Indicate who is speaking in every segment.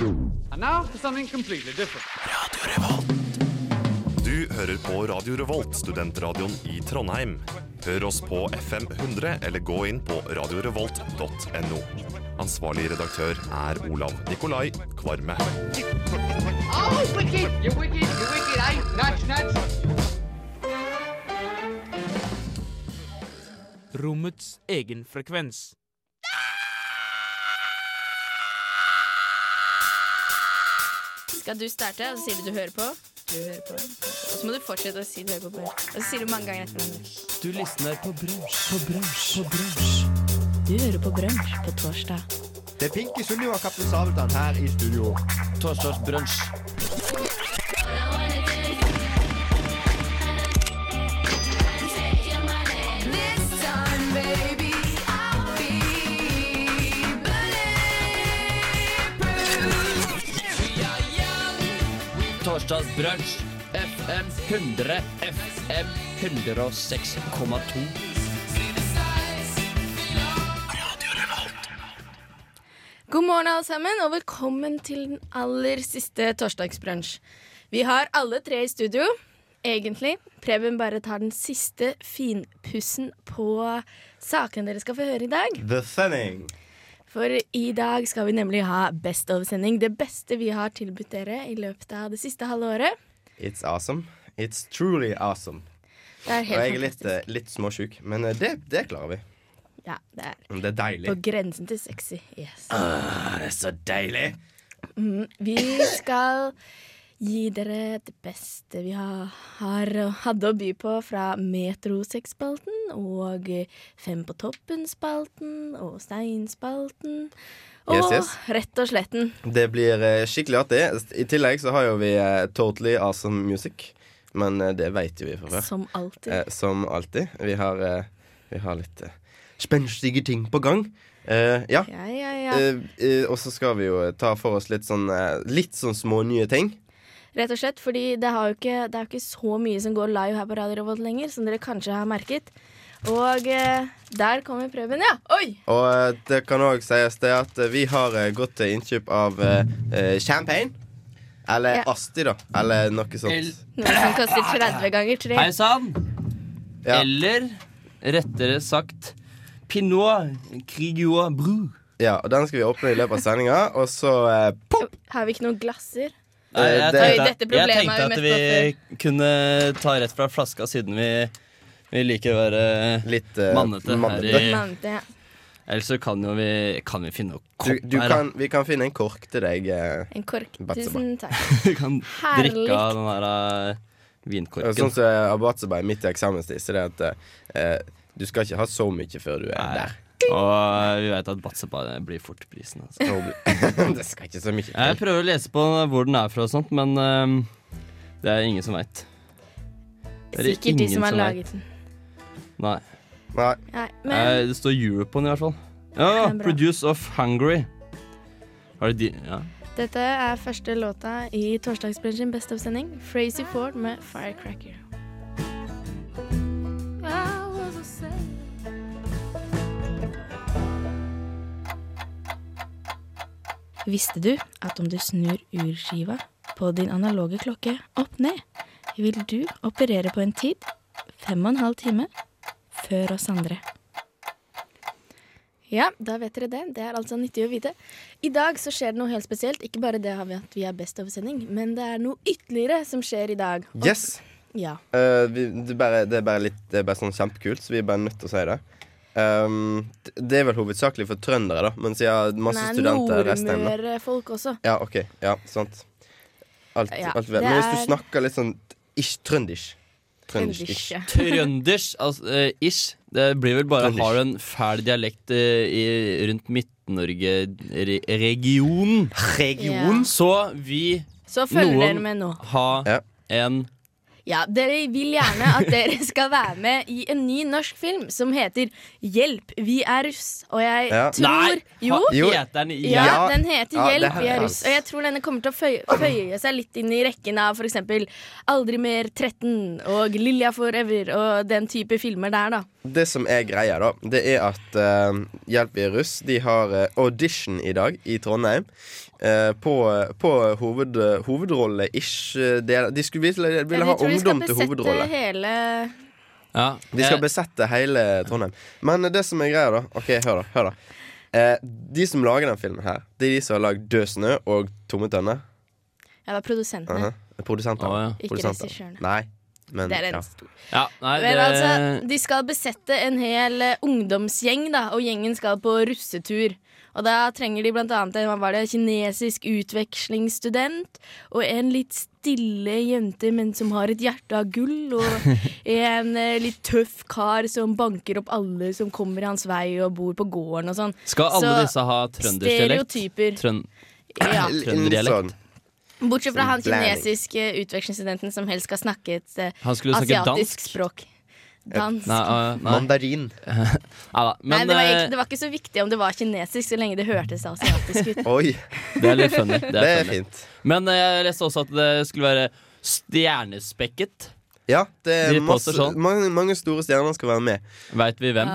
Speaker 1: And now for something completely different.
Speaker 2: Du hører på Radio Revolt, studentradioen i Trondheim. Hør oss på FM 100 eller gå inn på radiorevolt.no. Ansvarlig redaktør er Olav Nikolai Kvarme.
Speaker 1: Oh, wicked! You're wicked! You're wicked! Eh? Nuts, nuts!
Speaker 3: rommets egen frekvens.
Speaker 4: Skal du starte, og så sier du du hører på. Du hører på. Og så må du fortsette å si du hører på. på. Og så sier du mange ganger etter hverandre.
Speaker 3: Du lysner på brunsj, på brunsj, på
Speaker 4: Du hører på Brunsj på torsdag.
Speaker 5: Det er Pinky Sunniva og Kaptein Sabeltann her i studio.
Speaker 3: Torsdagsbrunsj. Torsdagsbrunsj. FM 100. FM 106,2.
Speaker 4: God morgen, alle sammen, og velkommen til den aller siste torsdagsbrunsj. Vi har alle tre i studio, egentlig. Preben bare tar den siste finpussen på sakene dere skal få høre i dag.
Speaker 5: The Sending.
Speaker 4: For i dag skal vi nemlig ha Best of-sending. Det beste vi har tilbudt dere i løpet av det siste halve året.
Speaker 5: It's awesome. It's truly awesome.
Speaker 4: Det er
Speaker 5: Og
Speaker 4: helt
Speaker 5: jeg er litt,
Speaker 4: fantastisk.
Speaker 5: eh, litt småsjuk, men eh, det, det klarer vi.
Speaker 4: Ja, det er
Speaker 5: Det er deilig.
Speaker 4: på grensen til sexy. Yes.
Speaker 5: det er så deilig.
Speaker 4: Vi skal gi dere det beste vi har, har hadde å by på fra Metrosex-spalten og Fem på toppen-spalten og Steinspalten. Og
Speaker 5: Yes, yes.
Speaker 4: rett og sletten.
Speaker 5: Det blir eh, skikkelig artig. I tillegg så har jo vi eh, Totally Awesome Music, men eh, det veit jo vi fra før.
Speaker 4: Som alltid.
Speaker 5: Eh, som alltid. Vi har, eh, vi har litt eh, spenstige ting på gang. Eh, ja.
Speaker 4: Ja, ja, ja.
Speaker 5: Eh, eh, og så skal vi jo eh, ta for oss litt sånn, eh, litt sånn små nye ting.
Speaker 4: Rett og slett, fordi det, har jo ikke, det er jo ikke så mye som går live her på Radio Revolt lenger, som dere kanskje har merket. Og eh, der kommer Preben, ja. Oi!
Speaker 5: Og eh, det kan òg sies det at eh, vi har eh, gått til innkjøp av eh, eh, champagne. Eller
Speaker 4: Ja.
Speaker 5: Asti, da. Eller noe
Speaker 3: El-
Speaker 5: sånt.
Speaker 4: Noe som koster 30 sånn ganger 3.
Speaker 3: Hei sann!
Speaker 5: Ja.
Speaker 3: Eller rettere sagt Pinot Grigio Bru.
Speaker 5: Ja, og Den skal vi åpne i løpet av sendinga. Og så eh, pop!
Speaker 4: Har vi ikke noen glasser?
Speaker 3: Nei, Eh, jeg,
Speaker 5: Det-
Speaker 3: tenkte,
Speaker 4: Oi, dette
Speaker 3: jeg
Speaker 4: problemet
Speaker 3: tenkte
Speaker 4: har vi
Speaker 3: at
Speaker 4: møtt
Speaker 3: vi kunne ta rett fra flaska, siden vi, vi liker å være
Speaker 5: Litt eh,
Speaker 3: Mannete her i-
Speaker 4: Mante, ja.
Speaker 3: Ellers så kan jo vi, kan vi finne noe
Speaker 5: Du,
Speaker 3: kopp
Speaker 5: du
Speaker 3: her.
Speaker 5: kan, vi kan finne en kork til deg. eh,
Speaker 4: En kork.
Speaker 5: Batseba.
Speaker 4: Tusen takk.
Speaker 3: da. Vi kan
Speaker 4: Herlig.
Speaker 3: drikke av den her eh,
Speaker 5: og
Speaker 3: vinkorken.
Speaker 5: Sånn som eh, Abatsabai midt i eksamenstid. Så det at eh, du skal ikke ha så mye før du er
Speaker 3: Nei.
Speaker 5: der.
Speaker 3: Og vi veit at Batseba blir fort prisen. Altså.
Speaker 5: det skal ikke så mye
Speaker 3: Jeg
Speaker 5: til.
Speaker 3: prøver å lese på hvor den er fra og sånt, men ehm, det er ingen som veit. Det er det
Speaker 4: Sikkert de
Speaker 3: ingen
Speaker 4: som har
Speaker 3: som er.
Speaker 4: laget den.
Speaker 3: Nei.
Speaker 5: Nei,
Speaker 4: Nei,
Speaker 3: Eh,
Speaker 4: men
Speaker 3: Det står Europe på den i hvert fall. Ja,
Speaker 4: Det er bra.
Speaker 3: Produce of Hungary. Har de Ja.
Speaker 4: dette er første låta i torsdagsbrunsjen Best of-sending. Frazy Ford med Firecracker. Visste du at om du snur urskiva på din analoge klokke opp ned, vil du operere på en tid fem og en halv time før oss andre? Ja, da vet dere det. Det er altså nyttig å vite. I dag så skjer det noe helt spesielt. Ikke bare det har vi at vi er best over sending, men det er noe ytterligere som skjer i dag. Og-
Speaker 5: Yes!
Speaker 4: Ja.
Speaker 5: Eh, vi, det, er bare, det er bare litt Det er bare sånn kjempekult, så vi er bare nødt til å si det. Ehm, d- det er vel hovedsakelig for trøndere, da, men siden jeg har masse
Speaker 4: Nei,
Speaker 5: studenter resten av hjemme.
Speaker 4: Nordmøre-folk også.
Speaker 5: Ja, OK. Ja, sant. Alt,
Speaker 4: Ja,
Speaker 5: alt vel.
Speaker 4: det
Speaker 5: Men hvis du
Speaker 4: er-
Speaker 5: snakker litt sånn ish trøndish Trøndish-ish.
Speaker 4: Trøndersk.
Speaker 3: Trønders altså, eh, ish. Det blir vel bare
Speaker 5: Trønders.
Speaker 3: Har du en fæl dialekt eh, i, rundt Midt-Norge-regionen,
Speaker 4: Region?
Speaker 3: så vi
Speaker 4: Så følger
Speaker 3: Noen-
Speaker 4: dere med nå.
Speaker 3: ha
Speaker 5: Ja.
Speaker 3: en
Speaker 4: Ja, Dere vil gjerne at dere skal være med i en ny norsk film som heter 'Hjelp, vi er russ'. Og jeg
Speaker 5: Ja.
Speaker 4: tror Jo.
Speaker 3: ha-
Speaker 5: Jo.
Speaker 3: Heter den
Speaker 4: Ja,
Speaker 3: ja.
Speaker 5: Ja.
Speaker 4: den heter
Speaker 5: Ja, det
Speaker 4: 'Hjelp,
Speaker 5: her
Speaker 4: vi
Speaker 5: er
Speaker 4: er russ'.
Speaker 5: hans.
Speaker 4: Og jeg tror denne kommer til å føye, føye seg litt inn i rekken av f.eks. 'Aldri mer 13' og 'Lilja forever' og den type filmer der, da.
Speaker 5: Det som er greia, da, det er at eh, Hjelp vi er russ, de har eh, audition i dag i Trondheim. eh, på, på hoved, hovedrolle-ish eh, del- De skulle ville, ville
Speaker 4: Ja,
Speaker 5: ha
Speaker 4: de tror de skal
Speaker 5: ungdom til
Speaker 4: besette
Speaker 5: hovedrolle.
Speaker 4: Hele...
Speaker 3: Ja, Eh,
Speaker 5: De skal
Speaker 3: jeg-
Speaker 5: besette hele Trondheim. Men det som er greia, da Ok, hør, da. Hør da. Eh, de som lager den filmen her, det er de som har lagd Død snø og Tomme tønner.
Speaker 4: Ja, det er produsentene.
Speaker 5: Uh Produsenter.
Speaker 3: Å, ja.
Speaker 4: Ikke
Speaker 5: Produsenter.
Speaker 4: regissørene.
Speaker 5: Nei. Men,
Speaker 4: Det er
Speaker 5: ja.
Speaker 4: en stor
Speaker 3: ja, nei, det,
Speaker 4: Vel, altså, de skal besette en hel eh, ungdomsgjeng, da, og gjengen skal på russetur. Og da trenger de blant annet en hva var det, kinesisk utvekslingsstudent og en litt stille jente, men som har et hjerte av gull, og en eh, litt tøff kar som banker opp alle som kommer hans vei og bor på gården og sånn.
Speaker 3: Skal alle
Speaker 4: Så,
Speaker 3: disse ha trøndersdialekt?
Speaker 4: Stereotyper.
Speaker 3: Trøn
Speaker 4: Ja.
Speaker 5: Litt sånn.
Speaker 4: Bortsett fra han
Speaker 5: Blanding.
Speaker 4: kinesiske utvekslingsstudenten som helst skal snakke et eh,
Speaker 3: han skulle snakke
Speaker 4: asiatisk
Speaker 3: dansk?
Speaker 4: språk. Dansk.
Speaker 3: Nei, ah, nei.
Speaker 5: Mandarin.
Speaker 3: Nei da. Men
Speaker 4: Nei, det var,
Speaker 3: eh,
Speaker 4: ikke, det var ikke så viktig om det var kinesisk, så lenge det hørtes asiatisk ut.
Speaker 5: Oi,
Speaker 3: det er litt funny. Det er
Speaker 5: det er
Speaker 3: funny.
Speaker 5: fint.
Speaker 3: Men eh, jeg leste også at det skulle være stjernespekket.
Speaker 5: Ja, det er
Speaker 3: De
Speaker 5: masse,
Speaker 3: påstår sånn.
Speaker 5: mange, mange store stjerner skal være med.
Speaker 3: Veit vi hvem?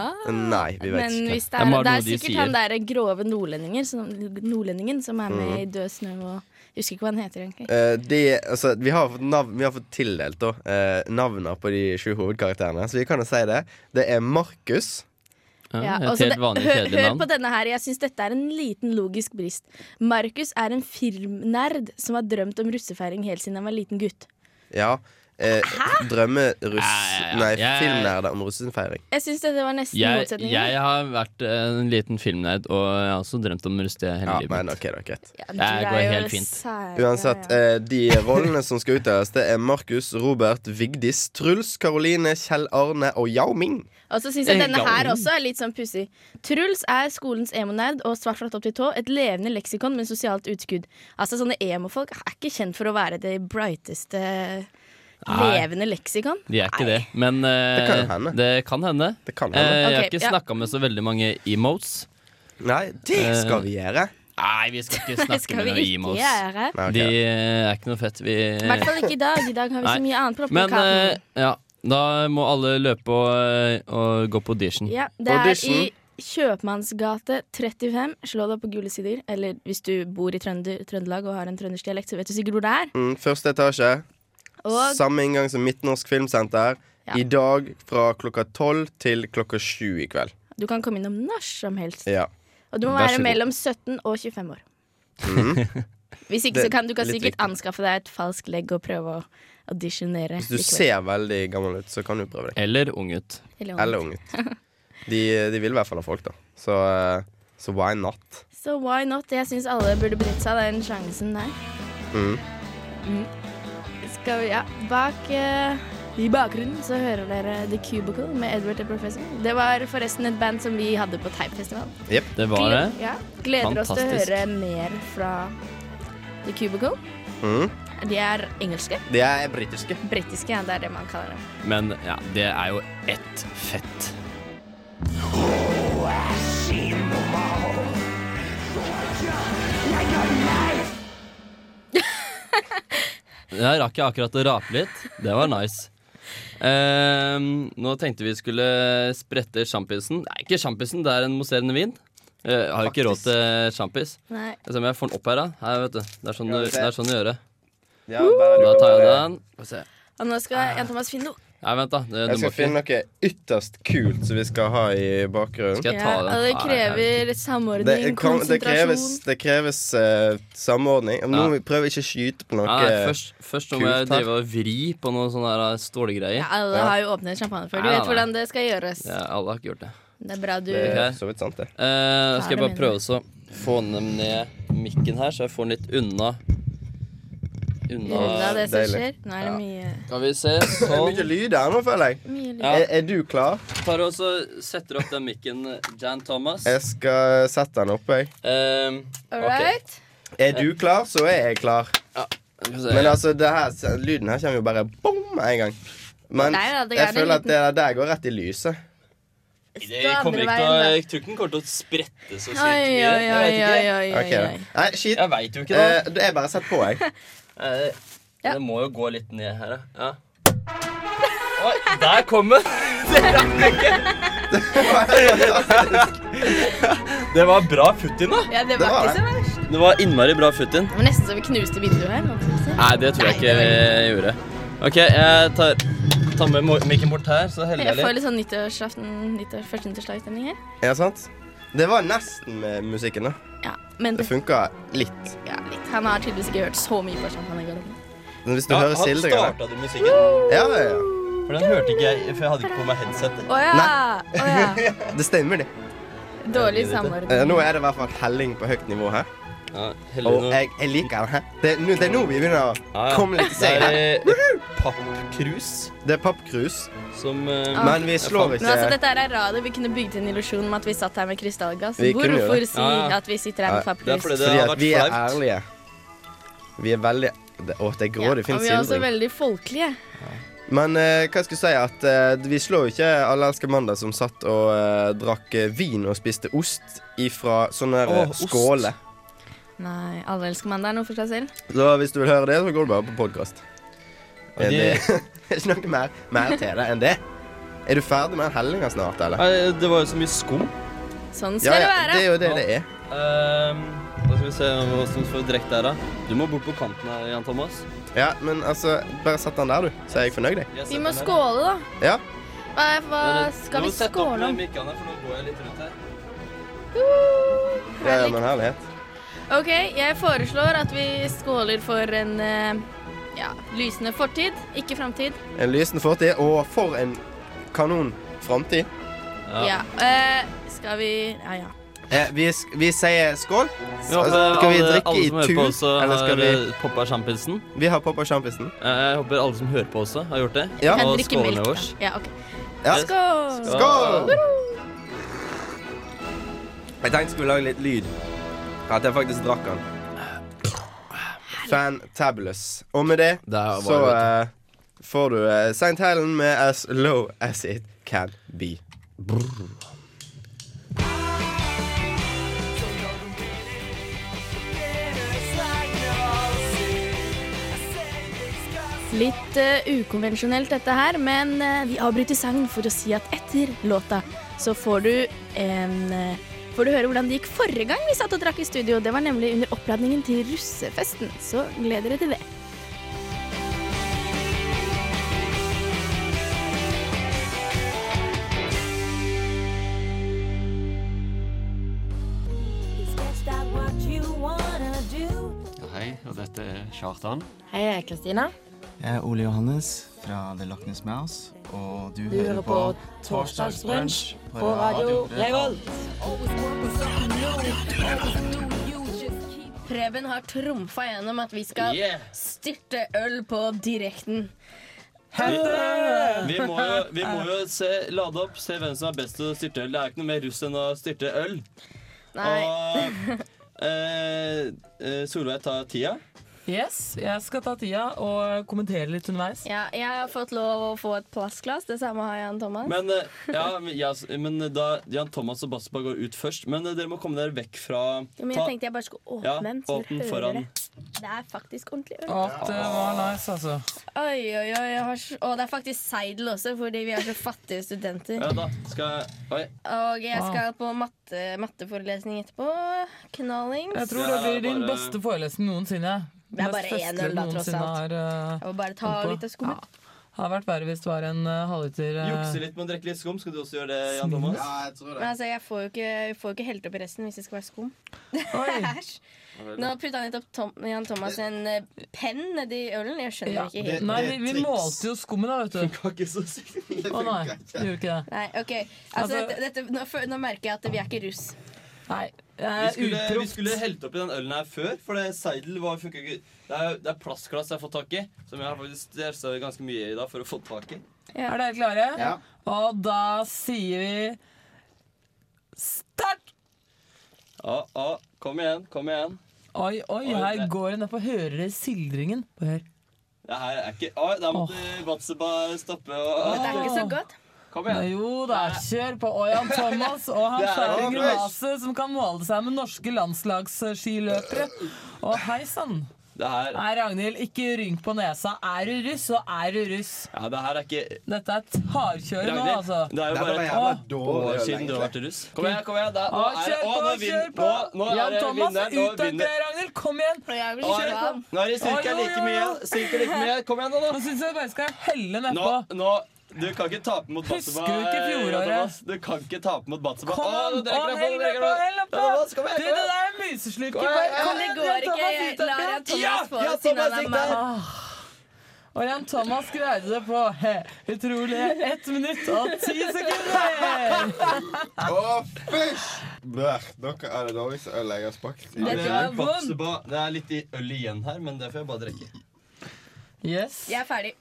Speaker 5: Nei, vi vet
Speaker 4: Ah, Men
Speaker 5: ikke.
Speaker 4: hvis det
Speaker 3: Det
Speaker 4: er,
Speaker 3: må
Speaker 4: det
Speaker 3: være
Speaker 4: er
Speaker 3: noe de
Speaker 4: sikkert han
Speaker 3: sier.
Speaker 4: der grove nordlendinger som, nordlendingen som er
Speaker 5: Mm.
Speaker 4: med i Død snø og Jeg husker ikke hva han heter egentlig.
Speaker 5: Eh, de, altså, vi, har fått nav vi har fått tildelt da, eh, navnene på de sju hovedkarakterene, så vi kan jo si det. Det er Markus.
Speaker 3: Ja,
Speaker 4: og så
Speaker 3: et helt
Speaker 4: altså, det-
Speaker 3: vanlig,
Speaker 4: hør,
Speaker 3: kjedelig
Speaker 4: hør på
Speaker 3: navn.
Speaker 4: denne her, jeg syns dette er en liten logisk brist. Markus er en filmnerd som har drømt om russefeiring helt siden han var liten gutt.
Speaker 5: Ja. Eh, Drømmeruss...
Speaker 3: Ja, ja, ja.
Speaker 5: Nei,
Speaker 3: Jeg-
Speaker 5: filmnerder om russefeiring.
Speaker 4: Jeg syns dette var nesten
Speaker 3: Jeg,
Speaker 4: motsetningen.
Speaker 3: jeg har vært eh, en liten filmnerd, og jeg har også drømt om Rustia hele
Speaker 5: Ja,
Speaker 3: livet
Speaker 5: men
Speaker 3: mitt.
Speaker 5: ok, det er greit.
Speaker 4: Ja, men
Speaker 3: Det
Speaker 4: du er
Speaker 3: går
Speaker 4: jo
Speaker 3: helt fint.
Speaker 4: sær-
Speaker 5: Uansett,
Speaker 4: ja, ja.
Speaker 5: eh, de rollene som skal utdeles, det er Markus, Robert, Vigdis, Truls, Karoline, Kjell Arne og Yao Ming.
Speaker 4: Og så syns jeg denne
Speaker 3: Ja.
Speaker 4: her også er litt sånn pussig. Truls er skolens emonerd og svart flatt opp til tå. Et levende leksikon med sosialt utskudd. Altså Sånne emofolk er ikke kjent for å være det brighteste levende leksikon.
Speaker 3: De er ikke det, men eh,
Speaker 5: Det kan jo hende.
Speaker 3: det kan hende.
Speaker 5: Det kan
Speaker 3: Eh,
Speaker 5: hende.
Speaker 3: jeg har
Speaker 4: Ok,
Speaker 3: ikke
Speaker 4: ja.
Speaker 3: snakka med så veldig mange emotes.
Speaker 5: Nei, det
Speaker 3: eh,
Speaker 5: skal vi gjøre.
Speaker 3: Nei, vi skal ikke
Speaker 4: Det
Speaker 3: snakke
Speaker 4: skal
Speaker 3: med
Speaker 4: vi
Speaker 3: noen
Speaker 4: ikke
Speaker 3: emotes.
Speaker 4: gjøre.
Speaker 5: Nei, ok.
Speaker 3: De eh, er ikke noe fett. Vi,
Speaker 4: I hvert fall ikke i dag. I dag har vi så
Speaker 3: Nei.
Speaker 4: mye annet på
Speaker 3: men eh,
Speaker 4: plakaten.
Speaker 3: ja, da må alle løpe og, eh, og gå på audition.
Speaker 4: Ja, det er i
Speaker 5: audition.
Speaker 4: Kjøpmannsgate 35. Slå deg på gule sider. Eller hvis du bor i Trønder, Trøndelag og har en trøndersk dialekt, så vet du sikkert hvor det er.
Speaker 5: Mm, første etasje.
Speaker 4: Og
Speaker 5: Samme inngang som Midtnorsk Filmsenter.
Speaker 4: Ja.
Speaker 5: I dag fra klokka tolv til klokka sju i kveld.
Speaker 4: du kan komme innom når som helst.
Speaker 5: Ja.
Speaker 4: Og du må
Speaker 3: Vær så
Speaker 4: være
Speaker 3: god.
Speaker 4: mellom 17 og 25 år. Hvis ikke
Speaker 5: Mhm. Det-
Speaker 4: så kan du kan
Speaker 5: litt
Speaker 4: sikkert
Speaker 5: riktig.
Speaker 4: anskaffe deg et falskt legg og prøve å audisjonere.
Speaker 5: Hvis du
Speaker 4: likevel.
Speaker 5: ser veldig gammel ut, så kan du prøve deg.
Speaker 3: Eller unggutt.
Speaker 4: Eller noe.
Speaker 5: Eller ung ut. De, de vil i hvert fall ha folk, da. Så, eh, så why not?
Speaker 4: Så why not? Jeg syns alle burde benytte seg av den sjansen der.
Speaker 5: Mm.
Speaker 4: Mm. Skal vi, ja, bak eh, I bakgrunnen så hører dere The Cubicle med Edward the Professor. Det var forresten et band som vi hadde på Typefestival.
Speaker 3: Det var det.
Speaker 4: Ja. Gleder oss
Speaker 3: Fantastisk.
Speaker 4: til å høre mer fra The Cubicle.
Speaker 5: Mm.
Speaker 4: De er engelske.
Speaker 5: De er britiske.
Speaker 4: Britiske, ja, det er det man kaller dem.
Speaker 3: Men ja, det er jo ett fett. Jeg rakk jeg akkurat å rape litt. Det var nice. Ehm, nå tenkte vi skulle sprette sjampisen. Nei, ikke sjampisen, det er en mousserende vin. Eh, har jo ikke råd til sjampis.
Speaker 4: Nei.
Speaker 3: Jeg ser om sånn jeg får den opp her, da. Her, vet du. Det er sånn,
Speaker 5: Ja, vi
Speaker 3: du-
Speaker 5: ser.
Speaker 3: det er sånn du gjør det.
Speaker 5: Ja, bare du
Speaker 3: Da
Speaker 5: kan
Speaker 3: tar jeg
Speaker 5: bare-
Speaker 3: den. Få se.
Speaker 4: Og nå
Speaker 3: Ah.
Speaker 4: skal Jan Thomas finne noe.
Speaker 3: Nei, vent, da. Du, du
Speaker 5: Jeg
Speaker 3: må
Speaker 5: skal
Speaker 3: ikke.
Speaker 5: finne noe ytterst kult som vi skal ha i bakgrunnen.
Speaker 3: Skal jeg ta
Speaker 4: Ja,
Speaker 3: den? Ah,
Speaker 4: og det
Speaker 3: Nei, jeg-
Speaker 4: krever samordning,
Speaker 5: Det, kan, det
Speaker 4: konsentrasjon.
Speaker 5: kreves, det kreves eh, samordning. Nå
Speaker 3: Ja.
Speaker 5: må vi prøve ikke å skyte på noe.
Speaker 3: Nei, nei, først, først nå må jeg
Speaker 5: kult her.
Speaker 3: drive og vri på noen sånne her eh, stålgreier.
Speaker 4: ja, alle
Speaker 5: Ja.
Speaker 4: har jo åpnet champagne før. Du
Speaker 3: Nei,
Speaker 4: vet
Speaker 3: nei,
Speaker 4: hvordan det skal gjøres.
Speaker 3: Ja, alle har ikke gjort det.
Speaker 4: Det er bra du
Speaker 5: det er
Speaker 3: Ok.
Speaker 5: eh, så vidt sant, det.
Speaker 3: Eh, skal jeg
Speaker 4: det
Speaker 3: bare
Speaker 4: mindre.
Speaker 3: prøve også å få den ned mikken her, så jeg får den litt unna.
Speaker 4: Unna
Speaker 3: Unna
Speaker 4: det som
Speaker 5: deilig.
Speaker 4: skjer. Nå er det mye,
Speaker 3: Skal vi se.
Speaker 5: Det er mye
Speaker 3: Sånn.
Speaker 5: lyd her nå, føler jeg.
Speaker 4: mye lyd.
Speaker 3: Ja,
Speaker 5: Er, er du klar?
Speaker 3: tar og så setter opp den mikken, Jan Thomas.
Speaker 5: Jeg skal sette den oppe, jeg.
Speaker 3: Um,
Speaker 4: All right.
Speaker 5: Er du klar, så er jeg klar. Men altså, det her, lyden her kommer jo bare bom en gang. Men
Speaker 4: Nei, ja, det er
Speaker 5: jeg
Speaker 4: en
Speaker 5: føler at
Speaker 4: liten-
Speaker 5: det der- der går rett i lyset.
Speaker 3: det
Speaker 4: Stå
Speaker 3: kommer
Speaker 4: andre
Speaker 3: ikke til å,
Speaker 4: veien,
Speaker 3: jeg tror ikke den kommer til å sprette så sykt
Speaker 4: da. Oi,
Speaker 3: mye.
Speaker 4: oi,
Speaker 3: Jeg
Speaker 4: oi,
Speaker 3: vet ikke.
Speaker 4: oi, oi,
Speaker 5: Ok,
Speaker 4: oi,
Speaker 5: da.
Speaker 4: oi.
Speaker 5: Nei, shit.
Speaker 3: Jeg veit jo ikke det.
Speaker 5: Eh, Jeg bare setter på, jeg.
Speaker 3: Eh,
Speaker 4: Ja.
Speaker 3: Det må jo gå litt ned her, ja. ja. Oi, der kom den!
Speaker 5: Det var helt fantastisk.
Speaker 3: Det var bra futt inn, da.
Speaker 4: Ja, det
Speaker 5: var
Speaker 4: var ikke
Speaker 5: det.
Speaker 4: så verst.
Speaker 3: Det var innmari bra futt inn.
Speaker 4: Det var nesten så vi knuste vinduet her. Mathias.
Speaker 3: Nei, det tror jeg ikke jeg gjorde. OK, jeg tar, tar med mo- mikken bort her, så heller
Speaker 4: Jeg
Speaker 3: jeg
Speaker 4: får
Speaker 3: litt.
Speaker 4: litt sånn nyttårsaften, nyttår, første nyttårslagstemning her.
Speaker 5: Ja, sant? Det var nesten med musikken, da.
Speaker 4: Ja, men
Speaker 5: Det
Speaker 4: det,
Speaker 5: funka litt.
Speaker 4: ja, litt. Han har tydeligvis ikke hørt så mye på champagne. i garderoben.
Speaker 5: Men hvis du
Speaker 3: Ja,
Speaker 5: hører
Speaker 3: han
Speaker 5: sildringa
Speaker 3: starta du musikken?
Speaker 5: ja, ja, ja.
Speaker 3: For den hørte ikke jeg, for jeg hadde ikke på meg headset.
Speaker 4: Å ja! Å ja.
Speaker 5: Det stemmer, det.
Speaker 4: Dårlig
Speaker 5: Eh,
Speaker 4: samordning.
Speaker 5: nå er det i hvert fall helling på høyt nivå her.
Speaker 3: Ja,
Speaker 5: Og jeg, jeg liker det. Det, er nå- det er nå vi begynner å komme litt i seg.
Speaker 3: Det er eh, pappkrus
Speaker 5: Det er pappkrus,
Speaker 3: som eh,
Speaker 4: Ah.
Speaker 5: men vi slår
Speaker 4: Men altså,
Speaker 5: ikke
Speaker 4: dette her er radio. Vi kunne bygd en illusjon om at vi satt her med krystallgass.
Speaker 5: Vi kunne gjøre
Speaker 4: Hvorfor
Speaker 5: det.
Speaker 4: si
Speaker 3: Ja, ja.
Speaker 4: at vi sitter her med
Speaker 3: det
Speaker 5: Ja,
Speaker 3: er fordi
Speaker 4: pappkrus?
Speaker 3: det
Speaker 5: fordi
Speaker 3: har
Speaker 5: at
Speaker 3: vært
Speaker 5: vi er
Speaker 3: flaut.
Speaker 5: ærlige. Vi er veldig det, Å, det er
Speaker 4: Ja,
Speaker 5: grådig fin
Speaker 4: og vi er også
Speaker 5: sildring.
Speaker 4: veldig folkelige.
Speaker 5: Men eh, hva jeg skulle si at eh, vi slår jo ikke Alle elsker mandag som satt og eh, drakk eh, vin og spiste ost ifra sånne
Speaker 3: Åh,
Speaker 5: oh,
Speaker 3: ost.
Speaker 5: skåler.
Speaker 4: Nei, alle elsker mandag nå for seg selv.
Speaker 5: Så hvis du vil høre det, så går du bare på podkast.
Speaker 3: Og
Speaker 5: Det
Speaker 3: de-
Speaker 5: er ikke noe mer, mer til det enn det. Er du ferdig med den hellinga snart, eller?
Speaker 3: Nei, Det var jo så mye skum.
Speaker 4: Sånn skal det
Speaker 5: det
Speaker 4: være.
Speaker 5: er jo det det er.
Speaker 3: Ehm, da skal vi se hva som får direkte her, da. Du må bort på kanten her, Jan Thomas.
Speaker 5: Ja, men altså, bare sett den der, du, så er jeg fornøyd, jeg.
Speaker 4: Vi
Speaker 3: Jeg setter
Speaker 4: må
Speaker 3: den her.
Speaker 4: skåle, da.
Speaker 5: Ja.
Speaker 4: Hva, hva skal
Speaker 3: Du
Speaker 4: vi
Speaker 3: må sette opp
Speaker 4: skåle om?
Speaker 3: mikkene, for nå går jeg litt rundt her.
Speaker 5: ja, ja, men herlighet.
Speaker 4: OK, jeg foreslår at vi skåler for en eh, ja, lysende fortid, ikke framtid.
Speaker 5: En lysende fortid, og for en kanon framtid.
Speaker 4: Ja. eh, skal vi Ja, ja.
Speaker 5: Eh, vi, sk vi sier skål.
Speaker 3: Vi håper
Speaker 5: Altså, Skal vi
Speaker 3: eh, alle,
Speaker 5: drikke
Speaker 3: alle
Speaker 5: i
Speaker 3: som hører
Speaker 5: tur,
Speaker 3: på også
Speaker 5: eller skal
Speaker 3: har
Speaker 5: vi-
Speaker 3: eh, poppa sjampisen.
Speaker 5: Vi har poppa sjampisen.
Speaker 3: Eh, Jeg håper alle som hører på også, har gjort det.
Speaker 5: Ja.
Speaker 4: Kan
Speaker 3: Og
Speaker 4: drikke
Speaker 3: skåler
Speaker 4: melk.
Speaker 3: med
Speaker 4: da.
Speaker 3: oss.
Speaker 4: Ja, ok.
Speaker 5: Ja.
Speaker 4: Skål!
Speaker 5: Skål! Jeg tenkte jeg skulle lage litt lyd. At jeg faktisk drakk den. Fantabulous. Og med det
Speaker 3: Det er
Speaker 5: så
Speaker 3: bare-
Speaker 5: eh, får du uh, St. Helen med As Low As It Can Be.
Speaker 4: Litt eh, ukonvensjonelt dette her, men eh, vi avbryter sangen for å si at etter låta så får du en eh, Får du høre hvordan det gikk forrige gang vi satt og drakk i studio. Det var nemlig under oppladningen til russefesten, så gled dere til det.
Speaker 6: Hei, og dette er Kjartan.
Speaker 7: Hei, jeg er Kristina.
Speaker 8: Jeg er Ole Johannes fra The Loch Ness Mouse, og du,
Speaker 7: hører på Torsdagsbrunsj På radio Revolt.
Speaker 4: Preben har trumfa gjennom at vi skal
Speaker 3: Yeah.
Speaker 4: styrte øl på direkten.
Speaker 3: Vi må, jo, vi må jo se, lade opp, se hvem som er best til å styrte øl. Det er ikke noe mer russ enn å styrte øl.
Speaker 4: Nei.
Speaker 3: Og eh, eh, Solveig tar tida.
Speaker 7: Yes, jeg skal ta tida og kommentere litt underveis.
Speaker 4: Ja, jeg har fått lov å få et plastglass. Det samme har Jan Thomas.
Speaker 3: Men, eh, ja, men, ja, s- men eh, da Jan Thomas og Baspa går ut først. Men eh, dere må komme dere vekk fra
Speaker 4: Ja, men
Speaker 3: ta-
Speaker 4: jeg tenkte jeg bare skulle åpne
Speaker 3: ja,
Speaker 4: den, så
Speaker 3: åpne
Speaker 4: dere hører
Speaker 3: foran.
Speaker 4: det. Det er faktisk ordentlig øl.
Speaker 7: Og at det var nice, altså.
Speaker 4: Oi, oi, oi. Jeg har så... Og det er faktisk seidel også, fordi vi er så fattige studenter.
Speaker 3: Ja, da skal jeg Oi.
Speaker 4: Og jeg skal på matte, matteforelesning etterpå. Knallings.
Speaker 7: Jeg tror
Speaker 3: Ja,
Speaker 7: det blir din
Speaker 3: bare-
Speaker 7: beste forelesning noensinne.
Speaker 4: Det er
Speaker 7: Mest
Speaker 4: bare
Speaker 7: festlig
Speaker 4: 1-0 da, tross
Speaker 7: noensinne
Speaker 4: alt.
Speaker 7: Har, eh,
Speaker 4: Jeg må bare ta
Speaker 7: Kom på.
Speaker 4: litt av skummet.
Speaker 7: har vært verre hvis det var en eh, halvliter eh,
Speaker 3: Jukse litt med å drikke litt skum. Skal du også gjøre det, Jan Thomas?
Speaker 5: jeg tror
Speaker 4: Men altså, jeg får jo ikke, jeg får jo ikke helt opp i resten hvis det skal være skum.
Speaker 7: Oi.
Speaker 4: Æsj. Nå putta han litt opp Tom, Jan Thomas en eh, penn nedi ølen. Jeg skjønner
Speaker 7: Ja.
Speaker 4: ikke helt.
Speaker 7: Nei,
Speaker 5: det
Speaker 7: vi,
Speaker 5: er
Speaker 7: vi
Speaker 5: triks.
Speaker 7: målte jo skummet, da, vet du.
Speaker 3: Kan ikke så si det.
Speaker 7: Å nei, vi gjorde ikke det.
Speaker 4: Nei, ok. Altså,
Speaker 7: Altså-
Speaker 4: dette, dette, nå, fø- nå merker jeg at vi er ikke russ.
Speaker 7: Nei,
Speaker 3: Vi
Speaker 7: jeg
Speaker 3: skulle,
Speaker 7: er
Speaker 3: vi skulle
Speaker 7: uproft.
Speaker 3: helt oppi den ølen her før, for det seidel var funka ikke. Det er, det er plastglass jeg har fått tak i, som jeg har faktisk stressa ganske mye i dag for å få tak i.
Speaker 7: Er dere klare? Og da sier vi start!
Speaker 3: Ja, ja, kom igjen, kom igjen.
Speaker 7: Oi, oi,
Speaker 3: Oi,
Speaker 7: her
Speaker 3: det-
Speaker 7: går en opp og hører dere sildringen. Bare Hør.
Speaker 3: Det her er ikke Oi, der måtte Batseba stoppe og
Speaker 4: Det er ikke så godt.
Speaker 3: Kom igjen.
Speaker 7: Jo da, kjør på. Og Jan Thomas og han
Speaker 3: Det er
Speaker 7: skjærer
Speaker 3: Thomas.
Speaker 7: grimaset som kan måle seg med norske landslagsskiløpere. Og hei sann.
Speaker 3: Det her,
Speaker 7: Nei, Ragnhild, ikke rynk på nesa. Er du russ, så er du russ.
Speaker 3: ja, det her er ikke
Speaker 7: Dette er et hardkjør nå,
Speaker 3: Ragnhild,
Speaker 7: altså.
Speaker 3: det er jo
Speaker 8: Dette var
Speaker 3: bare
Speaker 8: jævla
Speaker 7: Å.
Speaker 3: to år
Speaker 8: dårlig.
Speaker 3: siden du var til russ. Kom igjen, kom igjen! Da, nå
Speaker 7: Å,
Speaker 3: er,
Speaker 7: kjør
Speaker 3: det-
Speaker 7: på,
Speaker 3: å,
Speaker 7: kjør
Speaker 3: nå vin-
Speaker 7: på!
Speaker 3: nå- nå er
Speaker 7: Jan
Speaker 3: det
Speaker 7: Thomas,
Speaker 3: vinneren. Nå
Speaker 7: ut av det,
Speaker 3: vinner
Speaker 7: Ragnhild! Kom igjen!
Speaker 4: Jeg vil
Speaker 3: Nå er
Speaker 4: kjøre
Speaker 3: det-
Speaker 4: ham.
Speaker 3: nå er det cirka
Speaker 7: Oi, oi,
Speaker 3: like
Speaker 7: oi,
Speaker 3: mye.
Speaker 7: oi.
Speaker 3: Cirka like mye. Kom igjen, da.
Speaker 7: Nå
Speaker 3: nå.
Speaker 7: syns jeg bare skal helle
Speaker 3: Nå,
Speaker 7: nedpå.
Speaker 3: nå du kan ikke tape mot
Speaker 7: Husker
Speaker 3: Batseba.
Speaker 7: du ikke
Speaker 3: eh,
Speaker 7: fjoråret?
Speaker 3: Thomas. Du kan ikke tape mot Batseba.
Speaker 7: Kom
Speaker 3: Å,
Speaker 7: an!
Speaker 3: nå
Speaker 7: Å,
Speaker 3: drekker han på,
Speaker 7: hell nedpå,
Speaker 3: nå drekker han på.
Speaker 7: hell nedpå!
Speaker 3: Ja, Thomas, Kom
Speaker 7: Du,
Speaker 3: igjen,
Speaker 7: det
Speaker 3: kom igjen!
Speaker 7: der er musesluket.
Speaker 3: Kom igjen,
Speaker 7: Bare-
Speaker 4: Kom, det går ikke. Jeg lar Jan Thomas få
Speaker 3: Ja, ja,
Speaker 4: det siden
Speaker 3: Thomas
Speaker 4: han er
Speaker 3: gikk
Speaker 4: mann.
Speaker 3: der.
Speaker 7: Og Jan Thomas greide det på he, utrolige ett minutt og ti sekunder!
Speaker 9: Å, fysj! Blech, dere er det dårligste ølet jeg har smakt. i-
Speaker 3: Ja,
Speaker 4: Dette
Speaker 3: det,
Speaker 4: var
Speaker 3: er
Speaker 4: vondt.
Speaker 3: Batseba. det er litt i øl igjen her, men det får jeg bare drikke.
Speaker 7: Yes.
Speaker 4: Jeg er ferdig.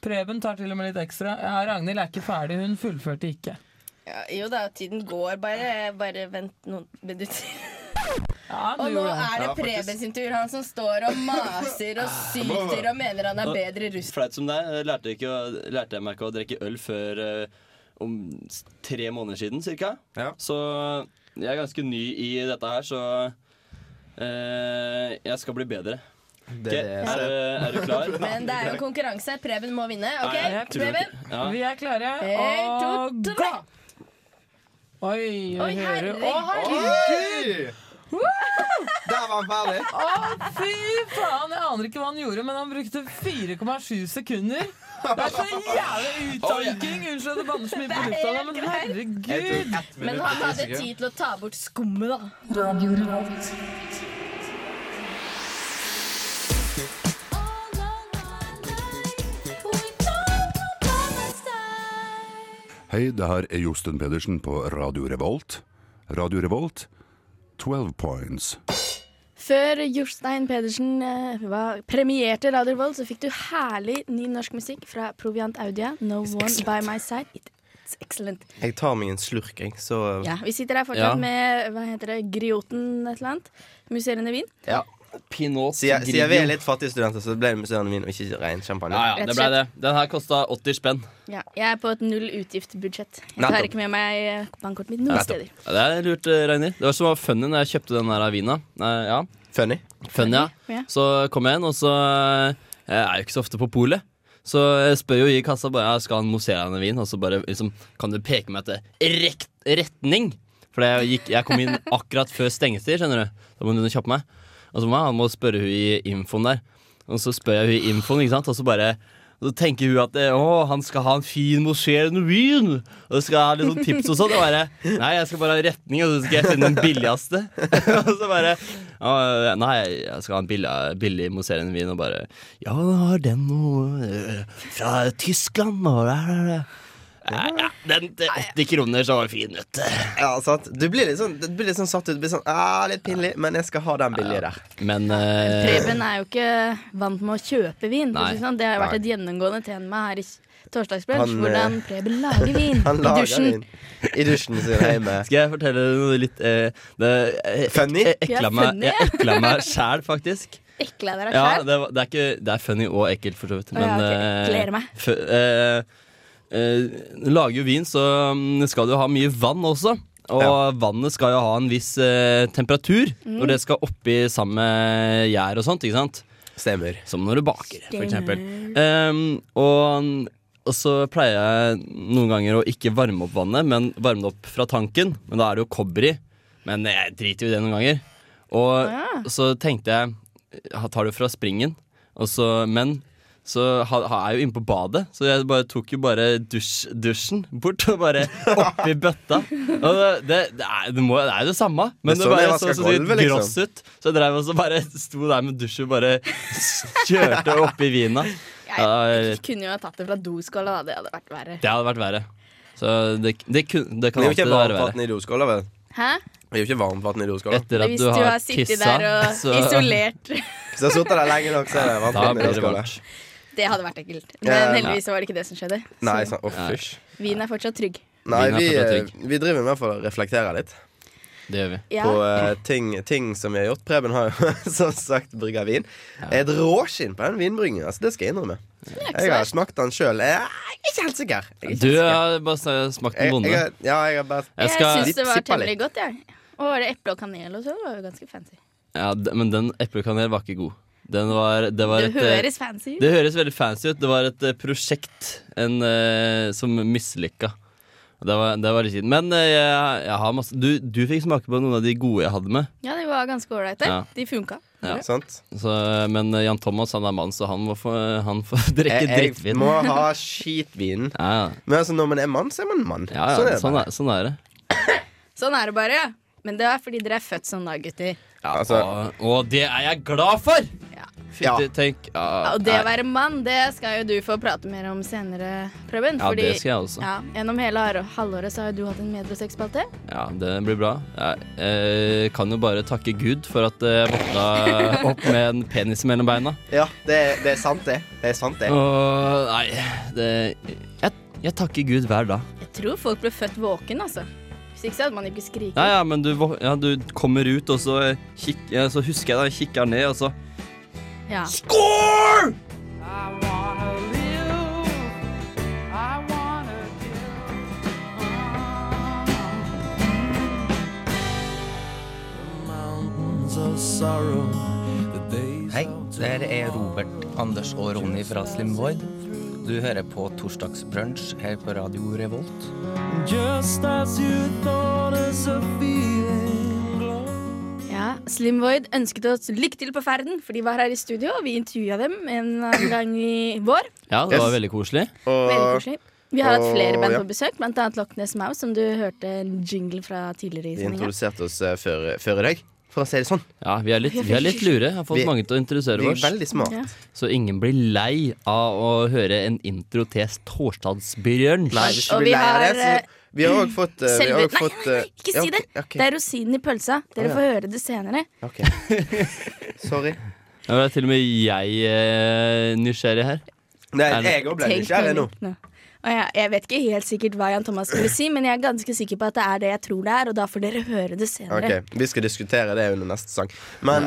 Speaker 7: Preben tar til og med litt ekstra. Ja, Ragnhild er ikke ferdig, hun fullførte ikke.
Speaker 4: Ja, jo da, tiden går. Bare, bare vent noen minutter.
Speaker 7: Ja, du
Speaker 4: Og nå
Speaker 7: gjorde det.
Speaker 4: er det
Speaker 9: Ja, faktisk.
Speaker 4: Preben sin tur. Han som står og maser og syter og mener han er bedre russ.
Speaker 3: Flaut som det er, lærte, jeg ikke, å- lærte jeg meg ikke å drikke øl før eh, om s- tre måneder siden cirka.
Speaker 9: Ja.
Speaker 3: Så jeg er ganske ny i dette her, så eh, jeg skal bli bedre. Ok, er, du- er du klar?
Speaker 4: Men det er jo en konkurranse. Preben må vinne.
Speaker 3: Nei,
Speaker 4: OK,
Speaker 3: jeg tror
Speaker 4: Preben?
Speaker 3: ikke- Ja.
Speaker 7: Vi er klare,
Speaker 4: En,
Speaker 7: og
Speaker 4: to,
Speaker 7: gå!
Speaker 4: tre!
Speaker 7: Oi,
Speaker 4: Oi,
Speaker 7: hører du? Å,
Speaker 9: Oi!
Speaker 4: herregud.
Speaker 9: Der var han ferdig.
Speaker 7: fy faen! Jeg aner ikke hva han gjorde, men han brukte 4,7 sekunder. Det er så jævlig uttanking! Unnskyld at jeg banner så mye på lufta, nå, men herregud!
Speaker 4: Men han hadde tid til å ta bort skummet, da.
Speaker 10: Hei, det her er Josten Pedersen på Radio Revolt. Radio Revolt, 12 points.
Speaker 4: Før Jostein Pedersen eh, var premierte Radio Revolt, så fikk du herlig ny norsk musikk fra Proviant Audia. No One By My Side. It's excellent.
Speaker 5: Jeg tar meg en slurk, jeg, så
Speaker 4: Ja, vi sitter her
Speaker 3: Ja.
Speaker 4: fortsatt med hva heter det, Grioten et eller annet. Musserende vin.
Speaker 3: Pinot
Speaker 5: Siden siden vi er litt fattige studenter, så ble det museene mine og ikke rein champagne.
Speaker 3: Ja, ja, det ble det. Den her kosta 80 spenn.
Speaker 4: Ja, jeg er på et null utgiftbudsjett. Jeg
Speaker 5: Nettopp.
Speaker 4: tar ikke med meg eh, bankkortet mitt noen
Speaker 5: Nettopp.
Speaker 4: steder.
Speaker 3: Ja, det er lurt, eh, Ragnhild. Det var som var funny når jeg kjøpte den her vina. Eh, ja.
Speaker 5: Funny.
Speaker 3: Funny, ja.
Speaker 4: Ja.
Speaker 3: Så kom jeg inn, og så eh, Jeg er jo ikke så ofte på polet. Så jeg spør jo i kassa bare jeg skal ha en mousserende vin, og så bare liksom, kan du peke meg til rekt, retning. For jeg, gikk, jeg kom inn akkurat før stengetid, skjønner du. Da må hun kjappe meg. Og så må jeg må jeg spørre hun i infoen der. Og så spør jeg hun i infoen, ikke sant, og så bare og så tenker hun at eh, å, han skal ha en fin mousserende vin, og så skal jeg ha litt sånn tips og sånn. Og bare Nei, jeg skal bare ha retning, og så skal jeg finne den billigste. og så bare «Å, Nei, jeg skal ha en billig, billig mousserende vin, og bare Ja, da har den noe eh, fra Tyskland, og der, der, der. Ja, ja, den til 80 kroner, så var det fin, vet du.
Speaker 5: Ja, sant? Du blir litt sånn, du blir litt sånn satt ut. Du blir sånn, ah, Litt pinlig, men jeg skal ha den billige der.
Speaker 3: Men eh,
Speaker 4: Preben er jo ikke vant med å kjøpe vin. for å
Speaker 3: Nei.
Speaker 4: si det sånn. Det har jo vært
Speaker 5: Nei.
Speaker 4: et gjennomgående tema her i Torsdagsbrunsj.
Speaker 5: Han, eh,
Speaker 4: Hvordan Preben lager vin
Speaker 5: Han
Speaker 4: i
Speaker 5: lager
Speaker 4: dusjen.
Speaker 5: vin i dusjen sin hjemme.
Speaker 3: Skal jeg fortelle noe litt eh, det, eh, ek-
Speaker 5: Funny?
Speaker 3: eh,
Speaker 4: Ja,
Speaker 3: Ekla meg,
Speaker 4: funny,
Speaker 3: jeg ekla meg sjæl, faktisk.
Speaker 4: Ekle av deg
Speaker 3: Ja,
Speaker 4: sjæl.
Speaker 3: det, var- det, er ikke, det er funny og ekkelt, for så vidt.
Speaker 4: Å,
Speaker 3: Men
Speaker 4: ja, ok.
Speaker 3: eh,
Speaker 4: Gleder meg.
Speaker 3: fø- eh, eh, lager jo vin, så mm, skal du ha mye vann også. Og
Speaker 5: Ja.
Speaker 3: vannet skal jo ha en viss eh, temperatur
Speaker 4: Mm.
Speaker 3: når det skal oppi sammen med gjær og sånt. ikke sant?
Speaker 5: Stemmer.
Speaker 3: Som når du baker, for
Speaker 4: Stemmer.
Speaker 3: eksempel. Ehm, og, og så pleier jeg noen ganger å ikke varme opp vannet, men varme det opp fra tanken. Men da er det jo kobber i. Men jeg driter jo i det noen ganger. Og så tenkte jeg ha- Tar det fra springen, og så, men så ha, ha, er jeg jo inne på badet, så jeg bare tok jo bare dusj, dusjen bort og bare oppi bøtta. Og det, det, det, er, det, må, det er jo det samme, men det,
Speaker 5: Det er sånn jeg
Speaker 3: bare så
Speaker 5: vasker
Speaker 3: så sykt
Speaker 5: gulvet, liksom.
Speaker 3: gross ut. Så jeg drev også bare sto der med dusjen og bare kjørte oppi vina. Ja,
Speaker 4: Jeg kunne jo ha tatt det fra doskåla, da. Det hadde vært verre.
Speaker 3: det hadde vært verre. Så det, det, kun, det
Speaker 5: Vi
Speaker 3: kan
Speaker 5: er jo
Speaker 3: alltid
Speaker 5: ikke
Speaker 3: være verre.
Speaker 5: varmtvann i doskåla, vel?
Speaker 4: Hæ?
Speaker 5: Vi er jo ikke varmtvann i doskåla.
Speaker 3: Etter at
Speaker 4: Hvis
Speaker 3: du har
Speaker 4: sittet
Speaker 3: tissa,
Speaker 4: der og
Speaker 3: så
Speaker 4: isolert.
Speaker 5: Hvis du har sittet der lenge nok, så er det
Speaker 3: da
Speaker 5: varmtvann i
Speaker 3: blir det
Speaker 5: doskåla.
Speaker 3: varmt.
Speaker 4: Det hadde vært ekkelt.
Speaker 5: Ja.
Speaker 4: Men heldigvis så var det ikke det som skjedde.
Speaker 5: Nei, sånn, å fysj.
Speaker 4: Vin er fortsatt trygg.
Speaker 5: Nei,
Speaker 3: Vin er
Speaker 5: vi,
Speaker 3: fortsatt
Speaker 5: eh, vi driver med for å reflektere litt
Speaker 3: Det gjør vi.
Speaker 4: Ja.
Speaker 5: på eh, ting, ting som vi har gjort. Preben har jo som sagt brygga vin. Et råskinn på den vinbryggingen. Altså, det skal jeg innrømme. Jeg har smakt den sjøl. Jeg er ikke helt sikker. Jeg er ikke
Speaker 3: Du
Speaker 5: helt sikker.
Speaker 3: har bare smakt en
Speaker 5: Jeg,
Speaker 3: bonde.
Speaker 5: jeg, har- ja, jeg har bare
Speaker 3: Jeg
Speaker 4: Jeg,
Speaker 3: skal-
Speaker 4: syns det var
Speaker 5: Sippa litt.
Speaker 4: temmelig godt, jeg. Og var det eple og kanel og så? Det var jo ganske fancy.
Speaker 3: Ja, d- men den eplekanel var ikke god. Den var, det var
Speaker 4: Det
Speaker 3: et, eh,
Speaker 4: høres fancy ut.
Speaker 3: Det høres veldig fancy ut. Det var et eh, prosjekt en, eh, som mislykka. Og Det var, det var litt kjipt. Men eh, jeg, jeg har masse du, du fikk smake på noen av de gode jeg hadde med.
Speaker 4: Ja, de var ganske ålreite.
Speaker 3: Ja.
Speaker 4: De funka.
Speaker 3: Ja.
Speaker 5: Sant.
Speaker 3: Så, men eh, Jan Thomas han er mann, så han må få, han får drikke
Speaker 5: Jeg, jeg
Speaker 3: drittvin.
Speaker 5: Eh, må ha skitvinen. Men altså, når man er mann, så er man mann.
Speaker 3: Ja, ja,
Speaker 5: sånn er det.
Speaker 3: sånn
Speaker 5: bare.
Speaker 3: er, sånn er det.
Speaker 4: Sånn er det bare. ja. Men det er fordi dere er født sånn da, gutter.
Speaker 5: Altså,
Speaker 3: og, og det er jeg glad for! Fy,
Speaker 4: Ja.
Speaker 3: tenk ja,
Speaker 4: Ja, Og det å
Speaker 3: nei.
Speaker 4: være mann, det skal jo du få prate mer om senere, Preben.
Speaker 3: Ja, det skal jeg også.
Speaker 4: Ja, gjennom hele har- halvåret så har jo du hatt en mediesekspalte.
Speaker 3: Ja, det blir bra. Jeg eh, kan jo bare takke Gud for at eh, jeg våkna opp med en penis mellom beina.
Speaker 5: Ja, det, er- det er sant, det. Det er sant, det.
Speaker 3: Og nei, det jeg, jeg takker Gud hver dag.
Speaker 4: Jeg tror folk ble født våken, altså. Hvis ikke så hadde man ikke skriket.
Speaker 3: Ja, ja, men du, vå- ja, du kommer ut, og så, kikk, ja, så husker jeg da jeg kikker ned, og så
Speaker 4: Ja.
Speaker 3: Score!
Speaker 11: Hei, der er Robert, Anders og Ronny fra Slim Void. Du hører på Torsdagsbrunsj her på Radio Revolt.
Speaker 12: Just as you thought us a feeling
Speaker 4: Ja, Slim Void ønsket oss lykke til på ferden, for de var her i studio, og vi intervjua dem en annen gang i vår.
Speaker 3: Ja, det var
Speaker 5: Yes.
Speaker 3: veldig koselig.
Speaker 4: Veldig koselig. Vi har hatt flere
Speaker 5: og-
Speaker 4: band
Speaker 5: ja.
Speaker 4: på besøk, blant annet Loch Ness Mouse, som du hørte en jingle fra tidligere i
Speaker 5: De
Speaker 4: sendinga.
Speaker 5: introduserte oss eh, før, før i dag, for å si det sånn.
Speaker 3: Ja, vi er litt, vi er litt lure. Jeg har fått
Speaker 5: Vi-
Speaker 3: mange til å interessere
Speaker 5: vi er
Speaker 3: oss.
Speaker 5: veldig smart. Ja.
Speaker 3: Så ingen blir lei av å høre en intro til Torsdagsbjørn.
Speaker 5: Nei, hvis du Og blir vi lei av det, har, så- vi har også fått, eh, vi
Speaker 4: eh,
Speaker 5: har
Speaker 4: Selve
Speaker 5: også
Speaker 4: Nei,
Speaker 5: fått,
Speaker 4: nei, nei,
Speaker 5: eh,
Speaker 4: ikke
Speaker 5: ja,
Speaker 4: si det!
Speaker 5: ok, ok.
Speaker 4: Det er rosinen i pølsa.
Speaker 5: Å,
Speaker 4: Dere
Speaker 5: ja.
Speaker 4: får høre det senere.
Speaker 5: Ok. Sorry.
Speaker 3: Ja, men det er til og med jeg eh, nysgjerrig her.
Speaker 5: Nei,
Speaker 3: Er det-
Speaker 5: jeg òg ble
Speaker 4: Tenk på nytt nå. Å ja, jeg vet ikke helt sikkert hva Jan Thomas skulle si, men jeg er ganske sikker på at det er det jeg tror det er, og da får dere høre det senere.
Speaker 5: Ok, Vi skal diskutere det under neste sang. Men,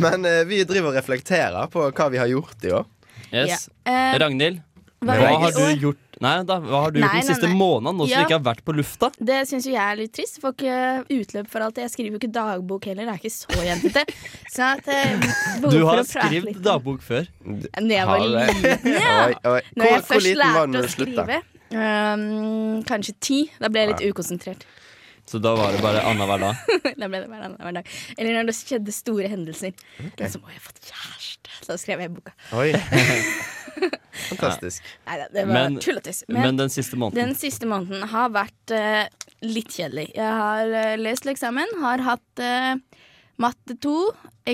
Speaker 5: men eh, vi driver og reflekterer på hva vi har gjort i år.
Speaker 3: Yes.
Speaker 4: Ja. Eh,
Speaker 3: Ragnhild,
Speaker 4: hva
Speaker 3: hva,
Speaker 4: gjorde
Speaker 3: har
Speaker 4: vi i
Speaker 3: du gjort Nei, da, hva har du
Speaker 4: Nei,
Speaker 3: gjort den
Speaker 4: nei,
Speaker 3: siste
Speaker 4: nei.
Speaker 3: måneden nå som
Speaker 4: Ja.
Speaker 3: du ikke har vært på lufta?
Speaker 4: Det syns jo jeg er litt trist. Får ikke eh, utløp for alt det. Jeg skriver jo ikke dagbok heller. Jeg er ikke så jentete. Så at, eh, behov
Speaker 3: Du
Speaker 4: for å
Speaker 3: har
Speaker 4: prate litt.
Speaker 3: skrevet dagbok før.
Speaker 4: Når jeg var liten, ja. Når jeg først lærte å skrive. øhm, kanskje ti. Da ble jeg litt
Speaker 3: Ja.
Speaker 4: ukonsentrert.
Speaker 3: Så da var det bare annenhver dag.
Speaker 4: da ble det hver annen hver dag. Eller når det skjedde store hendelser. Men så må jeg ha fått kjæreste. Så da skrev jeg boka.
Speaker 5: Oi. Fantastisk.
Speaker 4: Nei da, det var
Speaker 3: Men-
Speaker 4: tull og tøys.
Speaker 3: men den siste måneden?
Speaker 4: Den siste måneden har vært eh, litt kjedelig. Jeg har eh, lest leksamen, har hatt eh, matte 2,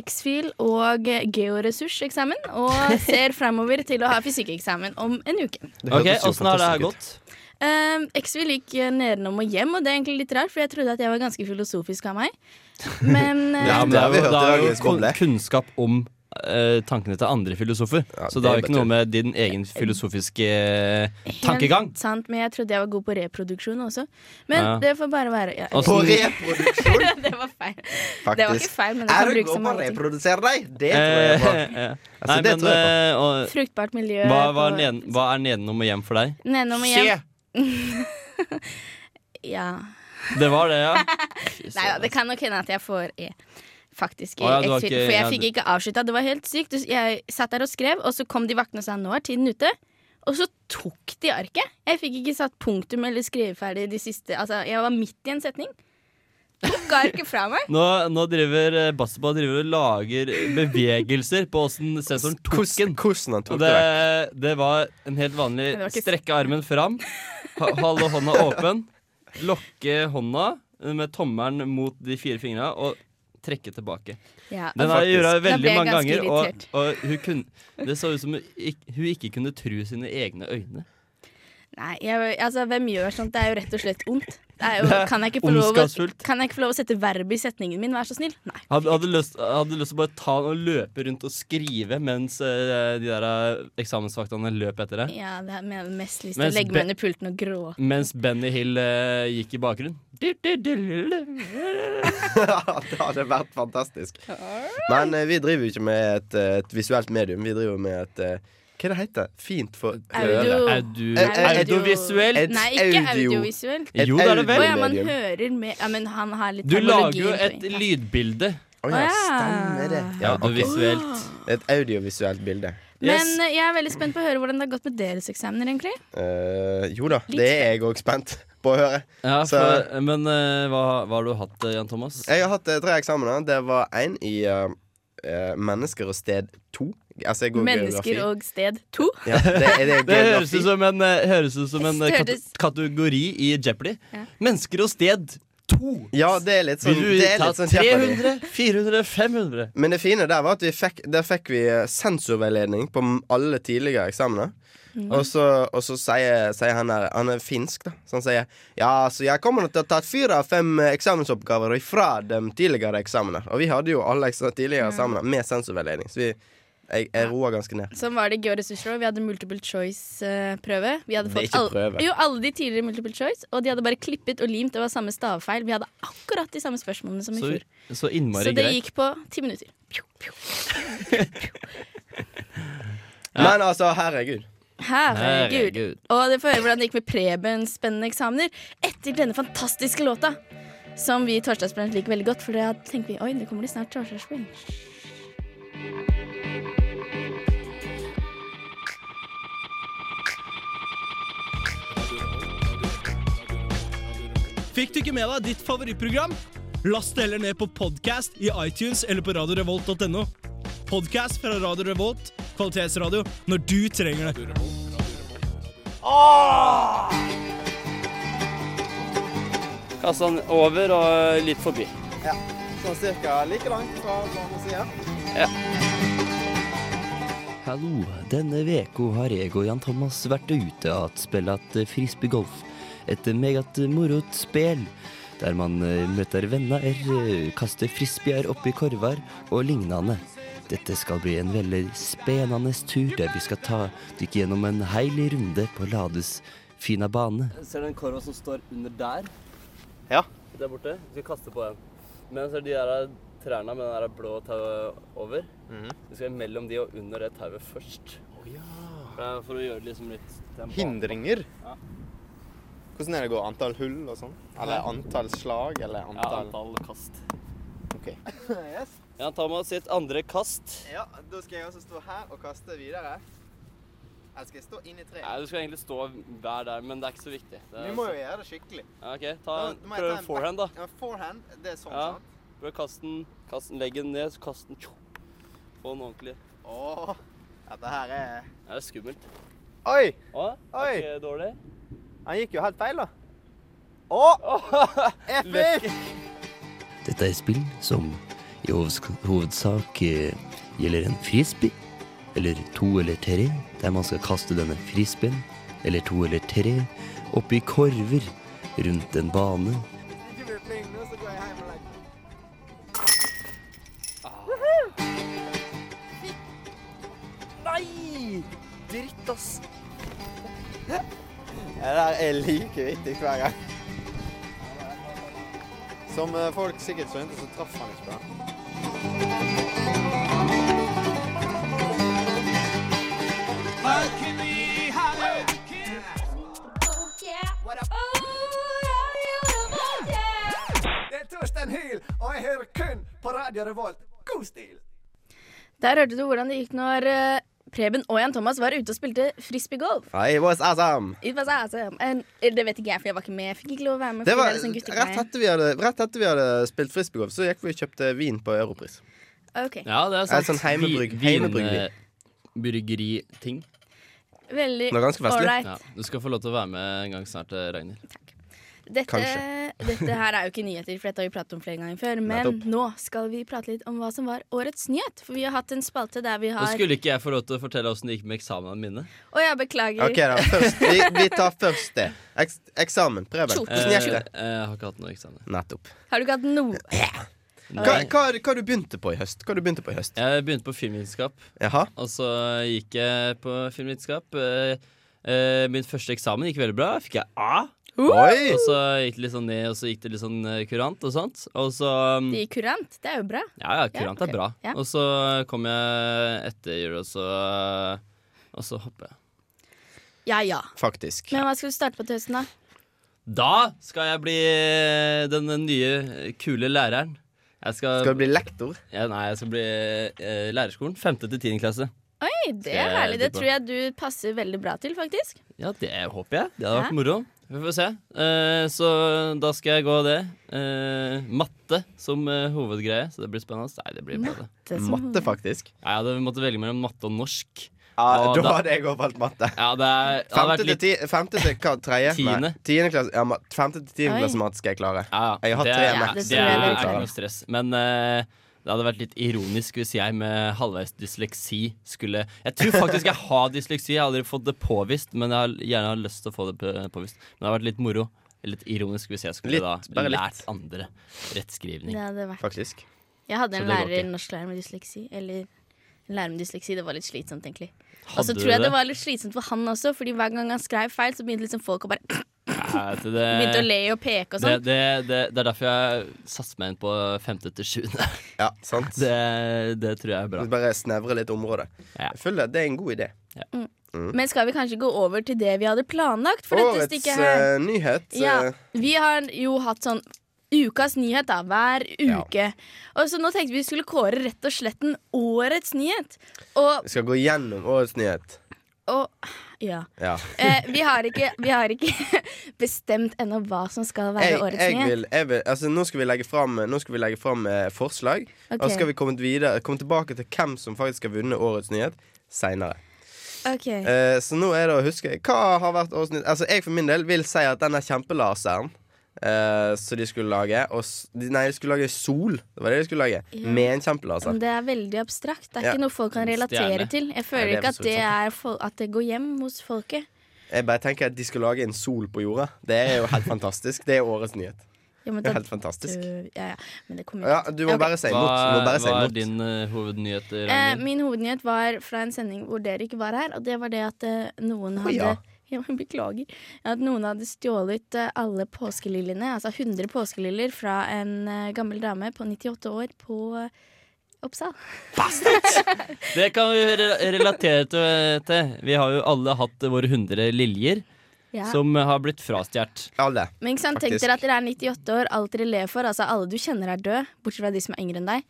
Speaker 4: X-fil og eh, georessurseksamen, og ser fremover til å ha fysikkeksamen om en uke.
Speaker 3: Ok, Åssen har det her gått?
Speaker 4: Um, X-fil gikk eh, nedenom og hjem, og det er egentlig litt rart, for jeg trodde at jeg var ganske filosofisk av meg. Men eh,
Speaker 3: Ja, men det
Speaker 5: har vi
Speaker 3: er jo, det
Speaker 5: hørt i
Speaker 3: er jo
Speaker 5: dagens
Speaker 3: kun,
Speaker 5: boble.
Speaker 3: kunnskap om eh, tankene til andre filosofer. så det
Speaker 5: det
Speaker 3: har
Speaker 5: er
Speaker 3: jo
Speaker 5: bare
Speaker 3: ikke noe med din egen filosofiske eh,
Speaker 4: helt
Speaker 3: tankegang.
Speaker 4: Sant, men jeg trodde jeg var god på reproduksjon også. Men
Speaker 3: Ja.
Speaker 4: det får bare være. Ja,
Speaker 3: Og så- På
Speaker 5: reproduksjon?
Speaker 4: det var feil. Det var ikke feil, men det
Speaker 5: er
Speaker 4: kan
Speaker 5: du
Speaker 4: brukes
Speaker 5: god
Speaker 4: som
Speaker 5: på å
Speaker 4: mange ting.
Speaker 5: reprodusere deg? Det tror jeg på.
Speaker 3: Eh, eh,
Speaker 5: Altså,
Speaker 3: Nei,
Speaker 5: det
Speaker 3: men
Speaker 5: tror jeg på.
Speaker 3: eh, og-
Speaker 4: Fruktbart miljø.
Speaker 3: hva,
Speaker 4: på-
Speaker 3: hva, er neden, hva er nedenom og hjem for deg?
Speaker 4: Nedenom og hjem. ja.
Speaker 3: Det var det, ja.
Speaker 4: Nei da, det kan nok hende at jeg får E. Faktisk. i
Speaker 3: altså. Å ja, du har
Speaker 4: X-fil,
Speaker 3: ikke-
Speaker 4: for jeg
Speaker 3: ja,
Speaker 4: fikk
Speaker 3: du-
Speaker 4: ikke avslutta. Det var helt sykt. Jeg satt der og skrev, og så kom de vaktene og sa 'nå er tiden ute'. Og så tok de arket. Jeg fikk ikke satt punktum eller skrevet ferdig de siste Altså, jeg var midt i en setning. Tok arket fra meg.
Speaker 3: Nå, nå driver eh, Bastiba driver og lager bevegelser på åssen sensoren tok den.
Speaker 5: Hvordan han
Speaker 3: eh, sånn
Speaker 5: tok
Speaker 3: det,
Speaker 5: det
Speaker 3: det var en helt vanlig
Speaker 5: det var ikke-
Speaker 3: strekke armen fram, ha- holde hånda åpen, lokke hånda med tommelen mot de fire fingra og trekke tilbake.
Speaker 4: Ja,
Speaker 3: Den har jeg gjort
Speaker 4: faktisk. Nå ble
Speaker 3: veldig
Speaker 4: jeg
Speaker 3: mange
Speaker 4: ganske
Speaker 3: ganger, og,
Speaker 4: irritert.
Speaker 3: og hun kunne, det så ut som hun ikk- hun ikke kunne tro sine egne øyne.
Speaker 4: Nei, jeg, altså, hvem gjør sånt? Det er jo rett og slett ondt. Det er jo,
Speaker 3: Det er
Speaker 4: kan, jeg ikke få lov å,
Speaker 3: ondskapsfullt.
Speaker 4: kan jeg ikke få lov å sette verb i setningen min, vær så snill? Nei.
Speaker 3: Hadde, hadde, lyst, hadde lyst til å bare ta den og løpe rundt og skrive mens eh, de der eh, eksamensvaktene løp etter deg.
Speaker 4: Ja, det er med- mest lyst til å
Speaker 3: Mens
Speaker 4: legge
Speaker 3: Be-
Speaker 4: meg under pulten og gråte.
Speaker 3: Mens Benny Hill eh, gikk i bakgrunnen.
Speaker 5: det hadde vært fantastisk. Men eh, vi driver jo ikke med et, eh, et visuelt medium. Vi driver jo med et eh, Hva er det heter det? Fint for
Speaker 4: Audio.
Speaker 5: øret.
Speaker 4: Audio-
Speaker 5: Eh, eh,
Speaker 4: Audiovisuelt.
Speaker 5: et
Speaker 4: Nei, ikke
Speaker 5: audio-
Speaker 4: audiovisuelt.
Speaker 5: et
Speaker 3: Jo, det er det vel.
Speaker 4: Å ja, man
Speaker 5: audiomedium.
Speaker 4: hører med Ja, men han har litt
Speaker 3: Du lager
Speaker 4: terminologi
Speaker 3: jo
Speaker 4: på-
Speaker 3: et lydbilde.
Speaker 5: Å ja, stemmer det.
Speaker 3: Ja,
Speaker 5: ok.
Speaker 3: audiovisuelt.
Speaker 5: Et audiovisuelt bilde.
Speaker 4: Ah. Men eh, jeg er veldig spent på å høre hvordan det har gått med deres eksamener, egentlig.
Speaker 5: Eh, jo da, det er jeg òg spent på å høre.
Speaker 3: Ja,
Speaker 5: Så-
Speaker 3: for, men eh, hva, hva har du hatt, eh, Jan Thomas?
Speaker 5: Jeg har hatt eh, tre eksamener. Det var én i eh, eh, Mennesker og sted to. Altså, jeg går
Speaker 4: Mennesker
Speaker 5: geografi.
Speaker 4: og sted to.
Speaker 5: Ja, det, er det,
Speaker 3: Det høres
Speaker 5: geografi?
Speaker 3: ut som en, eh, høres ut som en eh, kate
Speaker 4: Hørtes-
Speaker 3: kategori i Jeopardy.
Speaker 4: Ja.
Speaker 3: Mennesker og sted to.
Speaker 5: Ja, det er litt sånn,
Speaker 3: Vil du
Speaker 5: det er
Speaker 3: ta
Speaker 5: litt sånn
Speaker 3: 300, 400, 500?
Speaker 5: Men det fine der var at vi fikk, der fikk vi eh, sensorveiledning på m- alle tidligere eksamener.
Speaker 3: Mm.
Speaker 5: Og så, og så sier, sier han der Han er finsk, da. Så han sier Ja, så jeg kommer nok til å ha tatt fire av fem eh, eksamensoppgaver ifra de tidligere eksamener. Og vi hadde jo alle eksa- tidligere eksamener med sensorveiledning, så vi jeg, jeg roa ganske ned.
Speaker 4: Sånn var det i georessurser. Vi hadde multiple choice-prøve. Vi hadde
Speaker 5: Det er
Speaker 4: fått
Speaker 5: ikke
Speaker 4: all-
Speaker 5: prøve.
Speaker 4: Jo, alle de tidligere multiple choice, og de hadde bare klippet og limt. Det var samme stavfeil. Vi hadde akkurat de samme spørsmålene som i
Speaker 3: Så,
Speaker 4: fjor.
Speaker 3: så innmari
Speaker 4: Så det
Speaker 3: greit.
Speaker 4: gikk på ti minutter.
Speaker 5: Men altså, herregud.
Speaker 4: Herregud.
Speaker 5: Herregud.
Speaker 4: Og dere får høre hvordan det gikk med Prebens spennende eksamener etter denne fantastiske låta. Som vi i Torsdagsbrunsj liker veldig godt, for da tenker vi oi, nå kommer det snart Torsdagsbrunsj.
Speaker 13: Fikk du ikke med deg ditt favorittprogram? Last det heller ned på podcast i iTunes eller på radiorevolt.no. Podcast fra Radio Revolt, kvalitetsradio, når du trenger det.
Speaker 3: Ah! Kasta den over og eh, litt forbi.
Speaker 5: Ja. Sånn cirka like langt fra andre sida.
Speaker 14: Hallo, denne veko har jeg og Jan Thomas vært ute og spillet eh, frisbeegolf. Et meget morot spel, der man eh, møter venner, eh, kaster frisbeer oppi korver og lignende. Dette skal bli en veldig spennende tur, der vi skal ta dykk gjennom en heil runde på Lades fina bane.
Speaker 3: Ser du den korva som står under der?
Speaker 5: Ja.
Speaker 3: Der borte? Vi skal kaste på den. Men så er de der trærne med den der blå tauet over. Vi skal mellom de og under det tauet først. Det er For å gjøre det liksom litt det er en bane.
Speaker 9: Hindringer?
Speaker 3: Ja.
Speaker 9: Hvordan er det å gå? Antall hull og sånn? Eller antall slag? Eller
Speaker 3: ja,
Speaker 9: antall
Speaker 3: antall kast.
Speaker 9: OK.
Speaker 3: Ja, Thomas sitt andre kast.
Speaker 5: Ja, da skal jeg også stå her og kaste videre. Eller skal jeg stå inn i treet?
Speaker 3: Nei, Du skal egentlig stå hver der, men det er ikke så viktig. Det er-
Speaker 5: Du må jo gjøre det skikkelig.
Speaker 3: Ja, OK. Ta,
Speaker 5: Da må jeg ta
Speaker 3: prøv
Speaker 5: en
Speaker 3: forehand, da.
Speaker 5: back- Ja, forehand, det er sånn,
Speaker 3: Ja.
Speaker 5: sant?
Speaker 3: Prøv å kaste den. Kast den, legg den ned, så kast den. Tjo. Få den ordentlig.
Speaker 5: Åh, dette her er
Speaker 3: Ja, Det er skummelt.
Speaker 5: Oi!
Speaker 3: Å,
Speaker 5: Oi!
Speaker 3: er ikke dårlig?
Speaker 5: Han gikk jo helt feil, da. Å!
Speaker 3: Lekker.
Speaker 5: Epic!
Speaker 14: Dette er spill som i hovs- hovedsak eh, gjelder en frisbee, eller to eller tre, der man skal kaste denne frisbeen, eller to eller tre, oppi korver rundt en bane.
Speaker 5: Ikke bli flink nå, så går jeg hjem og legger meg.
Speaker 14: Nei! Dritt, ass.
Speaker 9: Det der er like viktig hver gang. Som eh, folk sikkert skjønte, så traff han ikke bra.
Speaker 15: Det er Torstein Hyl, og jeg hører kun på Radio Revolt. God stil!
Speaker 4: Der hørte du hvordan det gikk når eh, Preben og Jan Thomas var ute og spilte frisbeegolf.
Speaker 5: I was awesome!
Speaker 4: It was awesome. And- eh, Det vet ikke jeg, for jeg var ikke med. Jeg fikk ikke lov å være med.
Speaker 5: Det
Speaker 4: fordi
Speaker 5: var
Speaker 4: er litt sånn guttegreie.
Speaker 5: rett etter vi hadde, rett etter vi hadde spilt frisbeegolf, så gikk vi og kjøpte vin på Europris.
Speaker 4: Ok.
Speaker 5: Et sånn heimebrygg.
Speaker 3: Vi-
Speaker 5: heimebryggvin.
Speaker 3: Vinbryggeriting.
Speaker 4: Veldig ålreit.
Speaker 3: Ja, du skal få lov til å være med en gang snart, eh, Ragnhild.
Speaker 4: Dette,
Speaker 3: Kanskje.
Speaker 4: dette her er jo ikke nyheter, for dette har vi pratet om flere ganger før. Men
Speaker 3: Nettopp.
Speaker 4: nå skal vi prate litt om hva som var årets nyhet. For vi har hatt en spalte der vi
Speaker 3: Nå
Speaker 4: har
Speaker 3: skulle ikke jeg få lov til å fortelle åssen det gikk med eksamene mine.
Speaker 4: Å, jeg beklager.
Speaker 5: OK, da. Først, vi, vi tar først det. Eks, eksamen. Preben. Hvordan gikk det?
Speaker 3: Eh, Jeg har ikke hatt noe eksamen.
Speaker 5: Nettopp.
Speaker 4: Har du ikke hatt noe
Speaker 5: Hva, hva, hva du begynte på i høst? Hva du begynte på i høst?
Speaker 3: Jeg begynte på filmvitenskap. Og så gikk jeg på filmvitenskap. Eh, eh, Min første eksamen gikk veldig bra. Fikk jeg A.
Speaker 5: Oi!
Speaker 3: Og så gikk det litt sånn ned, og så gikk det litt sånn eh, kurant og sånt. Og så
Speaker 16: mm,
Speaker 3: um,
Speaker 4: De kurant? Det er jo bra.
Speaker 3: Ja, ja, kurant
Speaker 4: ok.
Speaker 3: er bra.
Speaker 4: Ja.
Speaker 3: Og så kom jeg etter jul, og så Og så hopper jeg.
Speaker 4: Ja, ja.
Speaker 5: Faktisk.
Speaker 4: Men hva skal du starte på til høsten, da?
Speaker 3: Da skal jeg bli den nye, eh, kule læreren.
Speaker 16: Jeg skal,
Speaker 5: Skal du bli lektor?
Speaker 16: Ja, nei, jeg skal bli eh, lærerskolen. Femte til tiende klasse.
Speaker 4: Oi, det
Speaker 16: Skal
Speaker 4: er
Speaker 16: jeg
Speaker 4: herlig. Det
Speaker 16: tippe?
Speaker 4: tror jeg du passer veldig bra til, faktisk.
Speaker 16: Ja, det håper jeg. Det hadde
Speaker 4: Hæ?
Speaker 16: vært moro. Vi får se. Eh, så da skal jeg gå det. Eh, matte som eh, hovedgreie, så det blir spennende. Nei, det
Speaker 4: Mm.
Speaker 16: blir bra, det.
Speaker 5: Matte som Matte, hovedgreie. faktisk.
Speaker 16: Ja, jeg hadde måttet velge mellom matte og norsk.
Speaker 5: Ja,
Speaker 16: Og
Speaker 5: da
Speaker 16: da-
Speaker 5: hadde jeg òg valgt matte.
Speaker 16: Ja, det er, det hadde
Speaker 5: Femte
Speaker 16: vært
Speaker 5: til,
Speaker 16: litt
Speaker 5: ti, femte til hva, tredje?
Speaker 16: Tiende.
Speaker 5: Nei, tiende klasse, ja, ma- femte til tiende
Speaker 16: Oi.
Speaker 5: klasse mat skal jeg klare.
Speaker 16: Ja,
Speaker 5: Jeg har hatt
Speaker 16: det-
Speaker 5: tre
Speaker 16: ja,
Speaker 5: maks.
Speaker 16: Det er,
Speaker 5: jeg
Speaker 16: er
Speaker 5: burde
Speaker 16: ikke
Speaker 5: klare.
Speaker 16: noe stress. Men eh, det hadde vært litt ironisk hvis jeg med halvveis dysleksi skulle Jeg tror faktisk jeg har dysleksi. Jeg har aldri fått det påvist, men jeg har gjerne har lyst til å få det på- påvist. Men det hadde vært litt moro. Litt ironisk hvis jeg skulle
Speaker 5: Litt,
Speaker 16: da
Speaker 5: bare litt.
Speaker 16: lært andre rettskrivning.
Speaker 4: Det hadde vært.
Speaker 5: Faktisk.
Speaker 4: Jeg hadde
Speaker 16: Så
Speaker 4: en
Speaker 16: det går
Speaker 4: lærer, norsklærer med dysleksi. Eller en lærer med dysleksi. Det var litt slitsomt, egentlig. Og
Speaker 16: Hadde
Speaker 4: så
Speaker 16: du
Speaker 4: tror jeg
Speaker 16: det?
Speaker 4: det var litt slitsomt for han også, Fordi hver gang han skrev feil, så begynte liksom folk å bare
Speaker 16: Ja, det,
Speaker 4: Begynte å le og peke og
Speaker 16: det,
Speaker 4: sånn.
Speaker 16: det, det, det er derfor jeg satser meg inn på femte til sjuende.
Speaker 5: Ja, sant.
Speaker 16: Det, det tror jeg er bra.
Speaker 5: Bare snevre litt området. Jeg føler det er en god idé.
Speaker 4: Mm.
Speaker 5: Mm.
Speaker 4: Men skal vi kanskje gå over til det vi hadde planlagt for dette
Speaker 5: Årets
Speaker 4: stikket her?
Speaker 5: eh, nyhet eh,
Speaker 4: Ja, vi har jo hatt sånn ukas nyhet da, hver uke. Og så nå tenkte vi skulle kåre rett og slett en årets nyhet. Og,
Speaker 5: Vi skal gå gjennom årets nyhet.
Speaker 4: og ja.
Speaker 5: Ja.
Speaker 4: Eh, vi, har ikke, vi har ikke bestemt ennå hva som skal være
Speaker 5: Jeg,
Speaker 4: årets
Speaker 5: jeg
Speaker 4: nyhet.
Speaker 5: vil, jeg vil, altså, nå skal vi legge fram, nå skal vi legge fram eh, forslag.
Speaker 4: Ok.
Speaker 5: Og så skal vi komme, videre, komme tilbake til hvem som faktisk har vunnet årets nyhet seinere.
Speaker 4: Ok.
Speaker 5: Eh, så nå er det å huske Hva har vært årets nytt? Altså, jeg for min del vil si at denne kjempelaseren eh, som de skulle lage og, s- de, Nei, de skulle lage sol. Det var det de skulle lage.
Speaker 4: Ja.
Speaker 5: Med en kjempelaser.
Speaker 4: Men det er veldig abstrakt. Det er
Speaker 5: Ja.
Speaker 4: ikke noe folk kan relatere
Speaker 5: Stjerne.
Speaker 4: til. Jeg
Speaker 5: Nei,
Speaker 4: føler
Speaker 5: det er
Speaker 4: ikke at
Speaker 5: for
Speaker 4: det,
Speaker 5: sånn.
Speaker 4: er fol- at det går hjem hos folket.
Speaker 5: Jeg bare tenker at de skulle lage en sol på jorda. Det er jo helt fantastisk. Det er årets nyhet.
Speaker 4: Ja, men
Speaker 5: det er
Speaker 4: da-
Speaker 5: helt fantastisk.
Speaker 4: Du- Ja, ja. Men det kommer
Speaker 5: Ja,
Speaker 4: ikke til-
Speaker 5: du må
Speaker 4: Ok.
Speaker 5: bare si imot. Du
Speaker 16: Hva,
Speaker 5: må bare si
Speaker 16: hva er
Speaker 5: imot.
Speaker 16: din eh, hovednyhet,
Speaker 4: Eh,
Speaker 16: Ragnhild?
Speaker 4: min hovednyhet var fra en sending hvor dere ikke var her, og det var det at eh, noen
Speaker 16: Å,
Speaker 4: hadde
Speaker 16: ja.
Speaker 4: Ja, men Beklager. At noen hadde stjålet eh, alle påskeliljene, altså 100 påskeliljer, fra en eh, gammel dame på 98 år på eh, Oppsal.
Speaker 16: Det kan vi re- relatere til- til. Vi har jo alle hatt våre 100 liljer
Speaker 4: Ja.
Speaker 16: som har blitt frastjålet.
Speaker 5: Alle.
Speaker 4: Men ikke sant, tenk dere at dere er 98 år, alt dere lever for, altså alle du kjenner er død, bortsett fra de som er yngre enn deg,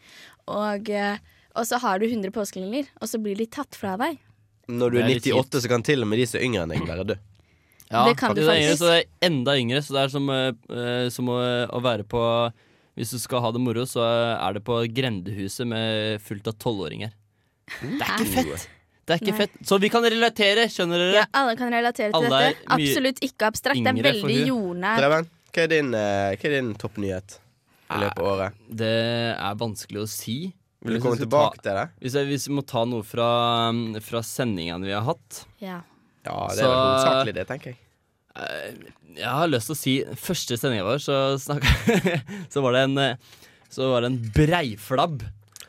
Speaker 4: og, eh, og så har du 100 påskeliljer, og så blir de tatt fra deg.
Speaker 5: Når du
Speaker 16: Det
Speaker 5: er
Speaker 16: er litt
Speaker 5: 98, så kan til og med de som er yngre enn deg, være døde.
Speaker 4: Det kan du
Speaker 16: er yngre,
Speaker 4: faktisk.
Speaker 16: så det er enda yngre, så det er som, eh, eh, som å, å være på Hvis du skal ha det moro, så er det på grendehuset med fullt av tolvåringer. Det er ikke fett! Det er ikke
Speaker 4: Nei.
Speaker 16: fett. Så vi kan relatere, skjønner dere?
Speaker 4: Ja, alle kan relatere til
Speaker 16: Alle er
Speaker 4: dette.
Speaker 16: mye
Speaker 4: Absolutt ikke abstrakt. Det er
Speaker 16: yngre for
Speaker 4: veldig
Speaker 16: hun.
Speaker 4: jordnært.
Speaker 5: Preben, hva er din, eh, hva er din toppnyhet i løpet av året?
Speaker 16: Det er vanskelig å si.
Speaker 5: Vil du
Speaker 16: Hvis vi
Speaker 5: komme
Speaker 16: skal
Speaker 5: tilbake
Speaker 16: ta,
Speaker 5: til det?
Speaker 16: Hvis, jeg, hvis vi må ta noe fra, fra sendingene vi har hatt
Speaker 4: Ja.
Speaker 5: Ja, det er vel hovedsakelig det, tenker jeg.
Speaker 16: Eh, Jeg har lyst til å si Første sendinga vår, så snakka Så var det en eh, Så var det en breiflabb.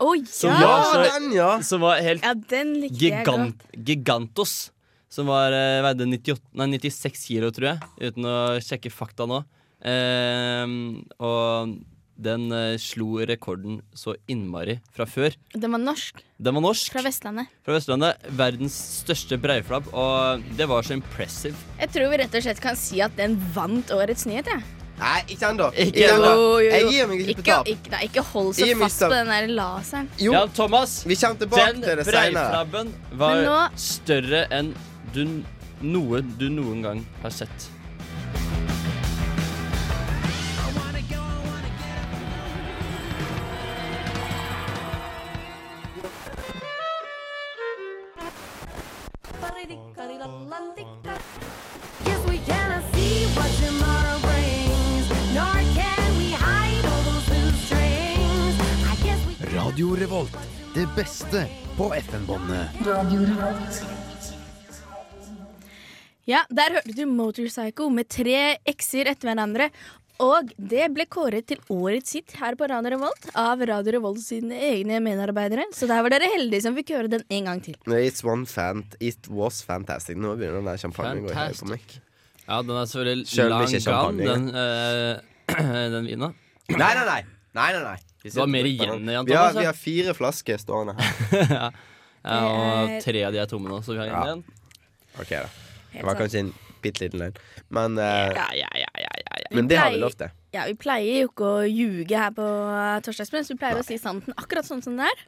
Speaker 4: Å
Speaker 16: Som
Speaker 4: ja!
Speaker 16: var så, Som var helt
Speaker 4: Ja, den likte jeg godt.
Speaker 16: gigant, Gigantos. Som var, eh, veide 98, nei, 96 kilo, tror jeg, uten å sjekke fakta nå. Ehm, og den eh, slo rekorden så innmari fra før.
Speaker 4: Den var norsk.
Speaker 16: Den var norsk.
Speaker 4: Fra Vestlandet.
Speaker 16: Fra Vestlandet. Verdens største breiflabb. Og det var så impressive.
Speaker 4: Jeg tror vi rett og slett kan si at den vant årets nyhet, jeg.
Speaker 5: Nei, ikke ennå.
Speaker 16: Ikke ennå.
Speaker 5: Jeg gir meg ikke på tap.
Speaker 4: Ikke, nei, ikke hold så
Speaker 5: Jeg gir meg
Speaker 4: fast
Speaker 5: tap.
Speaker 4: på den der laseren.
Speaker 5: Jo,
Speaker 16: Ja, Thomas.
Speaker 5: Vi kommer tilbake
Speaker 16: den
Speaker 5: til det senere.
Speaker 16: breiflabben var
Speaker 4: Men nå-
Speaker 16: større enn du, n- noe du noen gang har sett.
Speaker 17: Yes, we cannot see what tomorrow brings, nor can we hide all those loose strings. I guess we
Speaker 3: Radio Revolt. Det beste på FN-båndet.
Speaker 4: Ja, der hørte du Motorcycle med tre X-er etter hverandre. Og det ble kåret til årets hit her på Radio Revolt av Radio Revolt sine egne medarbeidere. Så der var dere heldige som fikk høre den en gang til.
Speaker 5: It's one fant, it was fantastic. Nå begynner den der champagnen å gå høy på meg.
Speaker 16: Ja, den er selvfølgelig
Speaker 5: Selv om
Speaker 16: lang
Speaker 5: ikke
Speaker 16: gal,
Speaker 5: champagne,
Speaker 16: den, eh, den vina.
Speaker 5: Nei, nei, nei. nei, nei, nei. Vi
Speaker 16: Det var
Speaker 5: sitter
Speaker 16: mer
Speaker 5: på
Speaker 16: igjen,
Speaker 5: den.
Speaker 16: Jan
Speaker 5: Vi har,
Speaker 16: Thomas, ja.
Speaker 5: vi har fire flasker stående her.
Speaker 16: Ja, og tre av de er tomme nå, så vi har
Speaker 5: Ja.
Speaker 16: en igjen.
Speaker 5: OK, da.
Speaker 4: Helt
Speaker 5: Det var
Speaker 4: sant.
Speaker 5: kanskje en bitte liten løgn, men eh,
Speaker 16: Ja, ja, ja, ja, ja, ja.
Speaker 5: Men det har vi lov til.
Speaker 18: Ja, Vi pleier jo ikke å ljuge her på eh, Torsdagsbrunst. Vi pleier å si sannheten akkurat sånn som det er.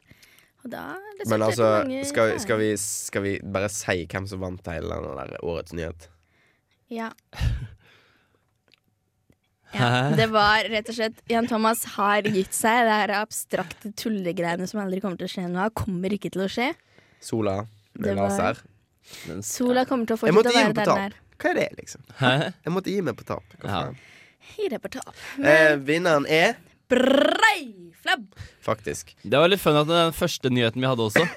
Speaker 18: Og da resulterer
Speaker 5: Men
Speaker 18: det i
Speaker 5: altså,
Speaker 18: mange
Speaker 5: skal,
Speaker 18: seier.
Speaker 5: skal, vi, skal vi bare si hvem som vant hele den der årets nyhet?
Speaker 18: Ja. Ja, det var rett og slett Jan Thomas har gitt seg. Det her abstrakte tullegreiene som aldri kommer til å skje nå, kommer ikke til å skje.
Speaker 5: Sola med
Speaker 18: Det var-
Speaker 5: laser.
Speaker 18: Sola kommer til å
Speaker 5: Jeg
Speaker 18: fortsette
Speaker 5: måtte
Speaker 18: å
Speaker 5: gi
Speaker 18: være
Speaker 5: meg
Speaker 18: der
Speaker 5: på
Speaker 18: den er.
Speaker 5: tap. Hva er det, liksom? Jeg måtte gi meg på tap. Hva faen?
Speaker 18: Gi deg på tap.
Speaker 5: Eh, vinneren er
Speaker 18: Breiflabb!
Speaker 5: Faktisk.
Speaker 16: Det var litt fun at det er den første nyheten vi hadde også.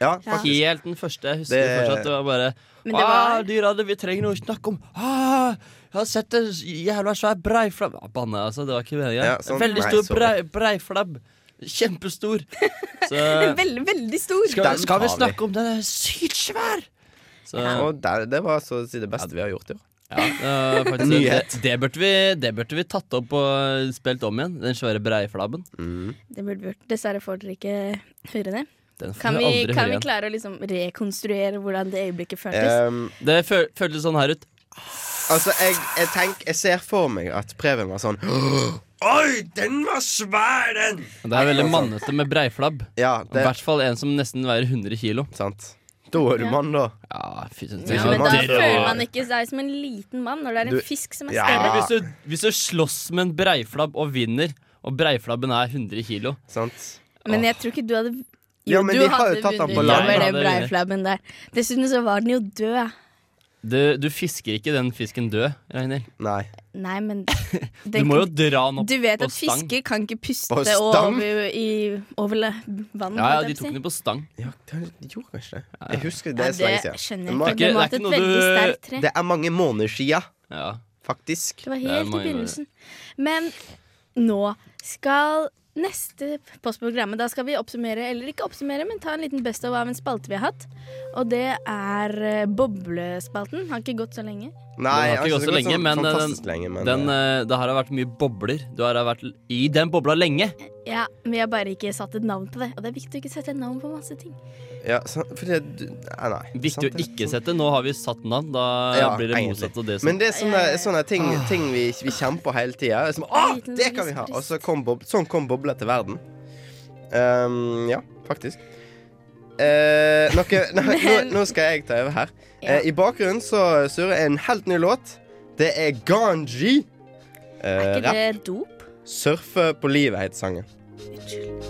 Speaker 5: Ja,
Speaker 3: faktisk.
Speaker 16: Helt den første. Jeg husker
Speaker 3: Det-
Speaker 16: fortsatt det var bare
Speaker 3: Men
Speaker 16: det
Speaker 3: det
Speaker 16: var...
Speaker 3: var-
Speaker 16: ah, dyra, det- vi trenger noe å snakke om. Ah, jeg har sett en jævla svær breiflabb ah, Banne, altså. Det var ikke meninga.
Speaker 3: Ja, sånn.
Speaker 16: Veldig
Speaker 3: Nei,
Speaker 16: stor
Speaker 3: sorry.
Speaker 16: brei, breiflabb. Kjempestor. Så
Speaker 18: Veldig, veldig stor.
Speaker 16: skal, vi- skal vi
Speaker 5: tar vi.
Speaker 16: snakke om den er sykt svær? Så-
Speaker 5: Og det, det var så å si det beste vi har gjort i år.
Speaker 16: Ja, det var faktisk-
Speaker 5: Nyhet.
Speaker 16: Det, det, burde vi, det burde vi tatt opp og spilt om igjen. Den svære breiflabben.
Speaker 18: Det burde vi gjort. Dessverre får dere ikke høre det.
Speaker 16: Den får
Speaker 18: Kan
Speaker 16: vi
Speaker 18: vi,
Speaker 16: aldri
Speaker 18: kan
Speaker 16: høre
Speaker 18: vi
Speaker 16: igjen.
Speaker 18: klare å liksom rekonstruere hvordan det øyeblikket
Speaker 16: Eh,
Speaker 18: føltes?
Speaker 16: det føl føltes sånn her ut.
Speaker 5: eh, Altså, jeg, jeg tenker Jeg ser for meg at Preben var sånn Oi, den var svær, den!
Speaker 16: Det er veldig mannete med breiflabb.
Speaker 5: Ja,
Speaker 16: I hvert fall en som nesten veier 100 kilo.
Speaker 5: Sant. Da er du
Speaker 18: Ja.
Speaker 5: mann, da.
Speaker 16: Ja, fy søren.
Speaker 18: Ja, men da føler man ikke seg som en liten mann når det er en
Speaker 16: Du-
Speaker 18: fisk som er
Speaker 16: Ja, men
Speaker 18: større.
Speaker 16: Hvis, du, hvis du slåss med en breiflabb og vinner, og breiflabben er 100 kilo
Speaker 18: Men jeg tror ikke du hadde
Speaker 16: Ja, men
Speaker 18: du
Speaker 16: vi har
Speaker 18: hadde
Speaker 16: jo tatt han på
Speaker 18: vunnet
Speaker 16: land.
Speaker 18: over
Speaker 16: Ja,
Speaker 18: den
Speaker 16: det-
Speaker 18: breiflabben der. Dessuten så var den jo død.
Speaker 16: du, du fisker ikke den fisken død, Ragnhild.
Speaker 5: Nei.
Speaker 18: Nei, men
Speaker 16: Du
Speaker 18: den
Speaker 16: må jo
Speaker 18: kan-
Speaker 16: dra den opp
Speaker 18: Du vet
Speaker 16: på
Speaker 18: at
Speaker 16: stang.
Speaker 18: fisker kan ikke puste
Speaker 16: På
Speaker 18: og
Speaker 16: stang?
Speaker 18: over, i, over le- vann.
Speaker 16: Ja, ja,
Speaker 18: holdt
Speaker 16: de
Speaker 18: jeg på å
Speaker 16: tok
Speaker 18: si.
Speaker 16: den på stang.
Speaker 5: Ja, de gjorde kanskje det. Jeg husker det, det
Speaker 18: Ja,
Speaker 5: er så lenge
Speaker 18: det
Speaker 5: siden.
Speaker 18: skjønner jeg
Speaker 5: må-
Speaker 18: ikke. Det Det er ikke- måtte det er et ikke noe veldig du- sterkt tre.
Speaker 5: Det er mange måneder sia, faktisk.
Speaker 18: Det var helt i begynnelsen. Men nå skal neste post på programmet Da skal vi oppsummere, eller ikke oppsummere, men ta en liten best of av en spalte vi har hatt. Og det er eh, boblespalten. Har ikke gått så lenge.
Speaker 5: Nei,
Speaker 16: den har ikke
Speaker 5: altså,
Speaker 16: gått
Speaker 5: det
Speaker 16: så
Speaker 5: har gått
Speaker 16: lenge,
Speaker 5: sånn
Speaker 16: men, eh, den,
Speaker 5: fantastisk lenge, men,
Speaker 16: den, eh, det her har vært mye bobler. Du har vært l- i den bobla lenge.
Speaker 18: Ja, Vi har bare ikke satt et navn på det. Og det er viktig å ikke sette et navn på masse ting.
Speaker 5: Ja, så, fordi du, nei, nei.
Speaker 16: Viktig å eh, ikke sette. Nå har vi satt navn. Da
Speaker 5: Ja,
Speaker 16: blir det
Speaker 5: egentlig.
Speaker 16: motsatt av det som
Speaker 5: Men det er sånne, sånne ting,
Speaker 19: Ah.
Speaker 5: ting vi, vi kjemper hele tida. Som Å, det kan vi ha! Og så kom bob, sånn kom bobla til verden. Ehm, ja, faktisk. Eh, noe, nå, nå, nå skal jeg ta over her. Eh, I bakgrunnen så surrer en helt ny låt. Det er Ganji.
Speaker 18: Er
Speaker 5: Uh,
Speaker 18: ikke det dop?
Speaker 5: 'Surfe på livet' heter sangen.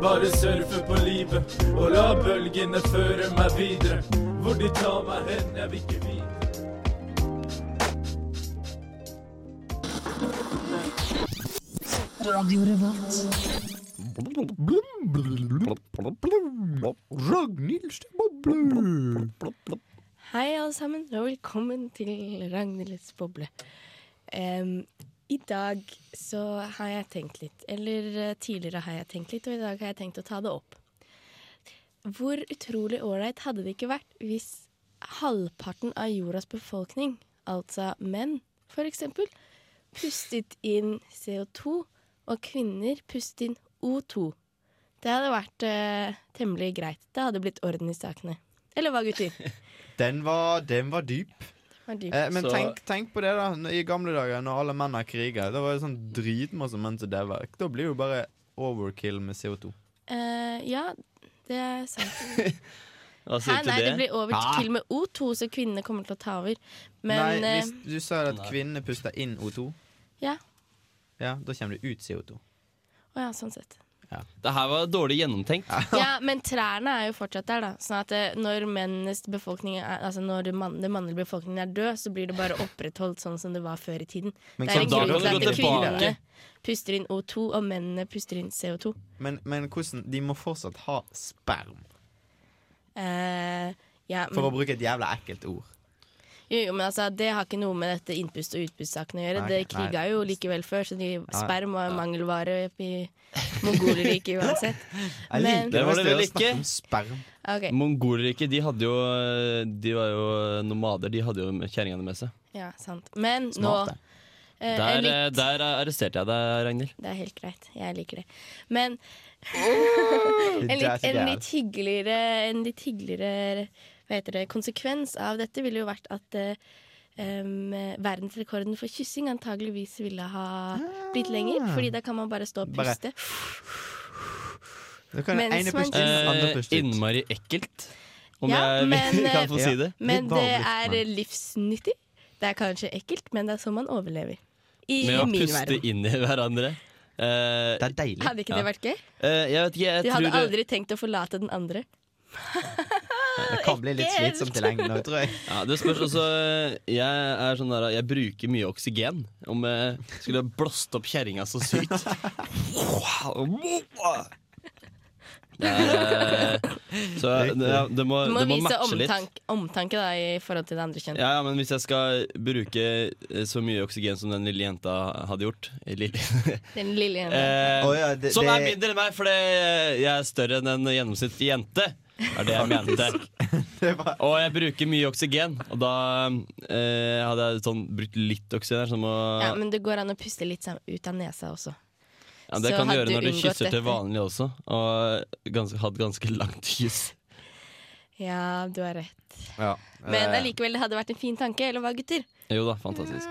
Speaker 7: Bare surfe på livet og la bølgene føre meg videre. Hvor de tar meg hen, jeg vil ikke vite.
Speaker 20: Radio Revolt.
Speaker 7: Ragnhild
Speaker 4: Hei, alle sammen, og velkommen til Ragnhilds boble. Em, I dag så har jeg tenkt litt, eller eh, tidligere har jeg tenkt litt, og i dag har jeg tenkt å ta det opp. Hvor utrolig ålreit hadde det ikke vært hvis halvparten av jordas befolkning, altså menn for eksempel, pustet inn CO2, og kvinner pustet inn O2. Det hadde vært eh, temmelig greit. Det hadde blitt orden i sakene. Eller hva, gutter?
Speaker 19: Den var, den var dyp.
Speaker 4: var dyp.
Speaker 19: Eh, men
Speaker 4: Så-
Speaker 19: tenk, tenk på det, da. N- I gamle dager, når alle menn har kriga, da var det sånn dritmasse menn som daua. Da blir det jo bare overkill med CO2.
Speaker 4: Eh, ja, det er sant.
Speaker 19: Hva
Speaker 4: Hæ, nei, det? blir overkill med O2, så kvinnene kommer til å ta over. Men
Speaker 19: nei,
Speaker 4: eh,
Speaker 19: hvis du sa at kvinnene puster inn O2,
Speaker 4: ja.
Speaker 19: ja, da kommer det ut CO2.
Speaker 4: Å ja, sånn sett.
Speaker 16: Det her var dårlig gjennomtenkt.
Speaker 4: Ja, men trærne er jo fortsatt der, da. Sånn at eh, når mennenes befolkning er, Altså når mann, den mannlige befolkningen er død, så blir det bare opprettholdt sånn som det var før i tiden.
Speaker 19: Men
Speaker 4: det er
Speaker 19: kan-
Speaker 4: en
Speaker 19: da
Speaker 4: grunn
Speaker 19: kan
Speaker 4: til
Speaker 19: det
Speaker 4: at
Speaker 19: gå tilbake.
Speaker 4: kvinnene puster inn O2, og mennene puster inn CO2.
Speaker 19: Men, men hvordan De må fortsatt ha sperm,
Speaker 4: Eh, ja,
Speaker 19: for
Speaker 4: men-
Speaker 19: å
Speaker 21: Mm.
Speaker 19: bruke et jævla ekkelt ord.
Speaker 4: Jo, jo, men altså, Det har ikke noe med dette innpust- og utpustsakene å
Speaker 19: Nei,
Speaker 4: gjøre. Det
Speaker 19: nei.
Speaker 4: kriga jo likevel før, så de
Speaker 19: Nei.
Speaker 4: sperm var en mangelvare i mongolerriket uansett.
Speaker 16: Jeg liker det var det vel
Speaker 21: Eh.
Speaker 16: ikke.
Speaker 19: Sperm.
Speaker 4: Ok.
Speaker 16: Mongolriket, de hadde jo De var jo nomader. De hadde jo kjerringene med seg.
Speaker 4: Ja, sant. Men
Speaker 16: Smart, det.
Speaker 4: nå eh,
Speaker 16: Der,
Speaker 4: jeg lik-
Speaker 16: eh, der arresterte jeg deg, Ragnhild.
Speaker 4: Det er helt greit. Jeg liker det. Men
Speaker 16: Det
Speaker 4: en,
Speaker 16: er
Speaker 4: litt,
Speaker 16: så
Speaker 4: en,
Speaker 3: Oh!
Speaker 16: gærent.
Speaker 4: litt hyggeligere, en litt hyggeligere
Speaker 21: hva heter det, konsekvens av dette ville jo vært at eh, em, verdensrekorden for kyssing antageligvis ville ha blitt lenger.
Speaker 3: Ah.
Speaker 21: Fordi da kan man bare stå og
Speaker 3: Bare-
Speaker 21: puste.
Speaker 3: Da kan
Speaker 21: Mens
Speaker 3: ene
Speaker 21: man
Speaker 3: puste
Speaker 21: kysser.
Speaker 3: inn,
Speaker 16: Eh,
Speaker 3: andre puste ut.
Speaker 16: Innmari ekkelt, om
Speaker 21: Ja,
Speaker 16: jeg
Speaker 21: men,
Speaker 16: kan få
Speaker 21: eh,
Speaker 16: si det.
Speaker 21: Men det er livsnyttig. Det er kanskje ekkelt, men det er sånn man overlever. I,
Speaker 16: Med
Speaker 21: i
Speaker 16: å
Speaker 21: min
Speaker 16: puste
Speaker 21: verden.
Speaker 16: inn i hverandre. det er deilig.
Speaker 21: Hadde ikke det vært gøy?
Speaker 16: Eh, jeg vet ikke, jeg
Speaker 21: Du
Speaker 16: tror
Speaker 21: hadde
Speaker 16: det-
Speaker 21: aldri tenkt å forlate den andre.
Speaker 3: Det kan bli litt
Speaker 21: Ekkelt.
Speaker 3: slitsomt i lengden òg, tror jeg.
Speaker 16: Ja, det spørs også eh, Jeg er sånn der Jeg bruker mye oksygen. Om jeg skulle blåst opp kjerringa så sykt. Det er, eh, så det, det må,
Speaker 21: Du må
Speaker 16: det må
Speaker 21: vise
Speaker 16: matche litt.
Speaker 21: omtanke, omtanke da, i forhold til det andre kjønn.
Speaker 16: Ja, ja, men hvis jeg skal bruke eh, så mye oksygen som den lille jenta hadde gjort eh, lille,
Speaker 21: Den lille jenta.
Speaker 16: eh,
Speaker 3: Å ja, det-
Speaker 16: Som er
Speaker 3: det-
Speaker 16: mindre enn meg, fordi jeg er større enn en gjennomsnittlig jente. Er det jeg mente. Og jeg bruker mye oksygen, og da eh, hadde jeg sånn brukt litt oksygen. her, Som å,
Speaker 21: Ja, men det går an å puste litt sam- ut av nesa også.
Speaker 16: ja, det
Speaker 21: så
Speaker 16: kan du
Speaker 21: hadde
Speaker 16: gjøre
Speaker 21: du
Speaker 16: når du
Speaker 21: unngått
Speaker 16: kysser
Speaker 21: dette.
Speaker 16: til vanlig også, og gans, hatt ganske langt kyss.
Speaker 21: Ja, du har rett.
Speaker 16: Ja.
Speaker 21: Men
Speaker 19: Eh,
Speaker 21: allikevel, det hadde vært en fin tanke, eller hva, gutter?
Speaker 16: Jo da, fantastisk.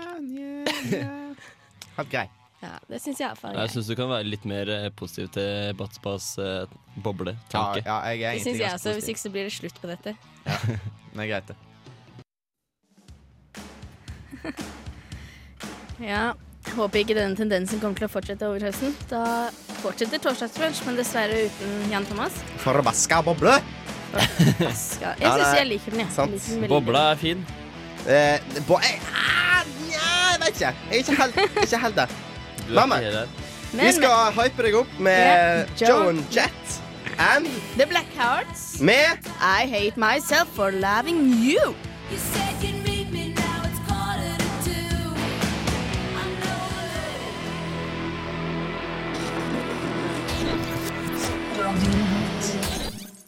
Speaker 3: Helt grei.
Speaker 21: Ja, det syns jeg iallfall.
Speaker 16: Jeg syns du kan være litt mer eh, positiv til Batspas eh, boble-tanke.
Speaker 3: Ja, ja, jeg
Speaker 21: Det syns jeg også, hvis ikke så blir det slutt på dette.
Speaker 3: Det er greit, det.
Speaker 4: Ja, Håper ikke denne tendensen kommer til å fortsette over høsten. Da fortsetter Torsdagsbrunsj, men dessverre uten Jan Thomas.
Speaker 5: Forbaska boble!
Speaker 4: Skal. Jeg syns jeg liker den, jeg. jeg. liker den veldig godt.
Speaker 16: er fin.
Speaker 5: Eh, bo eh, ah, nja, jeg vet ikke. Jeg er ikke helt, ikke helt der.
Speaker 16: Du er
Speaker 5: Mamma,
Speaker 16: ikke helt
Speaker 5: vi skal hype deg opp med
Speaker 4: Ja,
Speaker 5: Joan
Speaker 4: Joan
Speaker 5: Jett and
Speaker 4: The Black Hearts.
Speaker 5: med
Speaker 4: I hate myself for loving you.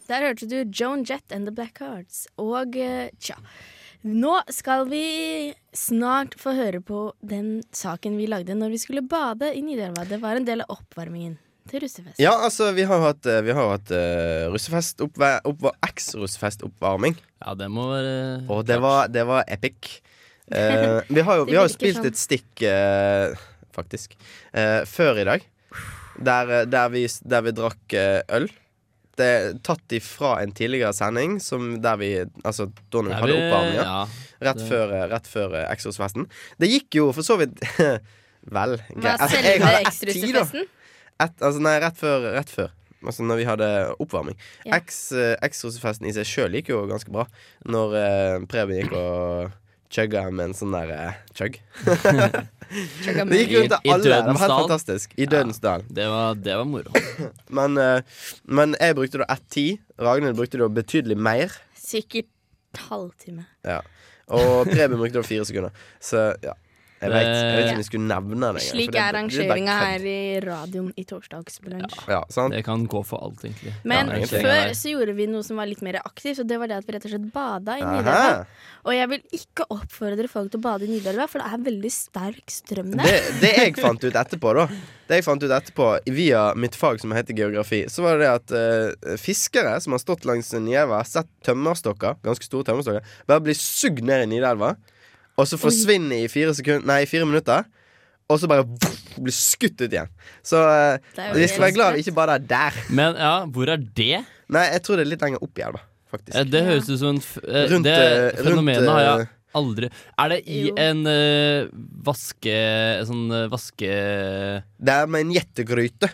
Speaker 4: Der hørte du Joan Jett and The Black Hearts. Og eh, tja. Nå skal vi snart få høre på den saken vi lagde når vi skulle bade i Nidelva. Det var en del av oppvarmingen til russefest.
Speaker 5: Ja, altså, vi har jo hatt, eh, vi har jo hatt eh, russefest oppva- oppva- Eks-russefest-oppvarming.
Speaker 16: Ja, det må være
Speaker 5: Og det var, det var epic. Eh, vi har jo,
Speaker 16: Det
Speaker 5: vi har jo
Speaker 16: virker
Speaker 5: spilt
Speaker 16: sånn.
Speaker 5: et stikk, eh, faktisk, eh, før i dag. Der, eh, der, vi, der vi drakk eh, øl. Det er tatt ifra en tidligere sending som der vi Altså da når vi
Speaker 16: Der
Speaker 5: hadde
Speaker 16: vi-
Speaker 5: oppvarminga.
Speaker 16: ja.
Speaker 5: Rett
Speaker 16: Det-
Speaker 5: før, eh, rett før eh, Eks-russefesten. Det gikk jo for så vidt Vel. greit. Altså,
Speaker 4: selve
Speaker 5: jeg hadde ett ti, da.
Speaker 4: Eks-russefesten?
Speaker 5: Et, altså, nei, rett før. Rett før. Altså når vi hadde oppvarming.
Speaker 4: Ja.
Speaker 5: Eks- eh, Eks-rosefesten i seg sjøl gikk jo ganske bra. Når eh, Preben gikk og chugga med en sånn der eh, chug.
Speaker 16: Chugga med-
Speaker 5: det gikk rundt
Speaker 16: I- i
Speaker 5: til alle. Det
Speaker 16: dødens
Speaker 5: var helt
Speaker 16: dal.
Speaker 5: fantastisk. I dødens dal.
Speaker 16: Det var, det var moro.
Speaker 5: Men, eh, men jeg brukte da 1,10. Ragnhild brukte da betydelig mer.
Speaker 4: Sikkert halvtime.
Speaker 5: Ja. Og Preben brukte da fire sekunder. Så ja. Jeg vet, jeg vet ikke om jeg skulle nevne det. engang, for
Speaker 4: Slik
Speaker 5: det-
Speaker 4: er
Speaker 5: det bare
Speaker 4: rangeringa
Speaker 5: kødd.
Speaker 4: her i radioen i torsdagsbrunsj.
Speaker 5: Ja, sant?
Speaker 16: Det kan gå for alt, egentlig.
Speaker 4: Men
Speaker 16: Ja, egentlig.
Speaker 4: før så gjorde vi noe som var litt mer aktivt, og det var det at vi rett og slett bada i
Speaker 16: Aha.
Speaker 4: Nidelva. Og jeg vil ikke oppfordre folk til å bade i Nidelva, for det er veldig sterk strøm der.
Speaker 5: det, det jeg fant ut etterpå, da Det jeg fant ut etterpå via mitt fag som heter geografi, så var det det at eh, fiskere som har stått langs Nielva, sett tømmerstokker, ganske store tømmerstokker, bare blir sugd ned i Nidelva, og så forsvinner i fire, sekund- nei, i fire minutter. Og så bare voff, blir skutt ut igjen. Så eh,
Speaker 16: Det er jo
Speaker 5: vi skal
Speaker 16: helt
Speaker 5: være glad vi ikke bare er der.
Speaker 16: Men ja, hvor er det?
Speaker 5: Nei, jeg tror det er litt lenger opp i elva. Faktisk.
Speaker 16: Eh, Det høres ut som en f eh,
Speaker 5: Rundt,
Speaker 16: Det
Speaker 5: eh, rundt,
Speaker 16: fenomenet har
Speaker 5: eh,
Speaker 16: jeg aldri Er det i
Speaker 5: Jo.
Speaker 16: en eh, vaske... Sånn eh, vaske...
Speaker 5: Det er med en gjettegryte.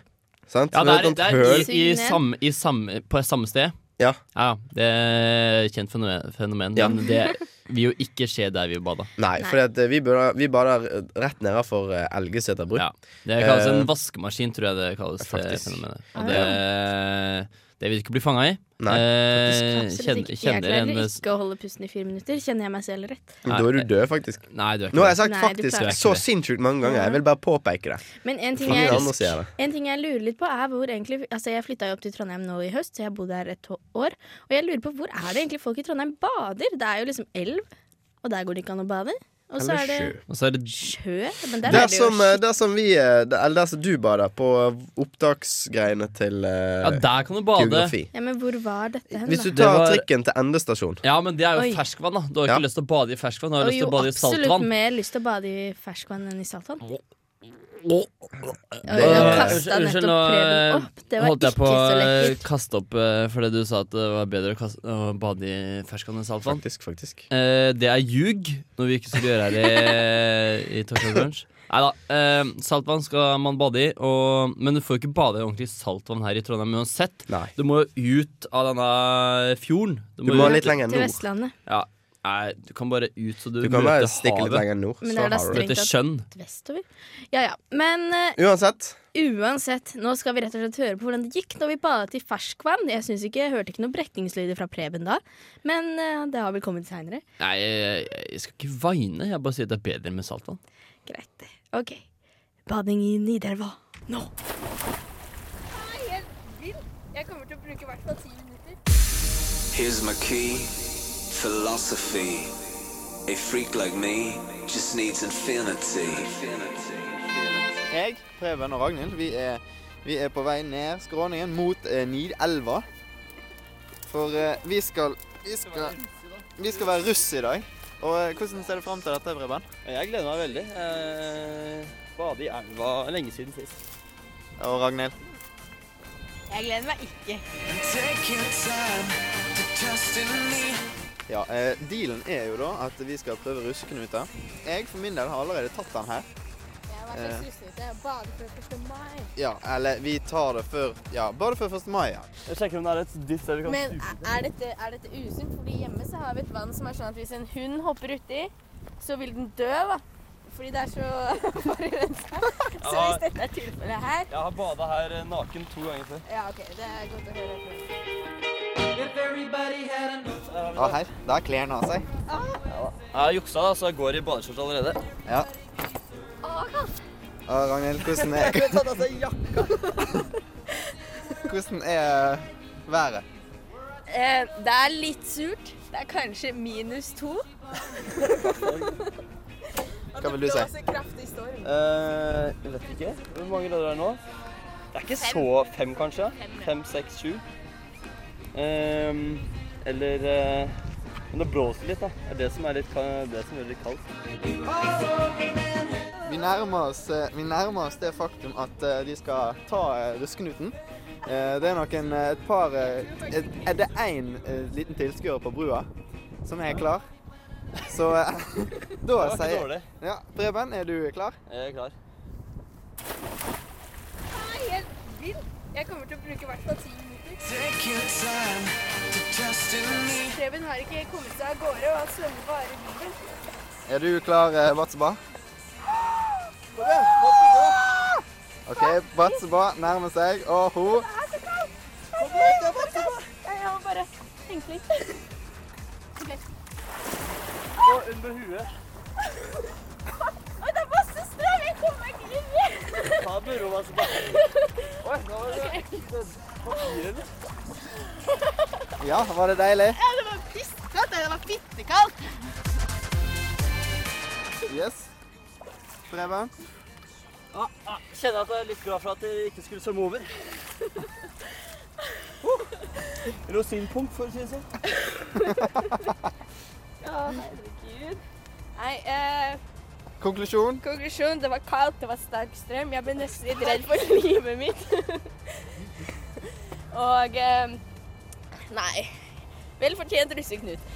Speaker 5: Sant?
Speaker 16: Ja,
Speaker 5: Som er
Speaker 16: det er,
Speaker 5: et
Speaker 16: det
Speaker 5: sånt
Speaker 16: er i,
Speaker 5: høl.
Speaker 16: i, samme, i samme, på samme sted.
Speaker 5: Ja.
Speaker 16: Det er et kjent fenomen, fenomen men det vil jo ikke skje der vi bada.
Speaker 5: Nei, for vi, bør- vi bader rett nede for eh, Elgeseter bru.
Speaker 16: Det kalles
Speaker 5: Eh,
Speaker 16: en vaskemaskin, tror jeg det kalles. det fenomenet.
Speaker 5: Ah,
Speaker 16: Og det, det vil du ikke bli fanga i.
Speaker 5: Nei,
Speaker 16: Eh,
Speaker 5: faktisk.
Speaker 16: kjen-
Speaker 4: Absolutt ikke. Jeg
Speaker 16: kjenner en
Speaker 4: klarer ikke å holde pusten i fire minutter. Kjenner jeg meg selv rett?
Speaker 5: Men da er du død, faktisk.
Speaker 16: Nei, du er ikke
Speaker 5: Nå har jeg
Speaker 4: det.
Speaker 5: sagt
Speaker 4: Nei, du
Speaker 5: faktisk
Speaker 4: klarer
Speaker 5: så
Speaker 4: ikke det.
Speaker 5: sinnssykt mange ganger. Jeg vil bare påpeke det.
Speaker 4: Men en ting,
Speaker 5: For ingen andre
Speaker 4: jeg,
Speaker 5: sier det.
Speaker 4: en ting jeg lurer litt på, er hvor egentlig Altså, jeg flytta jo opp til Trondheim nå i høst, så jeg har bodd her et to- år. Og jeg lurer på hvor er det egentlig folk i Trondheim bader? Det er jo liksom elv, og der går det ikke an å bade. Og så er det
Speaker 16: Og så er det
Speaker 4: sjø. Men der
Speaker 5: Det
Speaker 4: er det jo
Speaker 5: som, eh, det som vi eh, det, Eller det som du bader på opptaksgreiene til eh,
Speaker 16: Ja, der kan du bade.
Speaker 5: geografi.
Speaker 4: Ja, men hvor var dette hen,
Speaker 5: Hvis du
Speaker 4: da?
Speaker 5: tar
Speaker 16: var-
Speaker 5: trikken til endestasjon
Speaker 16: Ja, men det er jo
Speaker 4: Oi.
Speaker 16: ferskvann, da. Du har ikke lyst til å bade i ferskvann, du har
Speaker 4: Og
Speaker 16: lyst
Speaker 4: jo,
Speaker 16: til å bade i
Speaker 4: absolutt
Speaker 16: saltvann.
Speaker 4: mer lyst til å bade i ferskvann enn i saltvann.
Speaker 16: Øh,
Speaker 4: jeg kastet
Speaker 16: unnskyld,
Speaker 4: nettopp
Speaker 16: nå eh,
Speaker 4: Preben opp. Det var
Speaker 16: holdt jeg på
Speaker 4: ikke
Speaker 16: å
Speaker 4: så
Speaker 16: eh,
Speaker 4: lekkert.
Speaker 16: kaste opp eh, fordi du sa at det var bedre å, kaste, å bade i ferskvann enn saltvann. Eh,
Speaker 5: Faktisk, faktisk.
Speaker 16: det er ljug, når vi ikke skulle gjøre her i, i Torsdag Brunch. Nei da. eh, saltvann skal man bade i, og, men du får jo ikke bade i ordentlig saltvann her i Trondheim uansett. Du må jo ut av denne fjorden.
Speaker 5: Du må
Speaker 16: ut-
Speaker 5: litt lenger Til nord.
Speaker 4: Vestlandet.
Speaker 16: Ja. Nei, du kan bare ut så du,
Speaker 5: Du kan bare
Speaker 16: møter
Speaker 5: stikke litt
Speaker 16: havet.
Speaker 5: lenger nord,
Speaker 4: Men det er da strengt
Speaker 16: Møter sjøen.
Speaker 4: tatt vestover. Ja ja. Men eh,
Speaker 5: Uansett
Speaker 4: uansett, nå skal vi rett og slett høre på hvordan det gikk når vi badet i ferskvann. Jeg synes ikke, jeg hørte ikke noen brekningslyder fra Preben da, men eh, det har vel kommet seinere.
Speaker 16: Nei, jeg, jeg skal ikke vaine. Jeg bare sier at det er bedre med saltvann.
Speaker 4: Greit. OK. Bading i Nidelva nå. Jeg kommer til å bruke i hvert fall ti minutter.
Speaker 1: Here's my key, philosophy. A freak like me just needs infinity.
Speaker 22: Jeg, Preben og Ragnhild, vi er, vi er på vei ned skråningen mot eh, Nidelva. For eh, vi skal vi skal, vi skal være russ i dag. Og eh, hvordan ser du fram til dette, Preben?
Speaker 3: Jeg gleder meg veldig. Eh, bade i elva lenge siden sist.
Speaker 22: Og Ragnhild?
Speaker 23: Jeg gleder meg ikke.
Speaker 22: Ja, eh, Dealen er jo da at vi skal prøve russeknuter. Jeg for min del har allerede tatt den her. Eh, ja, eller vi tar det før Ja, bare før 1. mai. Ja.
Speaker 3: Jeg sjekker om det er et dytt der vi kan
Speaker 24: Men er dette, er dette usunt? Fordi hjemme så har vi et vann som er sånn at hvis en hund hopper uti, så vil den dø, da. Fordi det er så forurensa. Så
Speaker 3: Ja.
Speaker 24: hvis dette er tilfellet her
Speaker 3: Jeg har bada her eh, naken to ganger før.
Speaker 24: Ja, OK. Det er godt å høre.
Speaker 22: Å, her. Da har klærne av seg.
Speaker 3: Jeg har juksa, da, så jeg går i badeskjorte allerede.
Speaker 22: Ja. Å, Ragnhild, hvordan er
Speaker 3: tatt av seg
Speaker 22: Hvordan er været?
Speaker 24: Eh, det er litt surt. Det er kanskje minus to.
Speaker 22: Hva vil du si?
Speaker 24: kraftig storm.
Speaker 3: Eh, jeg vet ikke. Hvor mange grader er det nå? Det er ikke
Speaker 24: Fem.
Speaker 3: så fem, kanskje. Fem, seks, sju. Ehm, eller eh, Men det blåser litt, da. Det er det som, er litt, ka- det som gjør det litt kaldt.
Speaker 22: Vi nærmer, oss, eh, vi nærmer oss det faktum at eh, de skal ta eh, russeknuten. Eh, Det er noen eh, et par eh, et- Er det én liten tilskuer på brua som er klar? Så eh, da
Speaker 3: Det var ikke
Speaker 22: sier
Speaker 3: dårlig.
Speaker 22: ja, Preben, er du klar?
Speaker 3: Jeg er klar.
Speaker 24: Jeg er helt vill. Jeg kommer til å bruke i hvert fall ti minutter. Preben har ikke kommet seg av gårde, og han svømmer bare i bilen.
Speaker 22: Er du klar, eh, Batseba? OK, Batseba nærmer seg, og hun
Speaker 24: Jeg må bare tenke litt. Ok.
Speaker 3: Og under huet.
Speaker 24: Oi, det er masse strøm! Jeg kommer meg ikke inn i!
Speaker 3: Ta med ro, altså. Oi, nå var det papiret.
Speaker 22: Ja, var det deilig?
Speaker 23: Ja, det var pisskaldt. Det var fittekaldt.
Speaker 22: Yes. Preben?
Speaker 3: Ah, ah, kjenner at jeg er litt glad for at jeg ikke skulle svømme over. Uh, Rosinpunk, for å si det sånn.
Speaker 24: Ja, herregud. Nei, eh,
Speaker 22: Konklusjon?
Speaker 24: konklusjon. Det var kaldt, det var sterk strøm. Jeg ble nesten litt redd for livet mitt. Og eh, Nei. Vel fortjent russeknut.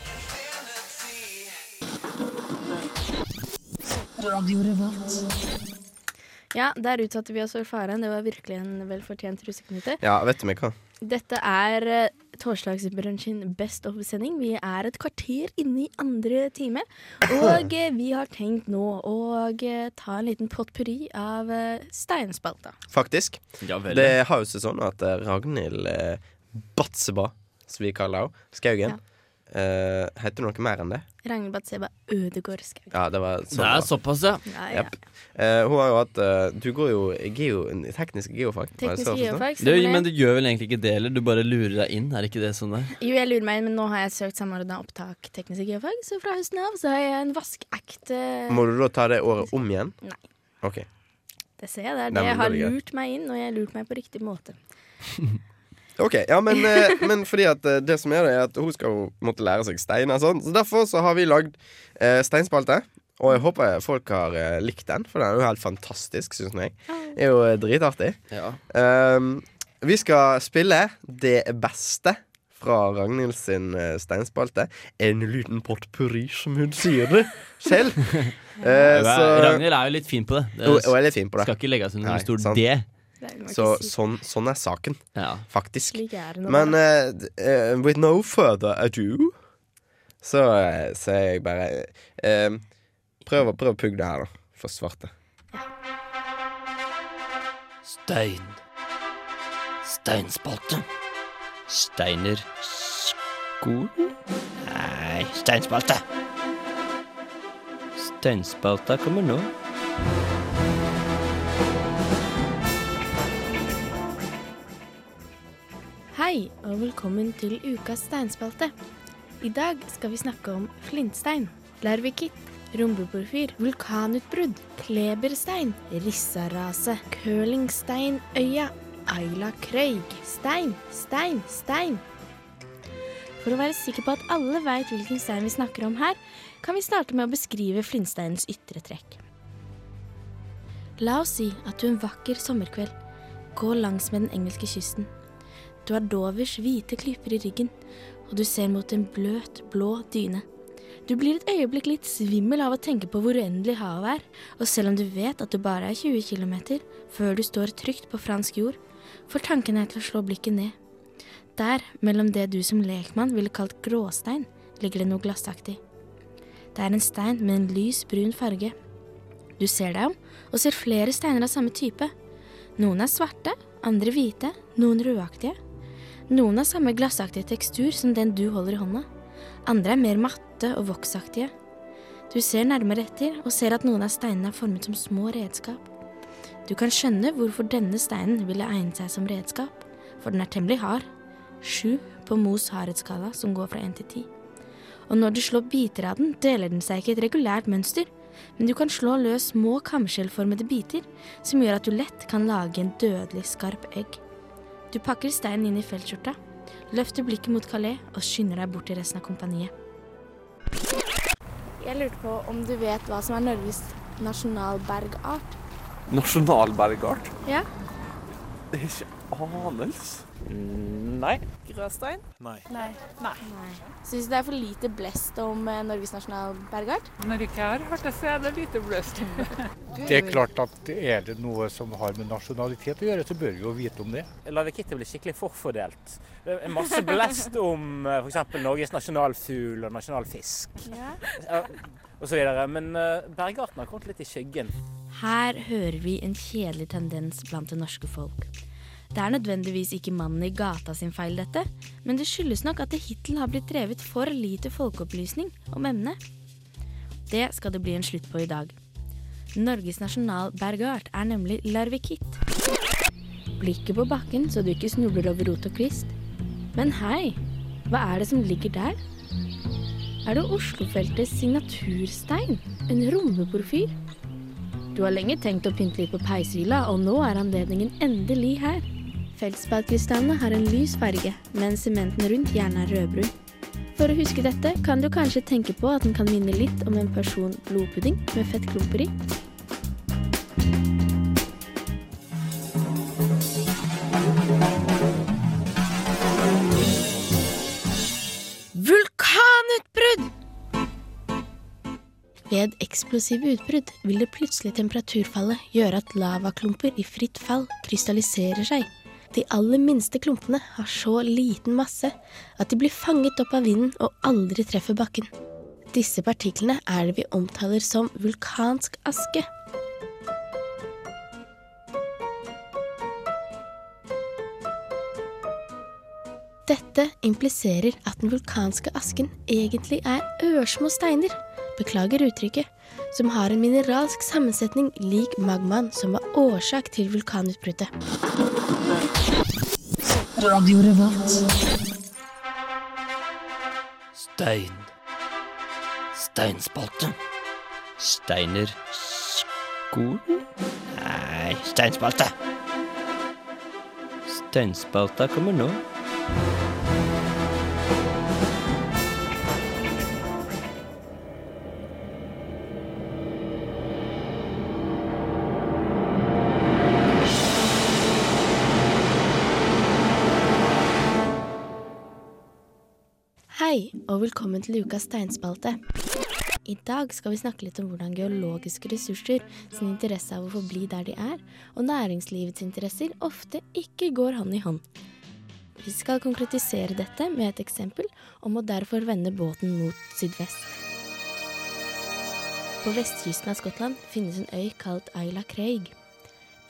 Speaker 4: Ja, der utsatte vi oss for faren. Det var virkelig en velfortjent russeknute.
Speaker 5: Ja, vet du meg hva?
Speaker 4: Dette er eh, torsdagsbrunsjen Best of-sending. Vi er et kvarter inne i andre time. Og eh, vi har tenkt nå å eh, ta en liten potpurri av eh, Steinspalta.
Speaker 5: Faktisk.
Speaker 16: Ja, vel.
Speaker 5: det har jo seg sånn at eh, Ragnhild eh, Batseba, som vi kaller henne, Skaugen, Eh, heter det noe mer enn det?
Speaker 16: Ragnhild Batseba Ødegård Skaug.
Speaker 5: Ja, det var
Speaker 25: Det er såpass, ja.
Speaker 16: «Øh». Ja, ja.
Speaker 5: Jepp. Eh, hun har jo hatt eh, Du går jo i geo, teknisk geofag. var det
Speaker 16: Teknisk
Speaker 5: så å forstå?
Speaker 16: geofag,
Speaker 25: Det, men du gjør vel egentlig ikke det heller? Du bare lurer deg inn, er det ikke det sånn der?
Speaker 16: Jo, jeg lurer meg inn, men nå har jeg søkt samordna opptak teknisk geofag, så fra høsten av så har jeg en eh. vaskeekte
Speaker 5: Må du da ta det året om igjen?
Speaker 16: Nei.
Speaker 5: OK.
Speaker 16: Det ser jeg, det er
Speaker 5: Nei,
Speaker 16: det jeg
Speaker 5: men
Speaker 16: har
Speaker 5: det er greit.
Speaker 16: lurt meg inn, og jeg har lurt meg på riktig måte.
Speaker 5: Ok, ja, men, eh, men fordi at eh, det som er det, er at hun skal jo måtte lære seg steiner og sånn. Så derfor så har vi lagd eh, steinspalte. Og jeg håper folk har eh, likt den, for den er jo helt fantastisk, syns jeg. Det er jo eh, dritartig. Um, vi skal spille det beste fra Ragnhild sin eh, steinspalte. En liten potpurri, som hun sier det selv. Eh, så-
Speaker 25: Ragnhild er jo litt fin på det.
Speaker 5: Hun- hun er litt fin på det.
Speaker 25: Skal ikke legge seg under
Speaker 5: Nei,
Speaker 25: en stor
Speaker 5: sant.
Speaker 25: D.
Speaker 5: Så sånn, sånn er saken, faktisk.
Speaker 16: Slik er det nå.
Speaker 5: Men eh, d- eh, with no further ado, så eh, sier jeg bare eh, prøv, å- prøv å pugge det her, da. For svarte.
Speaker 3: Stein. Steinspalte. Steinerskolen? Nei, steinspalte. Steinspalta kommer nå.
Speaker 16: Hei, og velkommen til ukas steinspalte. I dag skal vi snakke om flintstein, larvikitt, rombeporfyr, vulkanutbrudd, kleberstein, rissarase, curlingsteinøya, Ayla Krøyg, stein, stein, stein. For å være sikker på at alle veit hvilken stein vi snakker om her, kan vi starte med å beskrive flintsteinens ytre trekk. La oss si at du en vakker sommerkveld går langs med den engelske kysten. Du har Dovers hvite klyper i ryggen, og du ser mot en bløt, blå dyne. Du blir et øyeblikk litt svimmel av å tenke på hvor uendelig havet er, og selv om du vet at du bare er 20 km før du står trygt på fransk jord, får tanken deg til å slå blikket ned. Der, mellom det du som lekmann ville kalt gråstein, ligger det noe glassaktig. Det er en stein med en lys brun farge. Du ser deg om, og ser flere steiner av samme type. Noen er svarte, andre hvite, noen rødaktige. Noen har samme glassaktige tekstur som den du holder i hånda. Andre er mer matte og voksaktige. Du ser nærmere etter og ser at noen av steinene er formet som små redskap. Du kan skjønne hvorfor denne steinen ville egne seg som redskap, for den er temmelig hard. Sju på Mos hardhetsskala, som går fra én til ti. Og når du slår biter av den, deler den seg ikke i et regulært mønster, men du kan slå løs små kamskjellformede biter, som gjør at du lett kan lage en dødelig skarp egg. Du pakker steinen inn i feltskjorta, løfter blikket mot Calais og skynder deg bort til resten av kompaniet.
Speaker 4: Jeg lurte på om du vet hva som er Norges nasjonalbergart?
Speaker 1: Nasjonalbergart?
Speaker 4: Ja?
Speaker 1: Det er ikke anelse. Nei.
Speaker 4: Gråstein?
Speaker 1: Nei.
Speaker 4: Nei. Nei. Syns du det er for lite blest om eh, Norges nasjonalbergart? Når du ikke har hørt det, så er det lite blest om det.
Speaker 26: Det er klart at er det noe som har med nasjonalitet å gjøre, så bør vi jo vite om det.
Speaker 21: Larvikittet blir skikkelig forfordelt. Det er masse blest om f.eks. Norges nasjonalfugl og nasjonalfisk osv. Men eh, bergarten har kommet litt i skyggen.
Speaker 16: Her hører vi en kjedelig tendens blant det norske folk. Det er nødvendigvis ikke mannen i gata sin feil, dette, men det skyldes nok at det hittil har blitt drevet for lite folkeopplysning om emnet. Det skal det bli en slutt på i dag. Norges nasjonalbergart er nemlig larvikitt. Blikket på bakken så du ikke snubler over rot og kvist. Men hei, hva er det som ligger der? Er det Oslofeltets signaturstein? En rombeporfyr? Du har lenge tenkt å pynte litt på peishylla, og nå er anledningen endelig her. Feltspatkrystallene har en lys farge, mens sementen rundt gjerne er rødbrun. For å huske dette kan du kanskje tenke på at den kan minne litt om en porsjon blodpudding med fettklumper i. Vulkanutbrudd! Ved eksplosive utbrudd vil det plutselige temperaturfallet gjøre at lavaklumper i fritt fall krystalliserer seg. De aller minste klumpene har så liten masse at de blir fanget opp av vinden og aldri treffer bakken. Disse partiklene er det vi omtaler som vulkansk aske. Dette impliserer at den vulkanske asken egentlig er ørsmå steiner, beklager uttrykket, som har en mineralsk sammensetning lik magmaen som var årsak til vulkanutbruddet.
Speaker 27: Radio Revolt.
Speaker 3: Stein. Steinspalte. Steinerskolen? Nei, steinspalte. Steinspalta kommer nå.
Speaker 16: Hei, og velkommen til ukas steinspalte. I dag skal vi snakke litt om hvordan geologiske ressurser sin interesse av å forbli der de er, og næringslivets interesser ofte ikke går hånd i hånd. Vi skal konkretisere dette med et eksempel, og må derfor vende båten mot sydvest. På vestkysten av Skottland finnes en øy kalt Ayla Craig.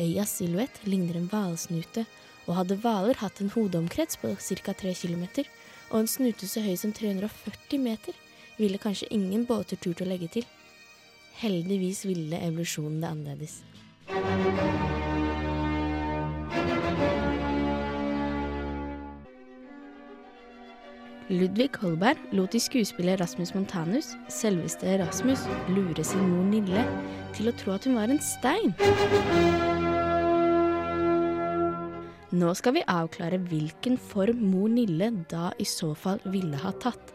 Speaker 16: Øyas silhuett ligner en hvalsnute, og hadde hvaler hatt en hodeomkrets på ca. 3 km og en snute så høy som 340 meter, ville kanskje ingen båter turt å legge til. Heldigvis ville evolusjonen det annerledes. Ludvig Holberg lot i skuespiller Rasmus Montanus, selveste Rasmus, lure sin mor Nille til å tro at hun var en stein. Nå skal vi avklare hvilken form mor Nille da i så fall ville ha tatt.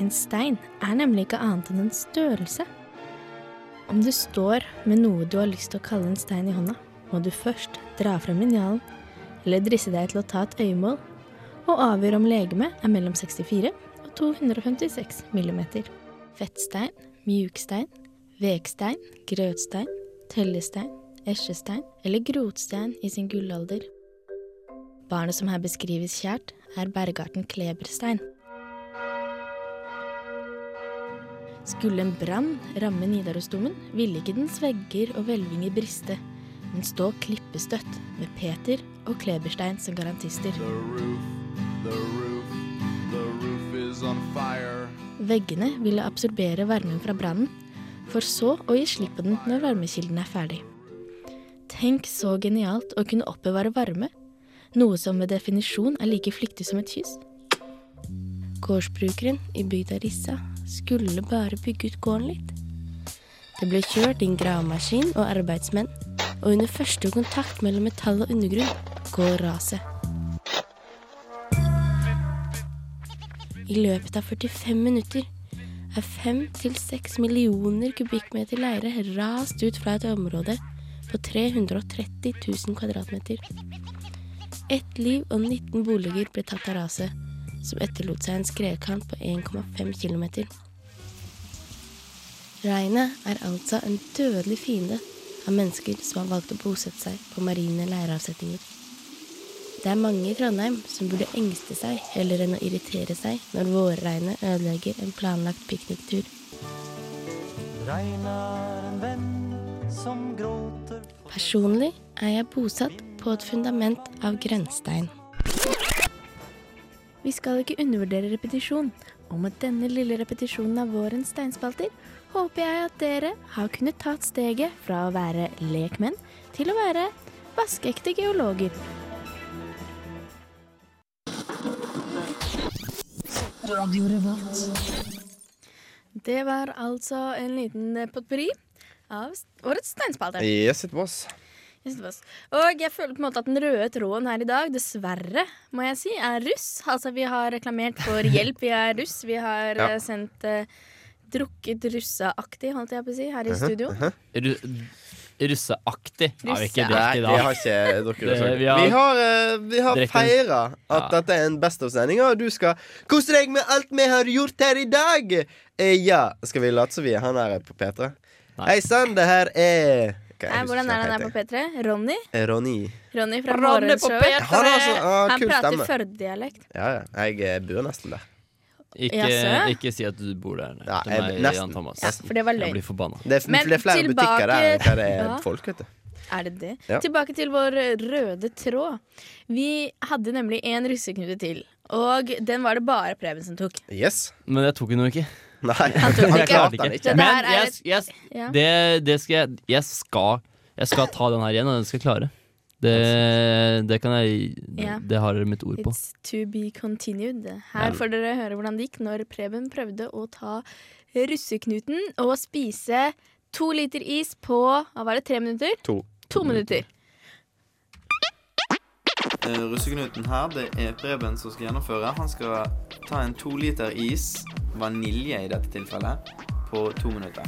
Speaker 16: En stein er nemlig ikke annet enn en størrelse. Om du står med noe du har lyst til å kalle en stein i hånda, må du først dra frem linjalen, eller drisse deg til å ta et øyemål, og avgjøre om legemet er mellom 64 og 256 millimeter. Fettstein, mjukstein, vekstein, grøtstein, tellestein, esjestein eller grotstein i sin gullalder. Barnet som her beskrives kjært, er bergarten kleberstein. Skulle en brann ramme Nidarosdomen, ville ikke dens vegger og hvelvinger briste, men stå klippestøtt med Peter og kleberstein som garantister. Veggene ville absorbere varmen fra brannen, for så å gi slipp på den når varmekilden er ferdig. Tenk så genialt å kunne oppbevare varme, noe som ved definisjon er like flyktig som et kyss. Gårdsbrukeren i bygda Rissa skulle bare bygge ut gården litt. Det ble kjørt inn gravemaskin og arbeidsmenn, og under første kontakt mellom metall og undergrunn går raset. I løpet av 45 minutter er 5-6 millioner kubikkmeter leire rast ut fra et område på 330 000 kvadratmeter. Ett liv og 19 boliger ble tatt av raset, som etterlot seg en skredkant på 1,5 km. Regnet er altså en dødelig fiende av mennesker som har valgt å bosette seg på marine leireavsetninger. Det er mange i Trondheim som burde engste seg heller enn å irritere seg når vårregnet ødelegger en planlagt pikniktur.
Speaker 27: Regn er en venn som gråter
Speaker 16: Personlig er jeg bosatt på et fundament av grenstein. Vi skal ikke undervurdere repetisjon, og med denne lille repetisjonen av vårens steinspalter håper jeg at dere har kunnet tatt steget fra å være lekmenn til å være vaskeekte geologer.
Speaker 27: Radio Revolt.
Speaker 4: Det var altså en liten eh, potpurri av s- årets steinspalte.
Speaker 5: Yes, it was.
Speaker 4: Yes, det var oss. Og jeg føler på en måte at den røde tråden her i dag, dessverre, må jeg si, er russ. Altså, vi har reklamert for hjelp, vi er russ. Vi har
Speaker 28: Ja.
Speaker 4: eh, sendt eh, drukket russeaktig, holdt jeg på å si, her i studio.
Speaker 28: Ru russeaktig er vi ikke
Speaker 5: Russe-
Speaker 28: direkte i dag.
Speaker 5: Nei, vi har ikke drukket
Speaker 28: Det-
Speaker 5: russeaktig.
Speaker 28: Vi
Speaker 5: Vi
Speaker 28: har
Speaker 5: har, eh, vi har
Speaker 28: Direkte-
Speaker 5: feira at dette er en Best of-sending, og du skal kose deg med alt vi har gjort her i dag. Eh, ja, skal vi late som vi er han her på P3? Hei sann, det her er Hva
Speaker 4: Nei,
Speaker 5: det
Speaker 4: Eh, hvordan
Speaker 5: som
Speaker 4: er han her
Speaker 5: heter?
Speaker 4: på P3? Ronny?
Speaker 5: Eh, Ronny.
Speaker 4: Ronny fra
Speaker 5: Ronny på
Speaker 4: Morgenshow.
Speaker 5: P3! Han har altså- ah,
Speaker 4: Han
Speaker 5: kul
Speaker 4: prater
Speaker 5: stemme.
Speaker 4: Førde-dialekt.
Speaker 5: Ja, ja. Jeg eh, bor nesten der.
Speaker 28: Ikke,
Speaker 4: Jaså?
Speaker 28: ikke si at du bor der. Nei,
Speaker 5: Ja, jeg-
Speaker 28: til meg,
Speaker 5: nesten.
Speaker 28: Jan Thomas.
Speaker 4: Ja, for det var løgn.
Speaker 28: Jeg blir forbanna.
Speaker 5: Det er, f-
Speaker 4: Men
Speaker 5: det er flere
Speaker 4: tilbake-
Speaker 5: butikker der enn hva det
Speaker 4: Ja.
Speaker 5: er folk, vet du.
Speaker 4: Er det det?
Speaker 5: Ja.
Speaker 4: eh, Tilbake til vår røde tråd. Vi hadde nemlig en russeknute til. Og den var det bare Preben som tok.
Speaker 5: Yes.
Speaker 16: Men jeg tok den jo ikke.
Speaker 5: Nei,
Speaker 16: jeg
Speaker 4: tok den ikke. Så
Speaker 16: klarte
Speaker 4: det
Speaker 16: ikke.
Speaker 4: her
Speaker 16: Men
Speaker 4: er
Speaker 16: jeg,
Speaker 4: et-
Speaker 16: jeg,
Speaker 4: Ja.
Speaker 16: det, det skal jeg Jeg skal Jeg skal ta den her igjen, og den skal jeg klare. Det, det kan jeg
Speaker 4: Ja.
Speaker 16: Det har dere mitt ord på.
Speaker 4: It's to be continued. Her
Speaker 16: Ja.
Speaker 4: får dere høre hvordan det gikk når Preben prøvde å ta russeknuten og spise to liter is på hva var det, tre minutter?
Speaker 5: To.
Speaker 4: To minutter.
Speaker 29: Eh, Russeknuten her, det er Preben som skal gjennomføre. Han skal ta en to liter is, vanilje i dette tilfellet, på to minutter.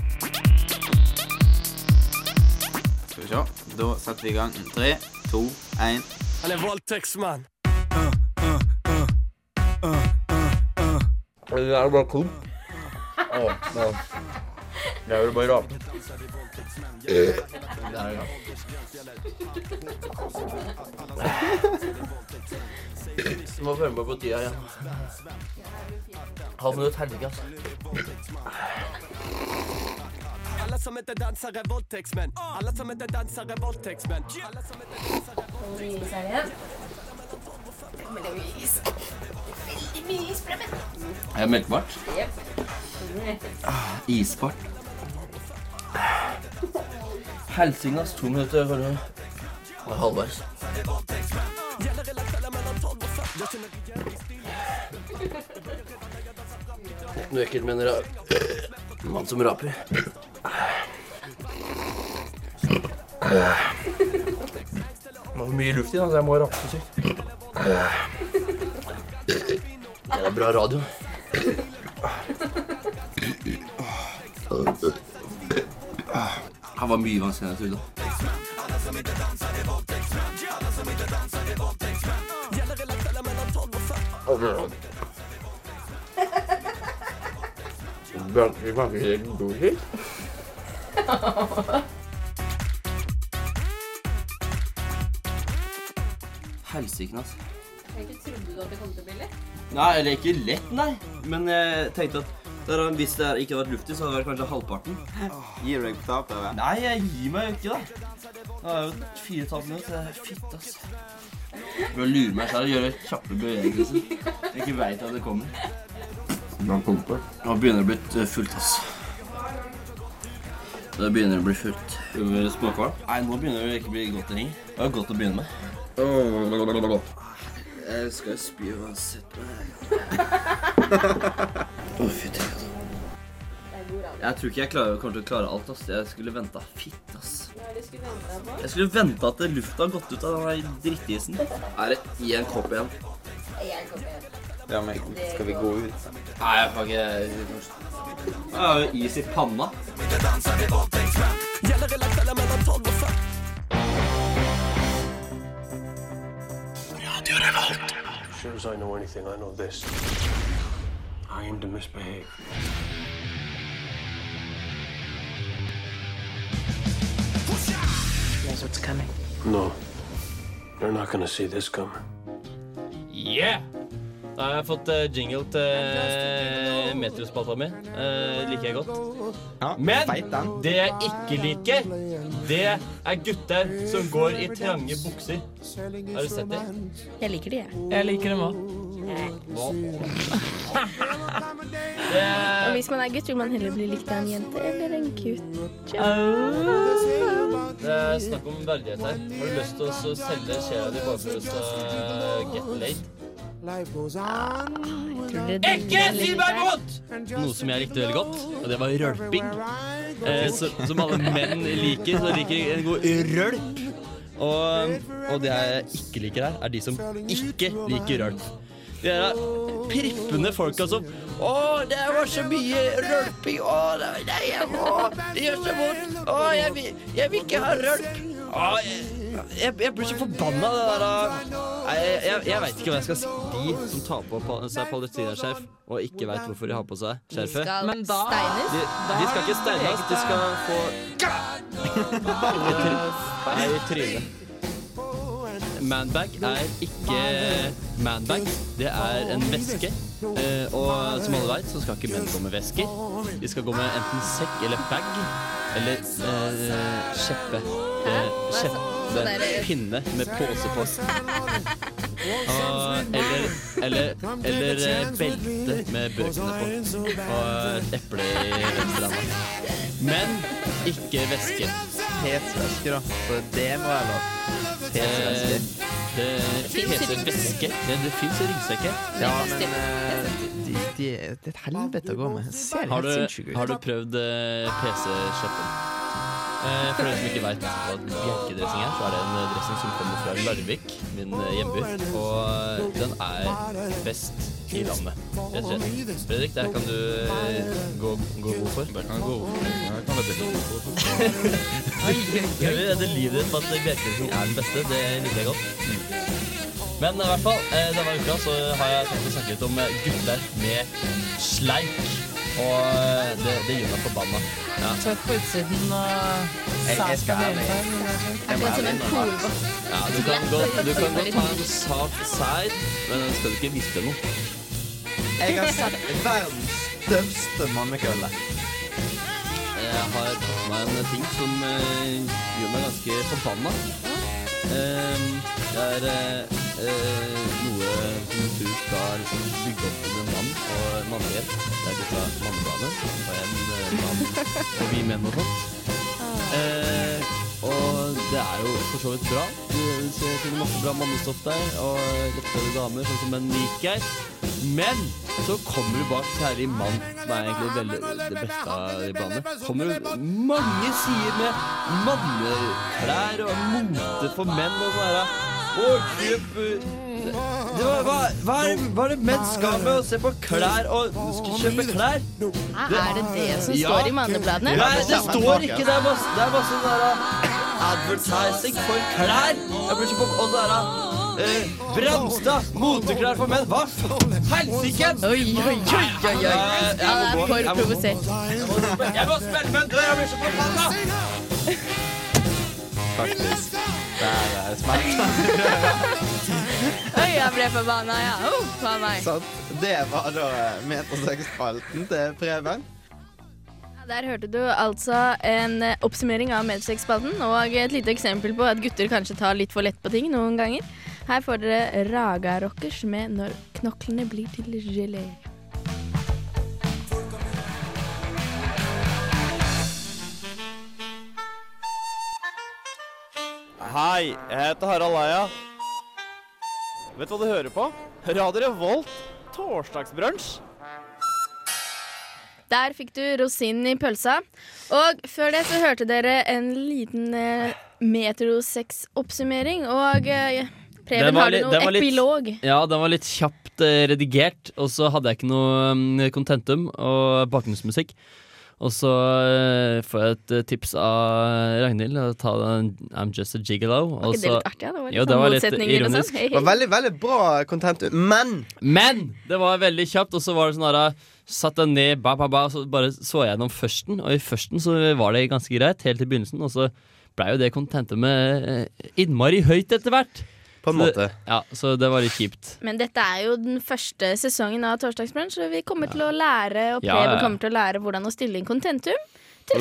Speaker 29: Skal vi se. Da setter vi i gang. Tre, to, én.
Speaker 6: Han er voldtektsmann.
Speaker 29: Det er bare klubb.
Speaker 5: Det er jo bare rart.
Speaker 29: Må følge med på tida igjen. Halv minutt helvete, altså.
Speaker 6: Alle som ikke danser, er voldtektsmenn. Alle som ikke danser, er voldtektsmenn.
Speaker 29: Er det melkebart? Isbart. Helsingas to minutter, kanskje. Bare halvveis. Noe ekkelt mener jeg. En mann som raper. Det var mye luft i den, så jeg må rape sykt. Det er bra radio. Han var mye vanskeligere enn jeg trodde. Blanke smaker dosis. Helsike, altså.
Speaker 8: Ikke trodde du at det kom til å bli lett?
Speaker 29: Nei, eller ikke lett, nei. Men jeg tenkte at der, hvis det her ikke hadde vært luft i, så hadde det vært kanskje halvparten. Gir du deg på tap, eller? Nei, jeg gir meg jo ikke, da. Det er jo fire og et halvt minutt. Det er fitt, ass. Prøver å lure meg selv og gjøre kjappe bevegelser. Jeg ikke veit at det kommer. Nå begynner det å bli eh, fullt, ass. Det begynner å bli fullt. Småkvalm? Nei, nå begynner det ikke å bli godt lenger. Det var godt å begynne med. Jeg skal spy uansett. Å, fy til. Jeg tror ikke jeg klarer, kommer til å klare alt. ass. Jeg skulle venta. Fitt, ass. Jeg skulle venta at lufta har gått ut av den her drittisen. Er det én kopp igjen? Ja, men
Speaker 8: skal vi gå
Speaker 29: ut? Nei, jeg får ikke Jeg har jo is i panna.
Speaker 30: As sure as I know anything, I know this. I am to misbehave.
Speaker 8: Here's what's coming.
Speaker 30: No. You're not gonna see this coming.
Speaker 16: Yeah! Da har jeg fått eh, jingle til metrospalta mi. Eh, liker jeg godt. Men det jeg ikke liker, det er gutter som går i trange bukser. Har du sett det?
Speaker 24: Jeg liker de, jeg.
Speaker 7: Jeg liker dem òg.
Speaker 16: Hva?
Speaker 4: Og hvis man er gutt, vil man heller bli likt av en jente eller en gutt.
Speaker 16: Det er snakk om verdighet her. Har du lyst til å så selge sjela di bare for å så get laid?
Speaker 8: Ikke si meg imot!
Speaker 16: Noe som jeg likte veldig godt, og det var rølping. Eh, så, som alle menn liker, så liker en god rølp. Og, og det jeg ikke liker her, er de som ikke liker rølp. De er prippende folka som Å, det var så mye rølping! Å, nei, nei, jeg må Det gjør så vondt! Å, jeg vil, jeg vil ikke ha rølp! Å, jeg, jeg, jeg blir så forbanna av det der ah. Nei, Jeg, jeg, jeg veit ikke hva jeg skal si. De som tar på pa- seg palestinaskjerf og ikke veit hvorfor de har på seg skjerfet.
Speaker 8: Skal
Speaker 16: De,
Speaker 8: Men da- steines?
Speaker 16: de skal ikke steines, de skal få Nei, i trynet. Manbag er ikke manbag. Det er en veske. Eh, og som alle vet, så skal ikke menn gå med vesker. De skal gå med enten sekk eller bag. Eller eh, kjeppe. Eh,
Speaker 8: Hva er så- sånn
Speaker 16: kjeppe.
Speaker 8: der-
Speaker 16: Pinne med pose på. Og, eller eller, eller eh, belte med bøkene på. Og et eple i venstrehånda. Men ikke væske.
Speaker 5: Tesvæske, da. Så det må jeg lov. Tesvæske.
Speaker 16: Eh, Det heter væske. Det, det fins ryggsekker.
Speaker 5: Ja, men eh, de, de, Det er et helvete å gå med. Det Ser
Speaker 16: Har
Speaker 5: helt
Speaker 16: du,
Speaker 5: sinnssyk ut.
Speaker 16: har du prøvd eh, PC-sjeppen? Eh, for dere som ikke veit hva bjerkedressing er, så er det en eh, dressing som kommer fra Larvik, min eh, hjemby. Og eh, den er best i landet, rett og slett. Fredrik, det her kan du eh, gå, gå god for. Det kan gå Jeg vil redde livet ditt på at bjerkedressing er den beste. Det liker jeg godt. Men i hvert fall, eh, denne uka så har jeg tenkt å snakke litt om eh, gutter med sleik. Og eh, det, det gjør meg forbanna. Ja.
Speaker 7: Tøff på utsiden og
Speaker 16: Jeg- jeg
Speaker 7: sæd
Speaker 16: skal
Speaker 7: på
Speaker 16: ærlig.
Speaker 7: nedenfra.
Speaker 16: Akkurat som en Ja, du kan godt, du kan godt ta en sak sær, men den skal du ikke vifte noe.
Speaker 5: Jeg har sett verdens største mannekølle.
Speaker 16: Jeg har tatt meg en ting som eh, gjør meg ganske forbanna. Eh, det er eh, eh, noe som du skal liksom bygge opp under mann og mannlighet. Det er dette mannebladet og en eh, mann og vi menn og sånt. Eh, og det er jo for så vidt bra. Du ser- finner masse bra mannestoff der, og lettere damer, sånn som menn liker. Men så kommer du bak særlig mann, som er egentlig veldig det beste av de bladene. Kommer du mange sider med manneklær og mote for menn og sånn her. Å, kjøp eh, det- det var- hva, hva, er, det- hva er det menn skal med å se på klær og skal kjøpe klær?
Speaker 4: Hæ, er det det som står i mannebladene?
Speaker 16: Nei, det står ikke. Det er bare, det er bare sånn der ah, advertising for klær. Jeg blir så på Og det er ah, eh, Bramstad! Moteklær for menn. Hva faen? Helsike! eh, Oi, oi, oi, oi, oi.
Speaker 4: Han er for provosert.
Speaker 16: Jeg må spille med en dør! Jeg blir så forbanna!
Speaker 5: Faktisk. Der er smerten.
Speaker 4: Oi, jeg ble forbanna, ja. Uff a meg.
Speaker 5: Sant. Det var da eh, metersexspalten til Preben.
Speaker 4: Der hørte du altså en eh, oppsummering av Medsex-spalten og et lite eksempel på at gutter kanskje tar litt for lett på ting noen ganger. Her får dere Raga Rockers med 'Når knoklene blir til gelé'.
Speaker 9: Hei, jeg heter Harald Eia. Vet du hva du hører på? Radio Revolt torsdagsbrunsj.
Speaker 4: Der fikk du rosinen i pølsa. Og før det så hørte dere en liten eh, metrosex-oppsummering. Og eh, Preben,
Speaker 16: Den var
Speaker 4: har du
Speaker 16: litt-
Speaker 4: noe
Speaker 16: den var litt-
Speaker 4: epilog?
Speaker 16: Ja, den var litt kjapt eh, redigert, og så hadde jeg ikke noe mm, kontentum og bakgrunnsmusikk. Og så eh, får jeg et eh, tips av Ragnhild. å Ta den I'm Just a Gigolo.
Speaker 5: Var ikke det litt artig, da? Det var litt
Speaker 16: jo,
Speaker 5: sånn
Speaker 16: det var litt
Speaker 5: motsetninger og sånn.
Speaker 16: ironisk.
Speaker 5: Det var veldig, veldig bra content, men
Speaker 16: Men! Det var veldig kjapt, og så var det sånn her Satt jeg ned, ba, ba, ba, og så bare så jeg gjennom førsten, og i førsten så var det ganske greit, helt til begynnelsen, og så blei jo det kontentumet eh, innmari høyt etter hvert.
Speaker 5: På en
Speaker 16: så,
Speaker 5: måte.
Speaker 16: Ja, så det var litt kjipt.
Speaker 4: Men dette er jo den første sesongen av Torsdagsbrunsj, så vi kommer til å lære og
Speaker 16: Ja,
Speaker 4: Preben
Speaker 16: ja, ja.
Speaker 4: kommer til å lære hvordan å stille inn kontentum.
Speaker 5: Åh.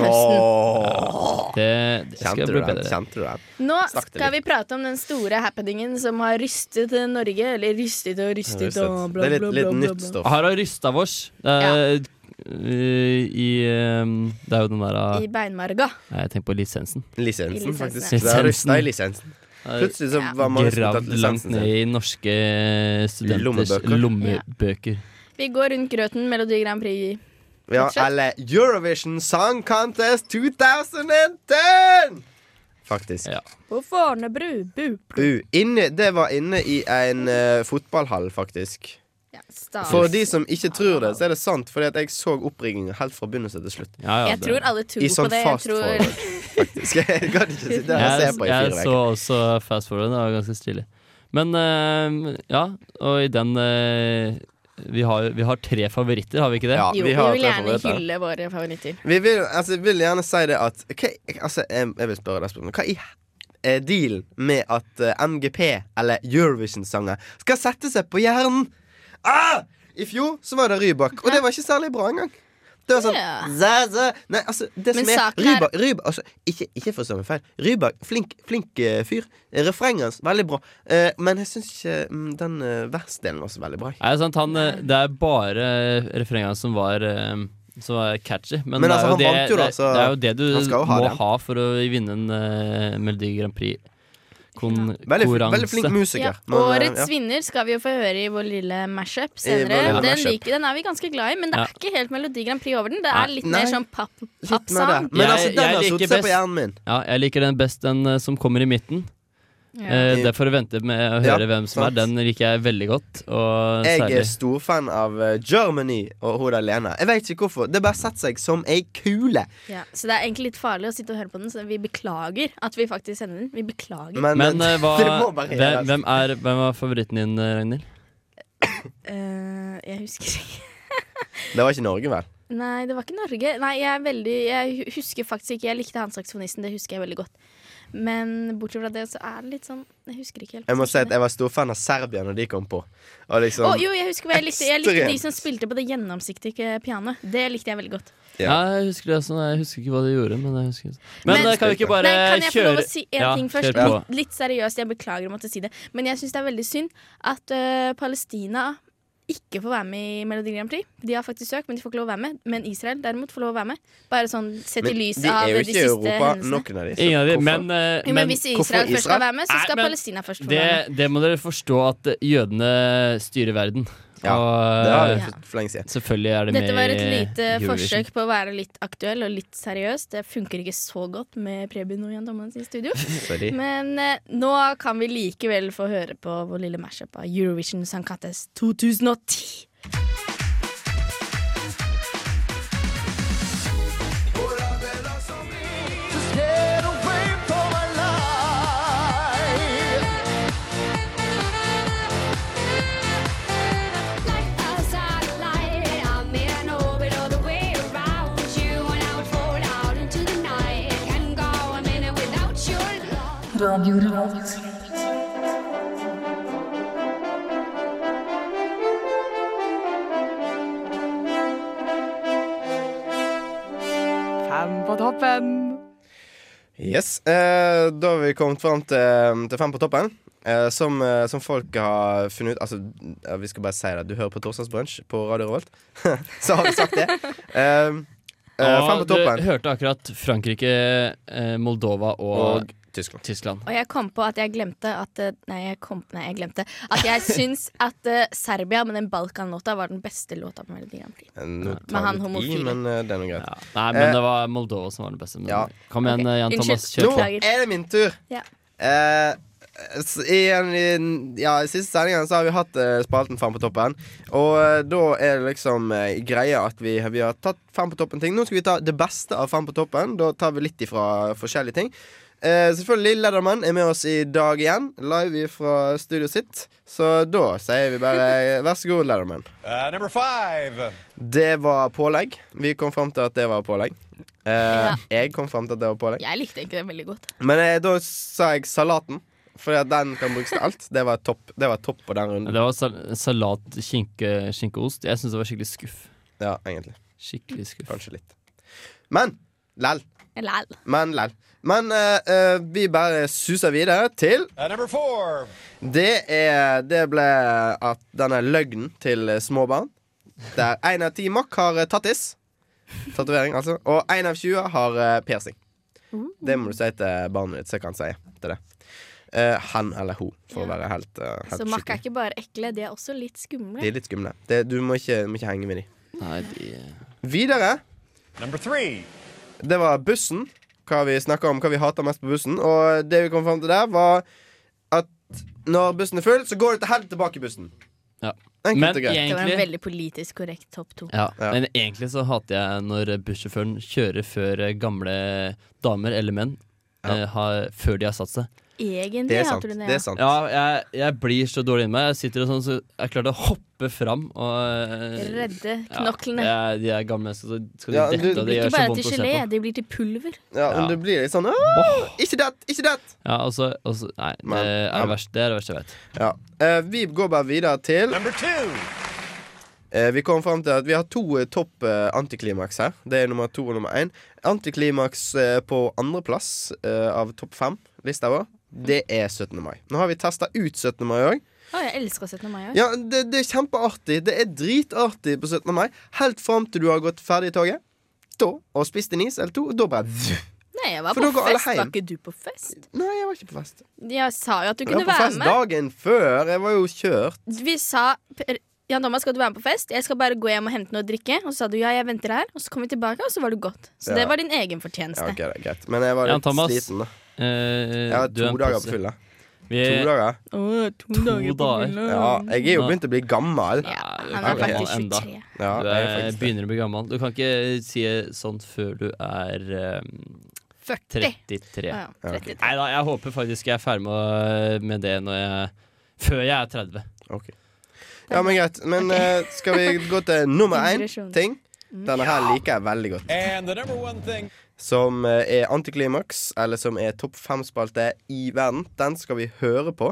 Speaker 16: Det, det skal
Speaker 5: Kjente
Speaker 16: jeg
Speaker 5: du
Speaker 16: bli
Speaker 5: den?
Speaker 16: bedre.
Speaker 5: Kjente du den?
Speaker 4: Nå
Speaker 5: Snakk det
Speaker 4: skal vi prate om den store happeningen som har rystet Norge. Eller rystet og rystet og bla, bla, bla. bla, bla.
Speaker 16: Her har rysta vårs. Det er, eh, I eh, Det er jo den der
Speaker 4: I beinmarga.
Speaker 16: Nei, jeg tenker på lisensen.
Speaker 5: Lisensen,
Speaker 4: I lisensen, faktisk.
Speaker 5: ja. Det er rysta i lisensen. Plutselig så var mange som tatt
Speaker 16: Gravd langt
Speaker 5: lisensen
Speaker 16: ned i norske studenters
Speaker 5: Lommebøker.
Speaker 16: lommebøker.
Speaker 4: Vi går rundt grøten Melodi Grand Prix.
Speaker 5: Ja,
Speaker 4: Fortsett.
Speaker 5: eller Eurovision Song Contest 2010! Faktisk.
Speaker 4: På Fornebru. Bu.
Speaker 5: Uh, inne, det var inne i en eh, fotballhall, faktisk.
Speaker 4: Stas.
Speaker 5: For de som ikke tror det, så er det sant, fordi at jeg så oppringningen helt fra begynnelse til slutt.
Speaker 4: Jeg tror alle tror
Speaker 5: I sånn
Speaker 4: på det. Jeg
Speaker 5: fast
Speaker 4: tror...
Speaker 5: forward, faktisk. Jeg gadd ikke sitte her og se på i
Speaker 16: jeg
Speaker 5: fire
Speaker 16: så
Speaker 5: uker.
Speaker 16: også Fast Forward. Det var ganske stilig. Men eh, ja, og i den eh, vi, har, vi har tre favoritter, har vi ikke det?
Speaker 5: Ja,
Speaker 4: Jo, vi vil gjerne hylle våre favoritter.
Speaker 5: Vi vil, altså, jeg vil gjerne si det at hva, altså, jeg, jeg vil spørre deg spørsmålet. Hva i he- er dealen med at eh, MGP, eller Eurovision-sanger, skal sette seg på hjernen? Ah! I fjor så var det Rybak, og det var ikke særlig bra engang. Det var sånn
Speaker 4: Ja.
Speaker 5: zæ, zæ. Nei, altså, det
Speaker 4: Men
Speaker 5: som er
Speaker 4: saken er-
Speaker 5: Rybak, Rybak altså, Ikke, ikke forstå meg feil. Rybak, flink, flink eh, fyr. Refrenget hans, veldig bra. Eh, men jeg syns ikke mm, den eh, versdelen var så veldig bra.
Speaker 16: Er det, sant? Han, eh, det er bare refrengene som var eh, Som var catchy. Men,
Speaker 5: Men
Speaker 16: det,
Speaker 5: altså,
Speaker 16: er
Speaker 5: han
Speaker 16: jo det,
Speaker 5: vant jo da,
Speaker 16: det,
Speaker 5: så
Speaker 16: det er jo det du
Speaker 5: han skal jo ha
Speaker 16: må
Speaker 5: den.
Speaker 16: ha for å vinne en eh, Melodi Grand Prix. Kon
Speaker 5: Veldig fl-
Speaker 16: konkurranse.
Speaker 5: veldig flink musiker, eh,
Speaker 4: Ja, Årets vinner skal vi jo få høre i vår lille mashup senere.
Speaker 16: vår lille
Speaker 4: den,
Speaker 16: mashup.
Speaker 4: liker, den er vi ganske glad i, men det
Speaker 16: Ja.
Speaker 4: er ikke helt Melodi Grand Prix over den. Det
Speaker 5: Nei.
Speaker 4: er litt mer
Speaker 5: Nei.
Speaker 4: sånn papp-
Speaker 5: Litt mer
Speaker 4: pappsang.
Speaker 5: det. Men altså, den har satt seg på hjernen min.
Speaker 16: Ja, jeg liker den best, den eh, som kommer i midten.
Speaker 5: Ja.
Speaker 16: Eh, det får du vente med å
Speaker 5: Ja,
Speaker 16: høre hvem som
Speaker 5: sant.
Speaker 16: er. Den liker jeg veldig godt. Og
Speaker 5: Jeg
Speaker 16: særlig
Speaker 5: er storfan av eh, Germany og hun der Lene. Jeg vet ikke hvorfor. Det bare setter seg som ei kule.
Speaker 4: Ja, så det er egentlig litt farlig å sitte og høre på den, så vi beklager at vi faktisk sender den. Vi beklager.
Speaker 16: Men, eh, hva,
Speaker 5: det må bare
Speaker 16: hvem,
Speaker 5: gjøres.
Speaker 16: hvem, er, hvem var favoritten din, eh, Ragnhild?
Speaker 4: Eh, jeg husker ikke.
Speaker 16: eh,
Speaker 5: Det var ikke Norge, vel?
Speaker 4: Nei, det var ikke Norge. Nei, jeg, er veldig, jeg husker faktisk ikke. Jeg likte han saksofonisten, det husker jeg veldig godt. Men bortsett fra det, så er det litt sånn Jeg husker ikke helt.
Speaker 5: Jeg må si at jeg var storfan av Serbia når de kom på. Og liksom
Speaker 4: Å, jo, jeg husker hva jeg likte. Jeg likte de
Speaker 5: ekstremt.
Speaker 4: som spilte på det gjennomsiktige pianoet. Det likte jeg veldig godt.
Speaker 16: Nei, jeg husker det sånn, jeg husker ikke hva de gjorde, men jeg husker Men,
Speaker 4: Men-
Speaker 16: eh, kan vi ikke bare
Speaker 4: Nei, kan jeg få lov
Speaker 16: kjøre
Speaker 4: å si én
Speaker 16: Ja,
Speaker 4: ting
Speaker 16: kjør
Speaker 4: først?
Speaker 16: på.
Speaker 4: Litt, litt seriøst, jeg beklager å måtte si det. Men jeg syns det er veldig synd at øh, Palestina ikke får være med i Melodi Grand Prix. De har faktisk søkt, men de får ikke lov å være med. Men Israel derimot får lov å være med. Bare sånn sett i
Speaker 5: Men
Speaker 4: lys
Speaker 5: de er
Speaker 4: av
Speaker 5: jo
Speaker 4: de
Speaker 5: ikke
Speaker 4: siste
Speaker 5: i Europa,
Speaker 4: hendelsene.
Speaker 5: noen av de.
Speaker 16: Ingen av de,
Speaker 5: hvorfor-
Speaker 16: men, eh,
Speaker 4: Jo, men hvis Israel først skal være med, så skal Palestina først få
Speaker 16: det,
Speaker 4: være med.
Speaker 16: det må dere forstå at eh, jødene styrer verden.
Speaker 5: Ja,
Speaker 16: Og,
Speaker 5: det har vi
Speaker 16: eh,
Speaker 5: for- for lenge siden.
Speaker 16: Selvfølgelig er det
Speaker 4: Dette var
Speaker 16: med
Speaker 4: et
Speaker 16: i
Speaker 4: lite
Speaker 16: Eurovision.
Speaker 4: forsøk på å være litt aktuell og litt seriøs. Det funker ikke så godt med Preben og Jan Thomas i studio.
Speaker 5: Sorry.
Speaker 4: Men eh, nå kan vi likevel få høre på vår lille mashup av Eurovision Sankates 2010.
Speaker 23: Radio Revolt.
Speaker 10: Fem på toppen.
Speaker 5: Yes, eh, Da har vi kommet fram til, til Fem på toppen. Eh, som, eh, som folk har funnet ut Altså, ja, Vi skal bare si det. Du hører på Torsdagsbrunsj på Radio Revolt. Så har vi sagt det. Eh, eh,
Speaker 16: Og
Speaker 5: fem på
Speaker 16: Du
Speaker 5: toppen.
Speaker 16: hørte akkurat Frankrike, eh, Moldova og,
Speaker 5: Og Tyskland.
Speaker 4: Og jeg kom på at jeg glemte at eh, Nei, jeg, kom, nei, jeg glemte. At jeg syns at eh, Serbia med den Balkan-låta var den beste låta på Melodi Grand Prix.
Speaker 5: Eh, Nå
Speaker 4: Men
Speaker 5: tar
Speaker 4: han
Speaker 5: vi litt i,
Speaker 4: homofile.
Speaker 5: men eh, det er nå greit.
Speaker 16: Nei, men
Speaker 5: Eh,
Speaker 16: det var Moldova som var det beste. Men Kom igjen, eh, Jan Thomas. Kjør
Speaker 5: Nå
Speaker 16: på.
Speaker 5: er det min tur.
Speaker 4: Ja.
Speaker 5: Eh, s- i, en- i, en- ja, I siste sendingen så har vi hatt eh, spalten Fem på toppen. Og eh, da er det liksom eh, greia at vi, vi har tatt Fem på toppen-ting. Nå skal vi ta det beste av Fem på toppen. Da tar vi litt ifra forskjellige ting. Eh, selvfølgelig Ledermann er med oss i dag igjen, live fra studioet sitt. Så da sier vi bare eh, vær så god, Ledermann.
Speaker 11: Uh, number five.
Speaker 5: Det var pålegg. Vi kom fram til at det var pålegg. Eh, Jeg kom fram til at det var pålegg.
Speaker 4: Jeg likte ikke den veldig godt.
Speaker 5: Men eh, da sa jeg salaten, for den kan brukes til alt. Det var topp, det var topp på den runden.
Speaker 16: Det var sal salat, skinke, skinkeost. Jeg syns det var skikkelig skuff.
Speaker 5: Ja, egentlig.
Speaker 16: Skikkelig skuff.
Speaker 5: Kanskje litt. Men lell.
Speaker 4: Lell.
Speaker 5: Men lell. Men eh, eh, vi bare suser videre til
Speaker 11: Uh, number four.
Speaker 5: Det, er, det ble at denne løgnen til eh, småbarn Der én av ti mokk har eh, tattis. Tatovering, altså. Og én av 20 har eh, piercing. Det må du si til barnet ditt, så kan han si til det. Eh, han eller hun, for å være helt, uh, helt
Speaker 4: Så
Speaker 5: skikkelig.
Speaker 4: makk er ikke bare ekle, de er også litt skumle.
Speaker 5: De er litt skumle. Det, du må ikke, må ikke henge med de. Videre. Det var bussen. Hva vi snakka om, hva vi hater mest på bussen. Og det vi kom fram til der, var at når bussen er full, så går du til helvete tilbake i bussen.
Speaker 16: Ja.
Speaker 5: Enkelt
Speaker 16: Men
Speaker 5: og greit.
Speaker 4: Det var
Speaker 16: egentlig-
Speaker 4: en veldig politisk korrekt topp to.
Speaker 16: Ja. Men egentlig så hater jeg når bussjåføren kjører før eh, gamle damer eller menn eh, har, før de har satt seg.
Speaker 4: Egentlig Det er hater sant, du det, ja. det er sant.
Speaker 16: Ja, jeg, jeg blir så dårlig inni meg. Jeg sitter og sånn, så jeg klarte å hoppe fram og eh,
Speaker 4: Redde knoklene.
Speaker 16: Ja, jeg- de er gamle mennesker, så skal de
Speaker 5: Ja, du-
Speaker 16: dette,
Speaker 5: Det
Speaker 16: og det
Speaker 4: Ikke
Speaker 16: gjør så
Speaker 4: bare
Speaker 16: vondt
Speaker 4: til
Speaker 16: å se
Speaker 4: gelé,
Speaker 16: på.
Speaker 4: de blir til pulver.
Speaker 5: Ja,
Speaker 16: Ja.
Speaker 5: men det blir litt sånn «Åh, Ikke det! Ikke det!
Speaker 16: Ja, og så og så- Nei, det er det verste, det er det verste jeg vet.
Speaker 5: Ja. Eh, vi går bare videre til
Speaker 11: Number two.
Speaker 5: Eh, vi kom frem til at vi har to eh, topp eh, antiklimaks her. Det er nummer to og nummer én. Antiklimaks eh, på andreplass eh, av topp fem-lista vår, det er 17. mai. Nå har vi testa ut 17. mai òg.
Speaker 4: Å, jeg elsker 17. mai. jeg.
Speaker 5: Ja, det, det er kjempeartig. Det er dritartig på 17. mai. Helt fram til du har gått ferdig i toget. Da, og spist en is eller to, og da bare
Speaker 4: Nei, jeg var
Speaker 5: For da
Speaker 4: på
Speaker 5: går alle
Speaker 4: fest. Var
Speaker 5: hjem.
Speaker 4: ikke du på fest?
Speaker 5: Nei, jeg var ikke på fest.
Speaker 4: Jeg sa jo at du
Speaker 5: Jeg var
Speaker 4: kunne
Speaker 5: på
Speaker 4: være
Speaker 5: fest
Speaker 4: med.
Speaker 5: dagen før. Jeg var jo kjørt.
Speaker 4: Vi sa Per- Jan Thomas, skal du være med på fest? Jeg skal bare gå hjem og hente noe å drikke. Og så sa du ja, jeg venter her. Og så kom vi tilbake, og så var du godt. Så
Speaker 5: Ja.
Speaker 4: det var din egen
Speaker 5: Ja,
Speaker 4: fortjeneste.
Speaker 5: ok, det er greit. Men jeg var
Speaker 16: Jan
Speaker 5: litt
Speaker 16: Thomas,
Speaker 5: sliten, da.
Speaker 16: eh,
Speaker 5: jeg har
Speaker 16: du er
Speaker 5: to
Speaker 16: en
Speaker 5: dager
Speaker 16: passe. Eh,
Speaker 5: på fylla.
Speaker 16: Vi-
Speaker 5: To dager.
Speaker 4: Å, to, dager på
Speaker 16: dager.
Speaker 4: fylla.
Speaker 5: Ja, jeg er jo begynt å bli gammel.
Speaker 4: Ja,
Speaker 16: han er faktisk
Speaker 5: Ja,
Speaker 16: 23. du
Speaker 5: jeg er
Speaker 16: er,
Speaker 5: faktisk det.
Speaker 16: begynner å bli gammel. Du kan ikke si sånt før du er ehm,
Speaker 4: 40.
Speaker 16: 33.
Speaker 4: Ja, ja, 33.
Speaker 16: Nei da, jeg håper faktisk jeg er ferdig med, med det når jeg, før jeg er 30.
Speaker 5: Ja, men greit. Men eh, skal vi gå til nummer én
Speaker 4: Inspirasjon.
Speaker 5: ting?
Speaker 4: Mm.
Speaker 5: Denne her liker jeg veldig godt.
Speaker 11: And the number one thing.
Speaker 5: Som eh, er antiklimaks, eller som er topp fem-spalte i verden. Den skal vi høre på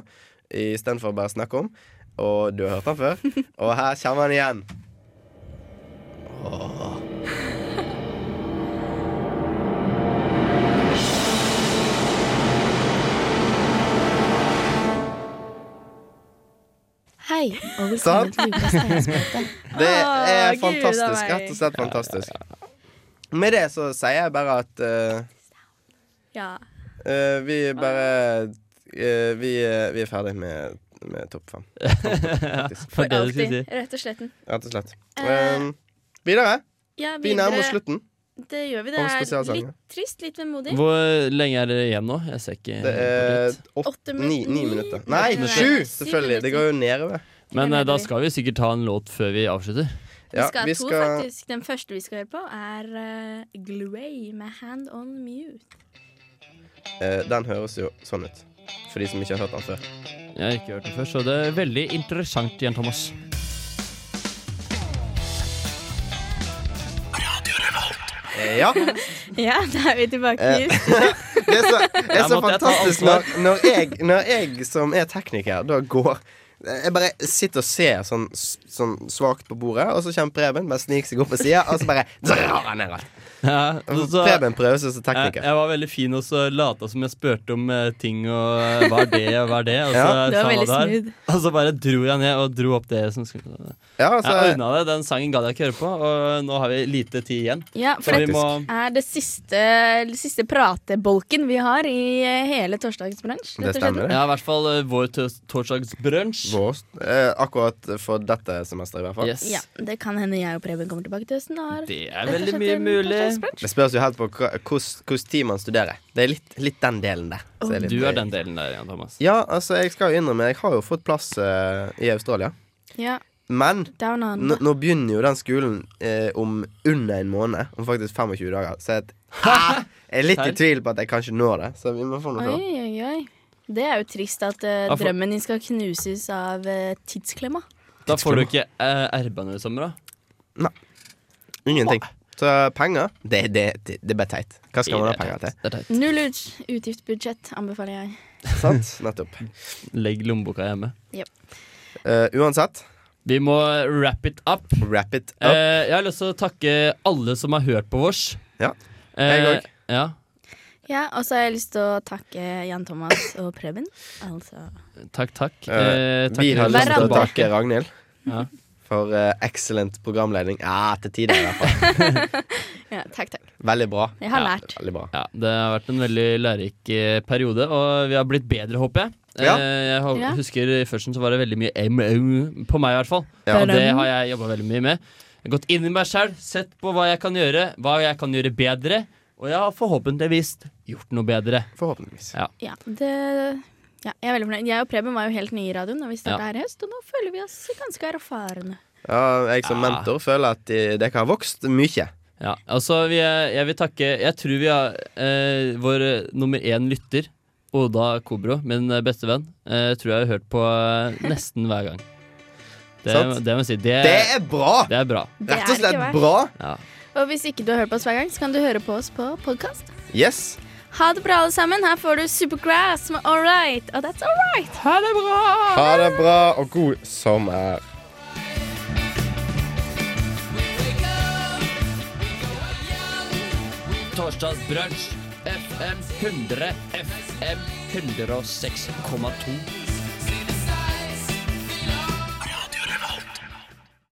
Speaker 5: istedenfor å bare snakke om. Og du har hørt den før. Og her kommer den igjen.
Speaker 4: Hei, og
Speaker 5: Sant?
Speaker 4: velkommen til Ukas tegnspalte.
Speaker 5: Det
Speaker 4: Åh,
Speaker 5: er
Speaker 4: Ah, Gud, det
Speaker 5: fantastisk.
Speaker 4: var jeg.
Speaker 5: Rett og slett fantastisk. Med det så sier jeg bare at eh,
Speaker 4: Ja.
Speaker 5: eh, vi bare eh, vi, eh, vi er ferdig med, med topp fem. Faktisk.
Speaker 4: For alltid. Rett og slett.
Speaker 5: Rett og slett.
Speaker 4: Eh,
Speaker 5: Um, videre.
Speaker 4: Ja,
Speaker 5: Vi nærmer oss slutten.
Speaker 4: Det gjør vi. Det
Speaker 5: Om
Speaker 4: er
Speaker 5: spesialsangen.
Speaker 4: litt trist, litt vemodig.
Speaker 16: Hvor lenge er det igjen nå? Jeg ser ikke.
Speaker 5: Det er
Speaker 4: Åtte
Speaker 5: åtte, ni, ni minutter. Nei,
Speaker 16: Åtte minutter.
Speaker 5: sju!
Speaker 16: Syv
Speaker 5: Selvfølgelig. Det går jo nedover.
Speaker 16: Men eh, da skal vi sikkert ta en låt før vi avslutter.
Speaker 4: vi skal ha to, faktisk. Den første vi skal høre på, er eh, Gluey med Hand On Mute.
Speaker 5: Eh, Den høres jo sånn ut. For de som ikke har hørt den før.
Speaker 16: Jeg har ikke hørt den før, så det er veldig interessant igjen, Thomas.
Speaker 5: Eh, Ja.
Speaker 4: ja, da er vi tilbake.
Speaker 5: Eh,
Speaker 4: i
Speaker 5: Det er så, det er
Speaker 4: Der
Speaker 5: så
Speaker 4: måtte jeg ta
Speaker 5: fantastisk
Speaker 4: ansvar.
Speaker 5: når, når, jeg, når jeg som er tekniker, da går Jeg bare sitter og ser sånn, sånn svakt på bordet, og så kommer Preben, bare sniker seg opp på sida, og så bare drar han ned alt.
Speaker 16: Ja,
Speaker 5: Og Preben prøver seg som
Speaker 16: jeg,
Speaker 5: tekniker.
Speaker 16: Eh, jeg var veldig fin og så lata som jeg spurte om eh, ting og eh, hva er det og hva er det. Og
Speaker 5: Ja.
Speaker 16: så,
Speaker 5: Du var
Speaker 16: sa han
Speaker 5: veldig
Speaker 16: der.
Speaker 5: smooth.
Speaker 16: Og så bare dro jeg ned og dro opp det som skulle
Speaker 5: Ja, altså-
Speaker 16: Jeg ordna det. Den sangen gadd jeg ikke høre på, og nå har vi lite tid igjen.
Speaker 4: Ja, for
Speaker 16: så vi
Speaker 4: det
Speaker 16: må
Speaker 4: er det siste, det siste pratebolken vi har i eh, hele torsdagens bransj. rett og slett.
Speaker 16: Ja, i hvert fall eh, vår tors- torsdagsbrunsj.
Speaker 5: Eh, akkurat for dette semesteret, i hvert fall.
Speaker 4: Ja, det kan hende jeg og Preben kommer tilbake til høsten. og har
Speaker 16: Det
Speaker 4: rett og slett en torsdagsbransj.
Speaker 5: Det spørs jo helt på hva- hvordan hvordan tid man studerer. Det er litt, litt den delen der. som litt-
Speaker 16: Du er den delen der igjen, Thomas.
Speaker 5: Ja, altså, jeg skal jo innrømme, jeg har jo fått plass eh, i Australia.
Speaker 4: Ja,
Speaker 5: Men
Speaker 4: down
Speaker 5: Nå,
Speaker 4: under.
Speaker 5: nå begynner jo den skolen eh, om under en måned, om faktisk 25 dager. Så jeg, jeg er litt i
Speaker 4: Her?
Speaker 5: tvil på at jeg kanskje når det. Så vi må få noe
Speaker 4: Oi,
Speaker 5: sånt.
Speaker 4: oi, oi. Det er jo trist at eh,
Speaker 16: Ja, for-
Speaker 4: drømmen din skal knuses av eh, tidsklemma.
Speaker 16: Da får du ikke uh, RB-en i sommer, da?
Speaker 5: Ingenting. Så penger, det, det, det, det er bare teit. Hva skal man ha penger til?
Speaker 4: Null ut, utgiftsbudsjett, anbefaler jeg.
Speaker 5: Sant? Nettopp. Eh,
Speaker 16: Legg lommeboka hjemme.
Speaker 4: Jep.
Speaker 5: uansett.
Speaker 16: Vi må wrap it up.
Speaker 5: Wrap it
Speaker 16: up. Eh, jeg har lyst til å takke alle som har hørt på vårs.
Speaker 5: Ja.
Speaker 16: Jeg
Speaker 5: òg.
Speaker 16: ja.
Speaker 4: Ja, og så har jeg lyst til å takke Jan Thomas og Preben. Altså
Speaker 16: Takk, takk.
Speaker 5: Eh,
Speaker 16: Eh, takk
Speaker 5: vi har
Speaker 16: dere
Speaker 5: lyst til å
Speaker 16: tilbake.
Speaker 5: takke Ragnhild
Speaker 16: Ja.
Speaker 5: for eh, excellent programledning. Ja, til tider, i hvert fall.
Speaker 4: Ja, takk, takk.
Speaker 5: Veldig bra.
Speaker 4: Jeg har
Speaker 5: Ja,
Speaker 4: lært.
Speaker 5: Veldig bra.
Speaker 16: Ja, det har vært en veldig lærerik eh, periode, og vi har blitt bedre, håper jeg.
Speaker 5: Ja.
Speaker 16: Eh, Jeg hå-
Speaker 4: Ja.
Speaker 16: husker I førsten så var det veldig mye MO på meg, i hvert fall.
Speaker 5: Ja.
Speaker 16: Og det har jeg jobba veldig mye med. Jeg har gått inn i meg sjøl, sett på hva jeg kan gjøre, hva jeg kan gjøre bedre. Og jeg har forhåpentligvis gjort noe bedre.
Speaker 5: Forhåpentligvis.
Speaker 16: Ja.
Speaker 4: Ja, det ja, jeg er veldig fornøyd. Jeg og Preben var jo helt nye i radioen da vi starta her i høst, og nå føler vi oss ganske erfarne.
Speaker 5: Ja, jeg som mentor føler at eh, dere har vokst mye.
Speaker 16: Ja, altså vi er, Jeg vil takke Jeg tror vi har eh, vår eh, nummer én lytter, Oda Kobro, min eh, beste venn, eh, tror jeg har hørt på eh, nesten hver gang. Det,
Speaker 5: Sant?
Speaker 16: det må jeg si. Det,
Speaker 5: Det er bra!
Speaker 16: Eh, Det er bra.
Speaker 4: Det Rett og er slett ikke verst. bra.
Speaker 16: Ja.
Speaker 4: Og hvis ikke du har hørt på oss hver gang, så kan du høre på oss på podkast.
Speaker 5: Yes.
Speaker 4: Ha det bra, alle sammen. Her får du Supergrass med All Right. Og that's all right.
Speaker 16: Ha det bra!
Speaker 5: Ha det bra og god sommer.
Speaker 16: Torsdagsbrunsj. FM 100. FM 106,2.